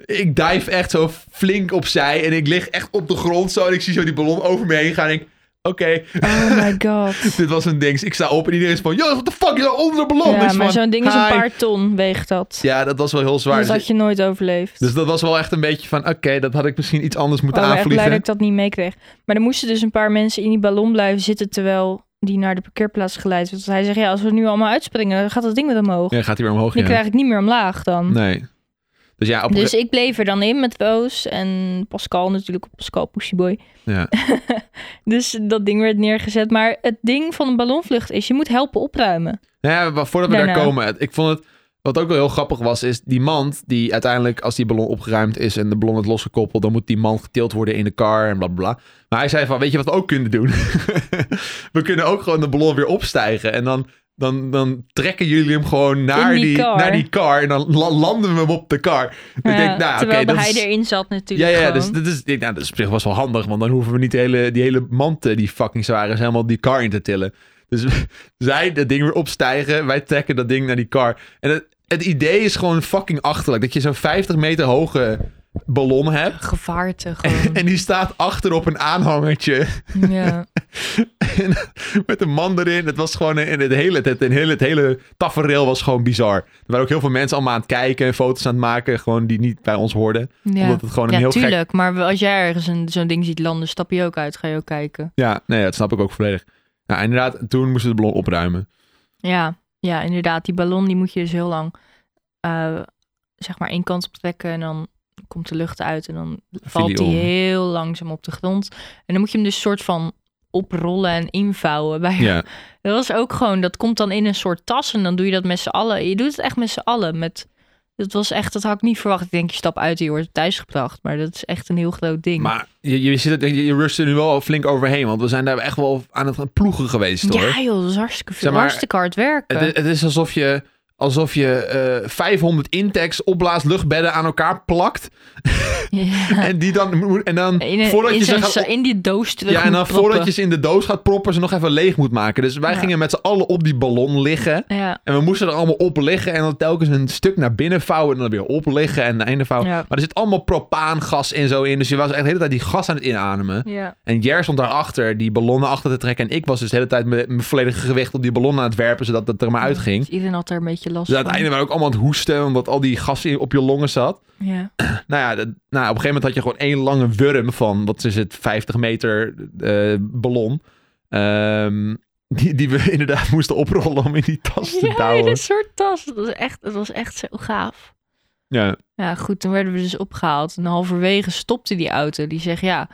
[SPEAKER 1] Ik dive echt zo flink opzij. En ik lig echt op de grond zo. En ik zie zo die ballon over me heen gaan. En ik, oké,
[SPEAKER 3] Oh my god.
[SPEAKER 1] dit was een ding. Dus ik sta op en iedereen is van, joh, wat de fuck is daar onder de ballon? Ik
[SPEAKER 3] ja,
[SPEAKER 1] van,
[SPEAKER 3] maar zo'n ding is een
[SPEAKER 1] "Hi."
[SPEAKER 3] paar ton, weegt dat.
[SPEAKER 1] Ja, dat was wel heel zwaar.
[SPEAKER 3] dat
[SPEAKER 1] Dus,
[SPEAKER 3] had je nooit overleefd.
[SPEAKER 1] dus dat was wel echt een beetje van, oké, dat had ik misschien iets anders moeten
[SPEAKER 3] Oh, ik ben echt blij
[SPEAKER 1] aanvliegen.
[SPEAKER 3] dat ik dat niet meekreeg. Maar er moesten dus een paar mensen in die ballon blijven zitten terwijl die naar de parkeerplaats geleid werd. Want hij zegt, ja, als we nu allemaal uitspringen, dan gaat dat ding weer omhoog.
[SPEAKER 1] Ja, gaat hij weer omhoog,
[SPEAKER 3] Dan
[SPEAKER 1] ja.
[SPEAKER 3] krijg ik niet meer omlaag dan.
[SPEAKER 1] Nee. Dus ja, op een
[SPEAKER 3] Mm. Dus ik bleef er dan in met Woos en Pascal natuurlijk, Pascal Pussyboy.
[SPEAKER 1] ge- ja.
[SPEAKER 3] Dus dat ding werd neergezet. Maar het ding van een ballonvlucht is, je moet helpen opruimen.
[SPEAKER 1] Nou ja, maar voordat we
[SPEAKER 3] Daarna.
[SPEAKER 1] daar komen, het- ik vond het. Wat ook wel heel grappig was, is die mand die uiteindelijk, als die ballon opgeruimd is en de ballon het losgekoppeld, dan moet die mand getild worden in de car en bla bla, bla. Maar hij zei van, weet je wat we ook kunnen doen? we kunnen ook gewoon de ballon weer opstijgen en dan, dan, dan trekken jullie hem gewoon naar
[SPEAKER 3] die
[SPEAKER 1] die,
[SPEAKER 3] car.
[SPEAKER 1] naar die car en dan la- landen we hem op de car.
[SPEAKER 3] Ja,
[SPEAKER 1] ik denk, nou, oké,
[SPEAKER 3] terwijl
[SPEAKER 1] dat
[SPEAKER 3] hij
[SPEAKER 1] is-
[SPEAKER 3] erin zat
[SPEAKER 1] Ja,
[SPEAKER 3] natuurlijk
[SPEAKER 1] ja,
[SPEAKER 3] gewoon.
[SPEAKER 1] dus, dit is, ik- nou, dat is op zich was wel handig, want dan hoeven we niet de hele, die hele mand eh, die fucking zwaar is helemaal die car in te tillen. Dus zij dat ding weer opstijgen, wij trekken dat ding naar die car. En het, het idee is gewoon fucking achterlijk, dat je zo'n 50 meter hoge ballon hebt
[SPEAKER 3] Gevaarte
[SPEAKER 1] en
[SPEAKER 3] gewoon.
[SPEAKER 1] die staat achter op een aanhangertje
[SPEAKER 3] ja.
[SPEAKER 1] en met een man erin. Het was gewoon in het hele, het, het hele, het hele tafereel was gewoon bizar. Er waren ook heel veel mensen allemaal aan het kijken en foto's aan het maken, gewoon die niet bij ons hoorden.
[SPEAKER 2] Ja,
[SPEAKER 1] Omdat het gewoon een
[SPEAKER 2] ja
[SPEAKER 1] heel gek
[SPEAKER 2] tuurlijk. Maar als jij ergens een- zo'n ding ziet landen, stap je ook uit. Ga je ook kijken.
[SPEAKER 1] Ja, nee, dat snap ik ook volledig. Nou, inderdaad, toen moesten we de ballon opruimen.
[SPEAKER 2] Ja, ja, inderdaad. Die ballon die moet je dus heel lang eh, zeg maar één kant op trekken. En dan komt de lucht uit. En dan valt
[SPEAKER 1] om.
[SPEAKER 2] die heel langzaam op de grond. En dan moet je hem dus soort van oprollen en invouwen. Bij...
[SPEAKER 1] Ja,
[SPEAKER 2] Dat was ook gewoon, dat komt dan in een soort tas. En dan doe je dat met z'n allen. Je doet het echt met z'n allen. Met... Dat was echt, dat had ik niet verwacht. Ik denk, je stap uit en je wordt thuisgebracht. Maar dat is echt een heel groot ding.
[SPEAKER 1] maar je, je, zit, het- je, je rust er nu wel flink overheen, want we zijn daar echt wel aan het ploegen geweest, hoor.
[SPEAKER 2] Ja joh, dat is hartstikke veel.
[SPEAKER 1] Zeg maar, eh,
[SPEAKER 2] hartstikke hard werken.
[SPEAKER 1] Het, het is alsof je, alsof je eh, 500 Intex opblaasluchtbedden aan elkaar plakt.
[SPEAKER 2] Ja.
[SPEAKER 1] En die dan, moet- en dan
[SPEAKER 2] In, een-
[SPEAKER 1] voordat
[SPEAKER 2] in
[SPEAKER 1] je ze
[SPEAKER 2] zo'n-
[SPEAKER 1] gaat
[SPEAKER 2] zo- in die doos terug
[SPEAKER 1] Ja, en dan
[SPEAKER 2] moet proppen.
[SPEAKER 1] voordat je ze in de doos gaat proppen, ze nog even leeg moet maken. Dus wij
[SPEAKER 2] Ja.
[SPEAKER 1] gingen met z'n allen op die ballon liggen.
[SPEAKER 2] Ja,
[SPEAKER 1] En we moesten er allemaal op liggen en dan telkens een stuk naar binnen vouwen en dan weer op liggen en naar einde vouwen.
[SPEAKER 2] Ja.
[SPEAKER 1] Maar er zit allemaal propaangas en zo in, dus je was echt de hele tijd die gas aan het inademen.
[SPEAKER 2] ja.
[SPEAKER 1] En Jer stond daarachter die ballonnen achter te trekken en ik was dus de hele tijd met mijn volledige gewicht op die ballon aan het werpen, zodat het er maar uitging.
[SPEAKER 2] Dus iedereen had er een beetje last
[SPEAKER 1] Dus
[SPEAKER 2] van.
[SPEAKER 1] uiteindelijk waren we ook allemaal aan het hoesten, omdat al die gas in- op je longen zat.
[SPEAKER 2] Ja.
[SPEAKER 1] Nou ja, dat- nou, op een gegeven moment had je gewoon één lange wurm van, wat is het, 50 meter eh, ballon. Ehm, die, die we inderdaad moesten oprollen om in die tas te
[SPEAKER 2] Ja, in
[SPEAKER 1] douwen.
[SPEAKER 2] een soort tas. Dat was, echt, dat was echt zo gaaf.
[SPEAKER 1] Ja.
[SPEAKER 2] Ja, goed, toen werden we dus opgehaald. En halverwege stopte die auto. Die zegt, ja...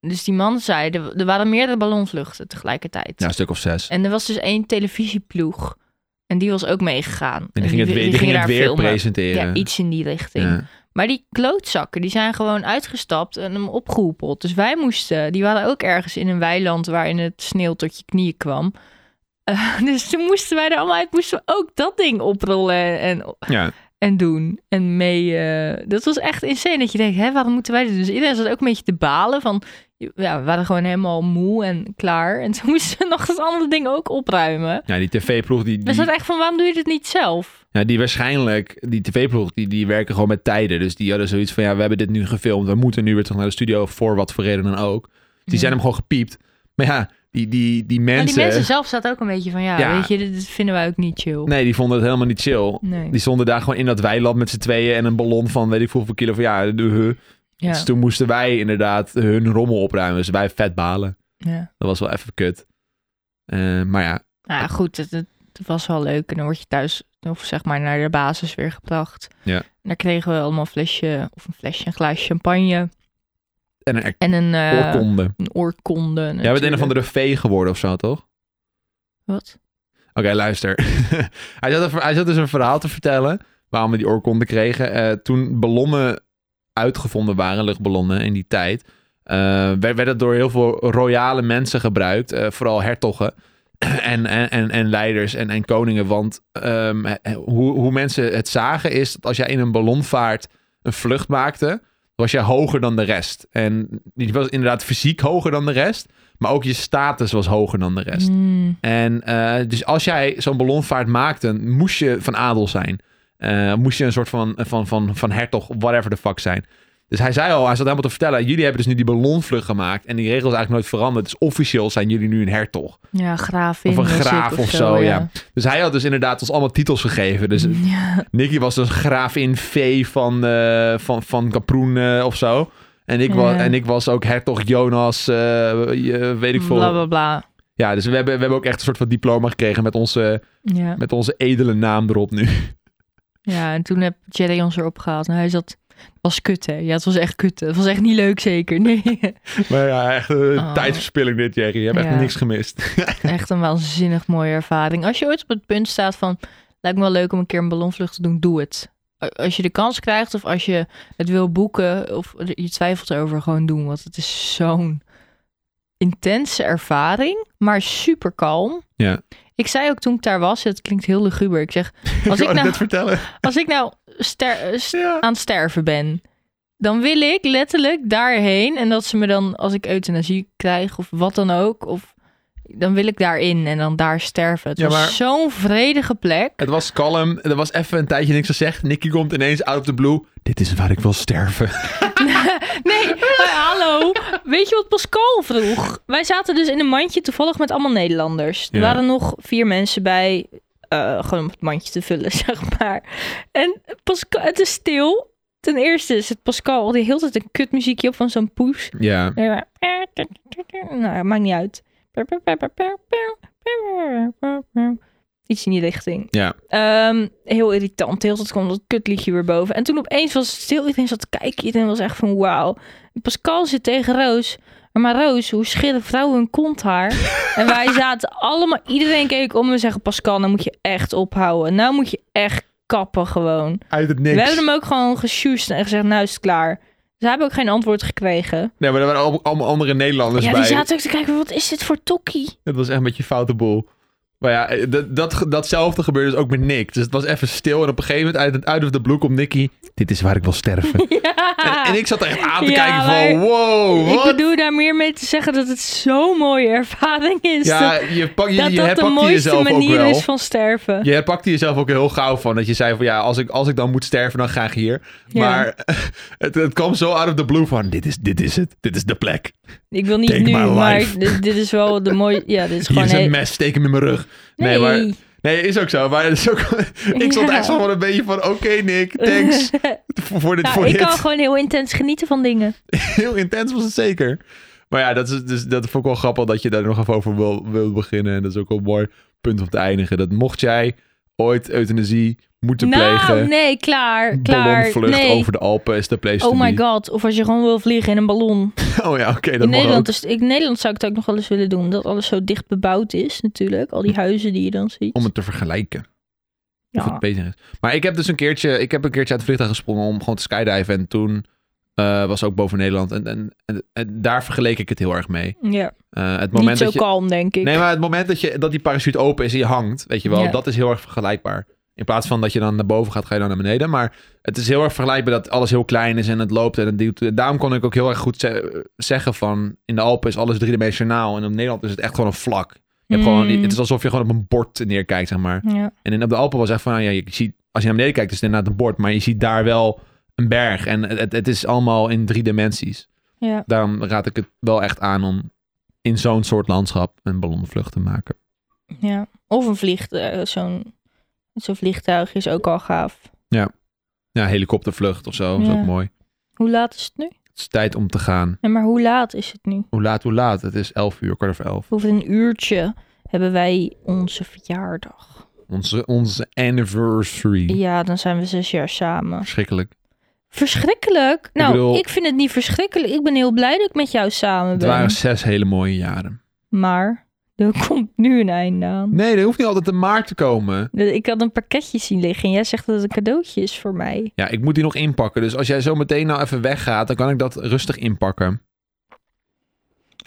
[SPEAKER 2] Dus die man zei, er, er waren meerdere ballonvluchten tegelijkertijd.
[SPEAKER 1] Ja, een stuk of zes.
[SPEAKER 2] En er was dus één televisieploeg. En die was ook meegegaan.
[SPEAKER 1] En die gingen het weer, die gingen het weer presenteren.
[SPEAKER 2] Ja, iets in die richting.
[SPEAKER 1] Ja.
[SPEAKER 2] Maar die klootzakken, die zijn gewoon uitgestapt en hem opgehoepeld. Dus wij moesten, die waren ook ergens in een weiland waarin het sneeuw tot je knieën kwam. Eh, dus toen moesten wij er allemaal uit, moesten we ook dat ding oprollen en,
[SPEAKER 1] Ja.
[SPEAKER 2] en doen. En mee, eh, dat was echt insane. Dat je denkt, hè, waarom moeten wij dit? Dus iedereen zat ook een beetje te balen van, ja, we waren gewoon helemaal moe en klaar. En toen moesten we nog dat andere ding ook opruimen.
[SPEAKER 1] ja, die tv-ploeg, die,
[SPEAKER 2] We
[SPEAKER 1] die,
[SPEAKER 2] zaten echt van, waarom doe je dit niet zelf?
[SPEAKER 1] ja, die waarschijnlijk, die tv-ploeg, die, die werken gewoon met tijden. Dus die hadden zoiets van, ja, we hebben dit nu gefilmd. We moeten nu weer terug naar de studio, voor wat voor reden dan ook. Dus die
[SPEAKER 2] Ja.
[SPEAKER 1] zijn hem gewoon gepiept. Maar ja, die, die, die
[SPEAKER 2] Maar
[SPEAKER 1] mensen...
[SPEAKER 2] die mensen zelf zaten ook een beetje van, ja,
[SPEAKER 1] Ja.
[SPEAKER 2] weet je, dit, dit vinden wij ook niet chill.
[SPEAKER 1] Nee, die vonden het helemaal niet chill.
[SPEAKER 2] Nee.
[SPEAKER 1] Die stonden daar gewoon in dat weiland met z'n tweeën en een ballon van weet ik veel hoeveel kilo van ja, de huh. Dus toen moesten wij inderdaad hun rommel opruimen. Dus wij vet balen.
[SPEAKER 2] Ja.
[SPEAKER 1] Dat was wel even kut. Eh, maar ja,
[SPEAKER 2] Nou ja, goed, het, het was wel leuk. En dan word je thuis, of zeg maar, naar de basis weer gebracht.
[SPEAKER 1] Ja.
[SPEAKER 2] En daar kregen we allemaal een flesje, of een flesje, een glaasje champagne.
[SPEAKER 1] en een
[SPEAKER 2] En een, eh,
[SPEAKER 1] oorkonde.
[SPEAKER 2] een oorkonde.
[SPEAKER 1] Jij bent een
[SPEAKER 2] natuurlijk.
[SPEAKER 1] of andere vee geworden of zo, toch?
[SPEAKER 2] Wat?
[SPEAKER 1] luister. hij, zat een ver- hij zat dus een verhaal te vertellen waarom we die oorkonden kregen. Eh, toen ballonnen uitgevonden waren, luchtballonnen in die tijd, eh, werd, werd het door heel veel royale mensen gebruikt. eh, vooral hertogen en, en, en, en leiders en, en koningen. Want ehm, eh, hoe, hoe mensen het zagen is dat als jij in een ballon vaart een vlucht maakte, was jij hoger dan de rest. En je was inderdaad fysiek hoger dan de rest, maar ook je status was hoger dan de rest.
[SPEAKER 2] Mm.
[SPEAKER 1] En eh, dus als jij zo'n ballonvaart maakte, moest je van adel zijn. Eh, moest je een soort van, van, van, van hertog, whatever the fuck zijn. Dus hij zei al, hij zat helemaal te vertellen, jullie hebben dus nu die ballonvlucht gemaakt en die regels eigenlijk nooit veranderd. Dus officieel zijn jullie nu een hertog.
[SPEAKER 2] Ja, graaf in
[SPEAKER 1] Of een
[SPEAKER 2] zit
[SPEAKER 1] graaf of zo, ja. Dus hij had dus inderdaad ons allemaal titels gegeven. Dus
[SPEAKER 2] Ja.
[SPEAKER 1] Nicky was dus graaf in vee van, eh, van, van Kaproen eh, of zo. En ik, was,
[SPEAKER 2] Ja.
[SPEAKER 1] en ik was ook hertog Jonas, eh, je- weet ik veel.
[SPEAKER 2] Bla bla bla.
[SPEAKER 1] Ja, dus we hebben, we hebben ook echt een soort van diploma gekregen met onze,
[SPEAKER 2] Ja.
[SPEAKER 1] met onze edele naam erop nu.
[SPEAKER 2] ja, en toen heb Jerry ons erop gehaald. Nou, hij zat. Het was kut, hè? Ja, het was echt kut. Het was echt niet leuk, zeker. Nee.
[SPEAKER 1] Maar ja, echt eh,
[SPEAKER 2] Oh.
[SPEAKER 1] tijdverspilling dit, Jerry. Je hebt
[SPEAKER 2] Ja.
[SPEAKER 1] echt niks gemist.
[SPEAKER 2] Echt een waanzinnig mooie ervaring. Als je ooit op het punt staat van... lijkt me wel leuk om een keer een ballonvlucht te doen, doe het. A- Als je de kans krijgt of als je het wil boeken... of er- je twijfelt erover, gewoon doen. Want het is zo'n intense ervaring, maar super kalm.
[SPEAKER 1] Ja.
[SPEAKER 2] Ik zei ook toen ik daar was, het klinkt heel luguber. Ik zeg, als ik
[SPEAKER 1] wou
[SPEAKER 2] nou,
[SPEAKER 1] net vertellen.
[SPEAKER 2] als ik nou ster, eh, st-
[SPEAKER 1] Ja.
[SPEAKER 2] aan het sterven ben... dan wil ik letterlijk daarheen. En dat ze me dan, als ik euthanasie krijg of wat dan ook... Of, dan wil ik daarin en dan daar sterven. Het
[SPEAKER 1] Ja,
[SPEAKER 2] was
[SPEAKER 1] maar-
[SPEAKER 2] zo'n vredige plek.
[SPEAKER 1] Het was kalm. Er was even een tijdje niks gezegd. Nicky komt ineens out of the blue. Dit is waar ik wil sterven.
[SPEAKER 2] Nee, maar hallo. Weet je wat Pascal vroeg? Wij zaten dus in een mandje toevallig met allemaal Nederlanders. Er
[SPEAKER 1] Ja.
[SPEAKER 2] waren nog vier mensen bij, eh, gewoon om het mandje te vullen, zeg maar. En Pascal, het is stil. Ten eerste is het Pascal, die hield het een kutmuziekje op van zo'n poes.
[SPEAKER 1] Ja.
[SPEAKER 2] Nee, maar- Nou, maakt niet uit. Iets in die richting.
[SPEAKER 1] Ja.
[SPEAKER 2] Ehm, heel irritant. Heel dat kwam dat kutliedje weer boven. En toen opeens was het stil. Iedereen zat te kijken. Iedereen was echt van wauw. Pascal zit tegen Roos. Maar Roos, hoe scheren vrouwen hun kont haar? en wij zaten allemaal... Iedereen keek om en we zeggen... Pascal, nou moet je echt ophouden. Nou moet je echt kappen gewoon.
[SPEAKER 1] Uit het
[SPEAKER 2] We
[SPEAKER 1] niks.
[SPEAKER 2] hebben hem ook gewoon gesjoest en gezegd... Nou is het klaar. Dus hij heeft ook geen antwoord gekregen.
[SPEAKER 1] Nee, maar er waren al- allemaal andere Nederlanders
[SPEAKER 2] Ja,
[SPEAKER 1] bij.
[SPEAKER 2] die zaten ook te kijken, wat is dit voor tokkie?
[SPEAKER 1] Het was echt een beetje een foute boel. Maar ja, eh, dat, dat, datzelfde gebeurde dus ook met Nick. Dus het was even stil en op een gegeven moment uit, uit of the blue komt Nicky. Dit is waar ik wil sterven. En, en ik zat er echt aan te
[SPEAKER 2] Ja,
[SPEAKER 1] kijken van
[SPEAKER 2] maar-
[SPEAKER 1] wow,
[SPEAKER 2] ik
[SPEAKER 1] wat?
[SPEAKER 2] bedoel daar meer mee te zeggen dat het zo'n mooie ervaring is.
[SPEAKER 1] ja,
[SPEAKER 2] dat
[SPEAKER 1] je, pak, je,
[SPEAKER 2] dat,
[SPEAKER 1] je
[SPEAKER 2] dat de
[SPEAKER 1] herpakte
[SPEAKER 2] mooiste
[SPEAKER 1] jezelf ook
[SPEAKER 2] manier
[SPEAKER 1] wel.
[SPEAKER 2] is van sterven.
[SPEAKER 1] Je herpakte jezelf ook heel gauw van. Dat je zei van ja, als ik, als ik dan moet sterven, dan graag hier.
[SPEAKER 2] Ja.
[SPEAKER 1] Maar het, het kwam zo out of the blue van dit is, dit is het. Dit is de plek.
[SPEAKER 2] Ik wil niet
[SPEAKER 1] Take
[SPEAKER 2] nu,
[SPEAKER 1] my
[SPEAKER 2] maar
[SPEAKER 1] life.
[SPEAKER 2] dit, dit is wel de mooie... Ja, dit
[SPEAKER 1] Hier
[SPEAKER 2] is gewoon...
[SPEAKER 1] is een
[SPEAKER 2] heel-
[SPEAKER 1] mes, steek hem in mijn rug. Nee, maar Nee, is ook zo. Maar het is ook, ik stond
[SPEAKER 2] Ja.
[SPEAKER 1] echt zo van een beetje van... Oké, Nick, thanks voor, voor dit.
[SPEAKER 2] Nou,
[SPEAKER 1] voor
[SPEAKER 2] ik
[SPEAKER 1] dit.
[SPEAKER 2] kan gewoon heel intens genieten van dingen.
[SPEAKER 1] Heel intens was het zeker. Maar ja, dat, is, dus, dat vond ik wel grappig dat je daar nog even over wil, wil beginnen. En dat is ook wel een mooi punt om te eindigen. Dat mocht jij ooit euthanasie moeten
[SPEAKER 2] Nou,
[SPEAKER 1] plegen...
[SPEAKER 2] nee, klaar, klaar.
[SPEAKER 1] ballonvlucht
[SPEAKER 2] Nee.
[SPEAKER 1] over de Alpen is de place to
[SPEAKER 2] Oh my
[SPEAKER 1] be.
[SPEAKER 2] god, of als je gewoon wil vliegen in een ballon.
[SPEAKER 1] Oh ja, oké, dat
[SPEAKER 2] In
[SPEAKER 1] mag
[SPEAKER 2] Nederland,
[SPEAKER 1] ook.
[SPEAKER 2] is, in Nederland zou ik het ook nog wel eens willen doen. Dat alles zo dicht bebouwd is natuurlijk. Al die huizen die je dan ziet.
[SPEAKER 1] Hm. Om het te vergelijken. Of
[SPEAKER 2] ja.
[SPEAKER 1] het beter is. Maar ik heb dus een keertje, ik heb een keertje uit het vliegtuig gesprongen om gewoon te skydiven. En toen eh, was ook boven Nederland. En, en, en, en daar vergeleek ik het heel erg mee.
[SPEAKER 2] ja.
[SPEAKER 1] Eh, het moment
[SPEAKER 2] Niet zo
[SPEAKER 1] dat je,
[SPEAKER 2] kalm, denk ik.
[SPEAKER 1] Nee, maar het moment dat, je, dat die parachute open is en je hangt, weet je wel,
[SPEAKER 2] Ja.
[SPEAKER 1] dat is heel erg vergelijkbaar. In plaats van dat je dan naar boven gaat, ga je dan naar beneden. Maar het is heel erg vergelijkbaar dat alles heel klein is en het loopt en het duwt. Daarom kon ik ook heel erg goed ze- zeggen van, in de Alpen is alles driedimensionaal en in Nederland is het echt gewoon een vlak. Je hebt
[SPEAKER 2] Mm.
[SPEAKER 1] gewoon, het is alsof je gewoon op een bord neerkijkt, zeg maar.
[SPEAKER 2] Ja.
[SPEAKER 1] En in, op de Alpen was echt van, nou ja, je ziet, als je naar beneden kijkt, is het inderdaad een bord. Maar je ziet daar wel een berg en het, het is allemaal in drie dimensies.
[SPEAKER 2] Ja.
[SPEAKER 1] Daarom raad ik het wel echt aan om in zo'n soort landschap een ballonvlucht te maken.
[SPEAKER 2] ja. Of een vliegtuig. Zo'n zo'n vliegtuig is ook al gaaf.
[SPEAKER 1] Ja, helikoptervlucht of zo. is
[SPEAKER 2] Ja.
[SPEAKER 1] ook mooi.
[SPEAKER 2] Hoe laat is het nu?
[SPEAKER 1] Het is tijd om te gaan.
[SPEAKER 2] Nee, maar hoe laat is het nu?
[SPEAKER 1] Hoe laat, hoe laat? Het is 11 uur, kwart over 11.
[SPEAKER 2] Over een uurtje hebben wij onze verjaardag.
[SPEAKER 1] Onze, onze anniversary.
[SPEAKER 2] Ja, dan zijn we zes jaar samen.
[SPEAKER 1] Verschrikkelijk.
[SPEAKER 2] Verschrikkelijk? Nou, ik,
[SPEAKER 1] bedoel-
[SPEAKER 2] vind het niet verschrikkelijk. Ik ben heel blij dat ik met jou samen
[SPEAKER 1] Het
[SPEAKER 2] ben.
[SPEAKER 1] waren zes hele mooie jaren.
[SPEAKER 2] Maar Er komt nu een einde aan.
[SPEAKER 1] Nee, er hoeft niet altijd een maart te komen.
[SPEAKER 2] Ik had een pakketje zien liggen en jij zegt dat het een cadeautje is voor mij.
[SPEAKER 1] Ja, ik moet die nog inpakken. Dus als jij zo meteen nou even weggaat, dan kan ik dat rustig inpakken.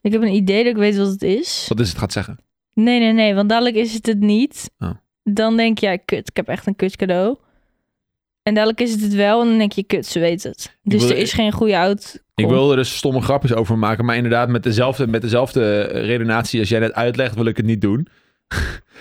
[SPEAKER 2] Ik heb een idee dat ik weet wat het is.
[SPEAKER 1] Wat is het gaat zeggen?
[SPEAKER 2] Nee, nee, nee, want dadelijk is het het niet.
[SPEAKER 1] Oh.
[SPEAKER 2] Dan denk je, ja, kut, ik heb echt een kut cadeau. En dadelijk is het het wel en dan denk je, kut, ze weet het. Dus
[SPEAKER 1] wil-
[SPEAKER 2] er is geen goede oud.
[SPEAKER 1] Ik
[SPEAKER 2] Kom.
[SPEAKER 1] wilde er dus stomme grapjes over maken, maar inderdaad met dezelfde, met dezelfde eh, redenatie als jij net uitlegt, wil ik het niet doen.
[SPEAKER 2] Nee,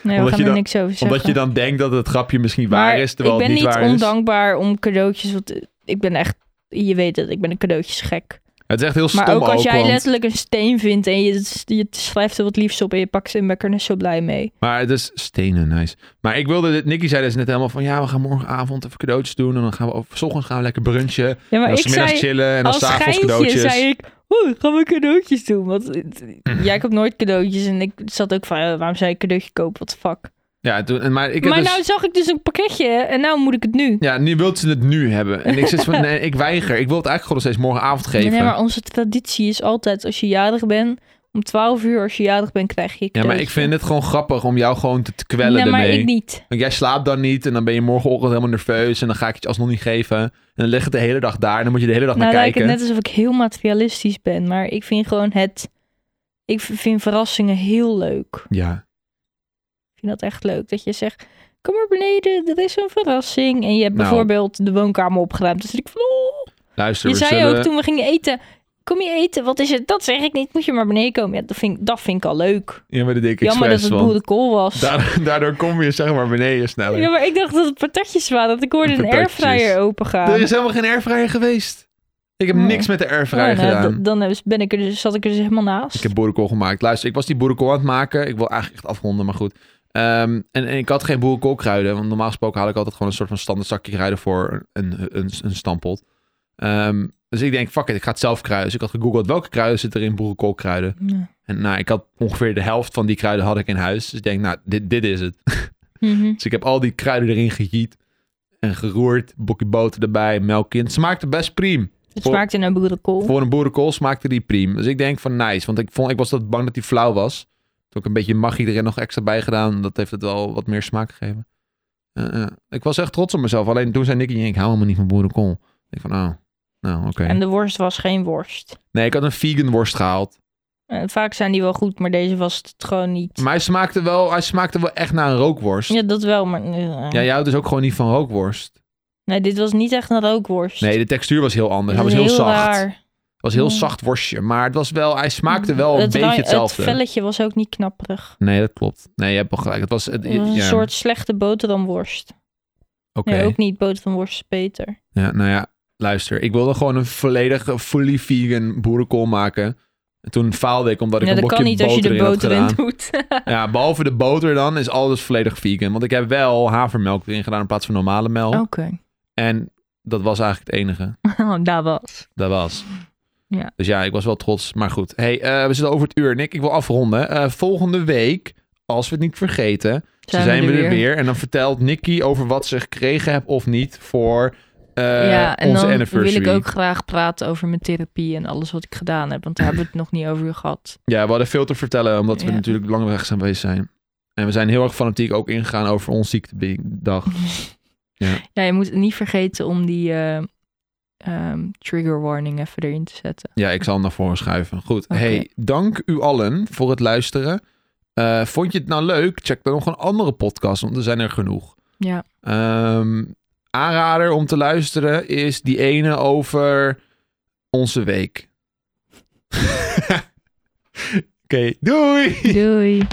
[SPEAKER 2] we
[SPEAKER 1] Omdat
[SPEAKER 2] gaan
[SPEAKER 1] je
[SPEAKER 2] er
[SPEAKER 1] dan-
[SPEAKER 2] niks over zeggen.
[SPEAKER 1] Omdat je dan denkt dat het grapje misschien waar
[SPEAKER 2] Maar
[SPEAKER 1] is, terwijl
[SPEAKER 2] ik ben
[SPEAKER 1] het niet,
[SPEAKER 2] niet
[SPEAKER 1] waar is.
[SPEAKER 2] ondankbaar om cadeautjes, want eh, ik ben echt, je weet het, ik ben een cadeautjesgek.
[SPEAKER 1] Het is echt heel stom
[SPEAKER 2] Maar ook als jij
[SPEAKER 1] want-
[SPEAKER 2] letterlijk een steen vindt en je, je schrijft er wat liefst op en je pakt ze in, ben ik er net zo blij mee.
[SPEAKER 1] Maar het is stenen, nice. Maar ik wilde, dit- Nicky zei dus net helemaal van, ja, we gaan morgenavond even cadeautjes doen. En dan gaan we, over, 's ochtends gaan we lekker brunchen.
[SPEAKER 2] Ja,
[SPEAKER 1] en
[SPEAKER 2] maar
[SPEAKER 1] dan
[SPEAKER 2] ik
[SPEAKER 1] 's middags
[SPEAKER 2] zei,
[SPEAKER 1] chillen. En dan
[SPEAKER 2] als
[SPEAKER 1] s'avonds
[SPEAKER 2] schijntje
[SPEAKER 1] cadeautjes.
[SPEAKER 2] zei ik, oh, gaan we cadeautjes doen? Want eh, het-
[SPEAKER 1] Mhm.
[SPEAKER 2] ja, ik heb nooit cadeautjes en ik zat ook van, eh, waarom zou ik cadeautje kopen? Wat fuck.
[SPEAKER 1] Ja, toen, en- maar ik heb
[SPEAKER 2] maar
[SPEAKER 1] dus-
[SPEAKER 2] nou zag ik dus een pakketje en nou moet ik het nu.
[SPEAKER 1] Ja, nu wilt ze het nu hebben. En ik zit van, nee, ik weiger. Ik wil het eigenlijk gewoon nog steeds morgenavond geven.
[SPEAKER 2] Nee, maar onze traditie is altijd, als je jarig bent, om 12 uur als je jarig bent, krijg je
[SPEAKER 1] Ja, maar ik vind het gewoon grappig om jou gewoon te, te kwellen
[SPEAKER 2] Nee, maar
[SPEAKER 1] ermee.
[SPEAKER 2] ik niet.
[SPEAKER 1] Want jij slaapt dan niet en dan ben je morgenochtend helemaal nerveus en dan ga ik het je alsnog niet geven. En dan ligt het de hele dag daar en dan moet je de hele dag
[SPEAKER 2] nou,
[SPEAKER 1] naar
[SPEAKER 2] lijkt het
[SPEAKER 1] kijken.
[SPEAKER 2] net alsof ik heel materialistisch ben, maar ik vind gewoon het... Ik vind verrassingen heel leuk.
[SPEAKER 1] Ja,
[SPEAKER 2] Ik vind dat echt leuk. Dat je zegt, kom maar beneden, er is een verrassing. En je hebt
[SPEAKER 1] Nou.
[SPEAKER 2] bijvoorbeeld de woonkamer opgeruimd. Dus ik van, oh.
[SPEAKER 1] luister,
[SPEAKER 2] Je
[SPEAKER 1] we
[SPEAKER 2] zei
[SPEAKER 1] zullen-
[SPEAKER 2] ook toen we gingen eten, kom je eten? Wat is het? Dat zeg ik niet, moet je maar beneden komen. Ja, dat vind, ik- dat vind ik al leuk.
[SPEAKER 1] Ja, maar dat deed ik
[SPEAKER 2] Jammer dat
[SPEAKER 1] expres,
[SPEAKER 2] het
[SPEAKER 1] want
[SPEAKER 2] boerenkool was.
[SPEAKER 1] daar- daardoor kom je zeg maar beneden sneller.
[SPEAKER 2] Ja, maar ik dacht dat het patatjes waren. Dat ik hoorde een
[SPEAKER 1] Patatjes.
[SPEAKER 2] airfryer
[SPEAKER 1] Er
[SPEAKER 2] opengaan.
[SPEAKER 1] is helemaal geen airfryer geweest. Ik heb
[SPEAKER 2] Oh.
[SPEAKER 1] niks met de airfryer
[SPEAKER 2] Oh, nou,
[SPEAKER 1] gedaan.
[SPEAKER 2] d- Dan hebben ze- ben ik er dus, zat ik er dus helemaal naast.
[SPEAKER 1] Ik heb boerenkool gemaakt. Luister, ik was die boerenkool aan het maken. Ik wil eigenlijk echt afronden, maar goed. Ehm, en, en ik had geen boerenkoolkruiden. Want normaal gesproken haal ik altijd gewoon een soort van standaard zakje kruiden voor een, een, een stampot. Ehm, dus ik denk, fuck it, ik ga het zelf kruiden. Dus ik had gegoogeld welke kruiden zitten er in boerenkoolkruiden.
[SPEAKER 2] Ja.
[SPEAKER 1] En nou, ik had ongeveer de helft van die kruiden had ik in huis. Dus ik denk, nou, dit, dit is het.
[SPEAKER 2] Mhm.
[SPEAKER 1] Dus ik heb al die kruiden erin gejiet. En geroerd, bokje boter erbij, melk in. Het smaakte best prima.
[SPEAKER 2] Het
[SPEAKER 1] Voor-
[SPEAKER 2] smaakte naar boerenkool.
[SPEAKER 1] Voor een boerenkool smaakte die prima. Dus ik denk van nice. Want ik, vond, ik was dat bang dat die flauw was. Toen heb ik een beetje magie erin nog extra bij gedaan. Dat heeft het wel wat meer smaak gegeven. Eh, eh, ik was echt trots op mezelf. Alleen toen zei Nicky, ik hou helemaal niet van boerenkool. Ik van, oh, nou oké.
[SPEAKER 2] En de worst was geen worst.
[SPEAKER 1] Nee, ik had een vegan worst gehaald.
[SPEAKER 2] En vaak zijn die wel goed, maar deze was het gewoon niet.
[SPEAKER 1] Maar hij smaakte wel, hij smaakte wel echt naar een rookworst. Ja,
[SPEAKER 2] Ja, dat wel, maar... eh,
[SPEAKER 1] jij houdt dus ook gewoon niet van rookworst.
[SPEAKER 2] Nee, dit was niet echt een rookworst.
[SPEAKER 1] Nee, de textuur was heel anders.
[SPEAKER 2] Dit
[SPEAKER 1] Hij was
[SPEAKER 2] is
[SPEAKER 1] heel, zacht. Het
[SPEAKER 2] raar.
[SPEAKER 1] was een heel
[SPEAKER 2] Ja.
[SPEAKER 1] zacht worstje. Maar het was wel, hij smaakte wel een
[SPEAKER 2] Mm. Het
[SPEAKER 1] beetje
[SPEAKER 2] ra-
[SPEAKER 1] hetzelfde.
[SPEAKER 2] Het velletje was ook niet knapperig.
[SPEAKER 1] Nee, dat klopt. Nee, je hebt wel gelijk. Het was, het,
[SPEAKER 2] Het was een
[SPEAKER 1] ja,
[SPEAKER 2] soort slechte boterhamworst.
[SPEAKER 1] oké.
[SPEAKER 2] Nee, ook niet. Boterhamworst is beter.
[SPEAKER 1] Ja, nou ja, luister. Ik wilde gewoon een volledige, fully vegan boerenkool maken. En toen faalde ik omdat ik
[SPEAKER 2] Ja,
[SPEAKER 1] een
[SPEAKER 2] dat
[SPEAKER 1] blokje
[SPEAKER 2] kan niet als je
[SPEAKER 1] boter
[SPEAKER 2] de
[SPEAKER 1] in had
[SPEAKER 2] boter in
[SPEAKER 1] gedaan.
[SPEAKER 2] doet.
[SPEAKER 1] Ja, behalve de boter dan is alles volledig vegan. Want ik heb wel havermelk erin gedaan in plaats van normale melk.
[SPEAKER 2] Oh.
[SPEAKER 4] Oké.
[SPEAKER 1] En dat was eigenlijk het enige.
[SPEAKER 4] Oh, daar was.
[SPEAKER 1] Dat was.
[SPEAKER 4] Ja.
[SPEAKER 1] Dus ja, ik was wel trots. Maar goed. hey, eh, we zitten over het uur. Nick, ik wil afronden. Eh, volgende week, als we het niet vergeten, zijn, we er weer. En dan vertelt Nicky over wat ze gekregen heeft of niet voor eh,
[SPEAKER 4] ja, en
[SPEAKER 1] onze
[SPEAKER 4] dan wil
[SPEAKER 1] anniversary.
[SPEAKER 4] ik ook graag praten over mijn therapie en alles wat ik gedaan heb. Want daar hebben we het nog niet over gehad.
[SPEAKER 1] Ja, we hadden veel te vertellen, omdat we
[SPEAKER 4] Ja.
[SPEAKER 1] natuurlijk lang weg zijn geweest zijn. En we zijn heel erg fanatiek ook ingegaan over ons ziektedag.
[SPEAKER 4] Ja, je moet niet vergeten om die eh, ehm, trigger warning even erin te zetten.
[SPEAKER 1] Ja, ik zal hem naar voren schuiven. Goed.
[SPEAKER 4] Oké.
[SPEAKER 1] Hey, dank u allen voor het luisteren. Eh, vond je het nou leuk? Check dan nog een andere podcast, want er zijn er genoeg.
[SPEAKER 4] Ja.
[SPEAKER 1] Ehm, aanrader om te luisteren is die ene over onze week. Oké, doei!
[SPEAKER 4] Doei.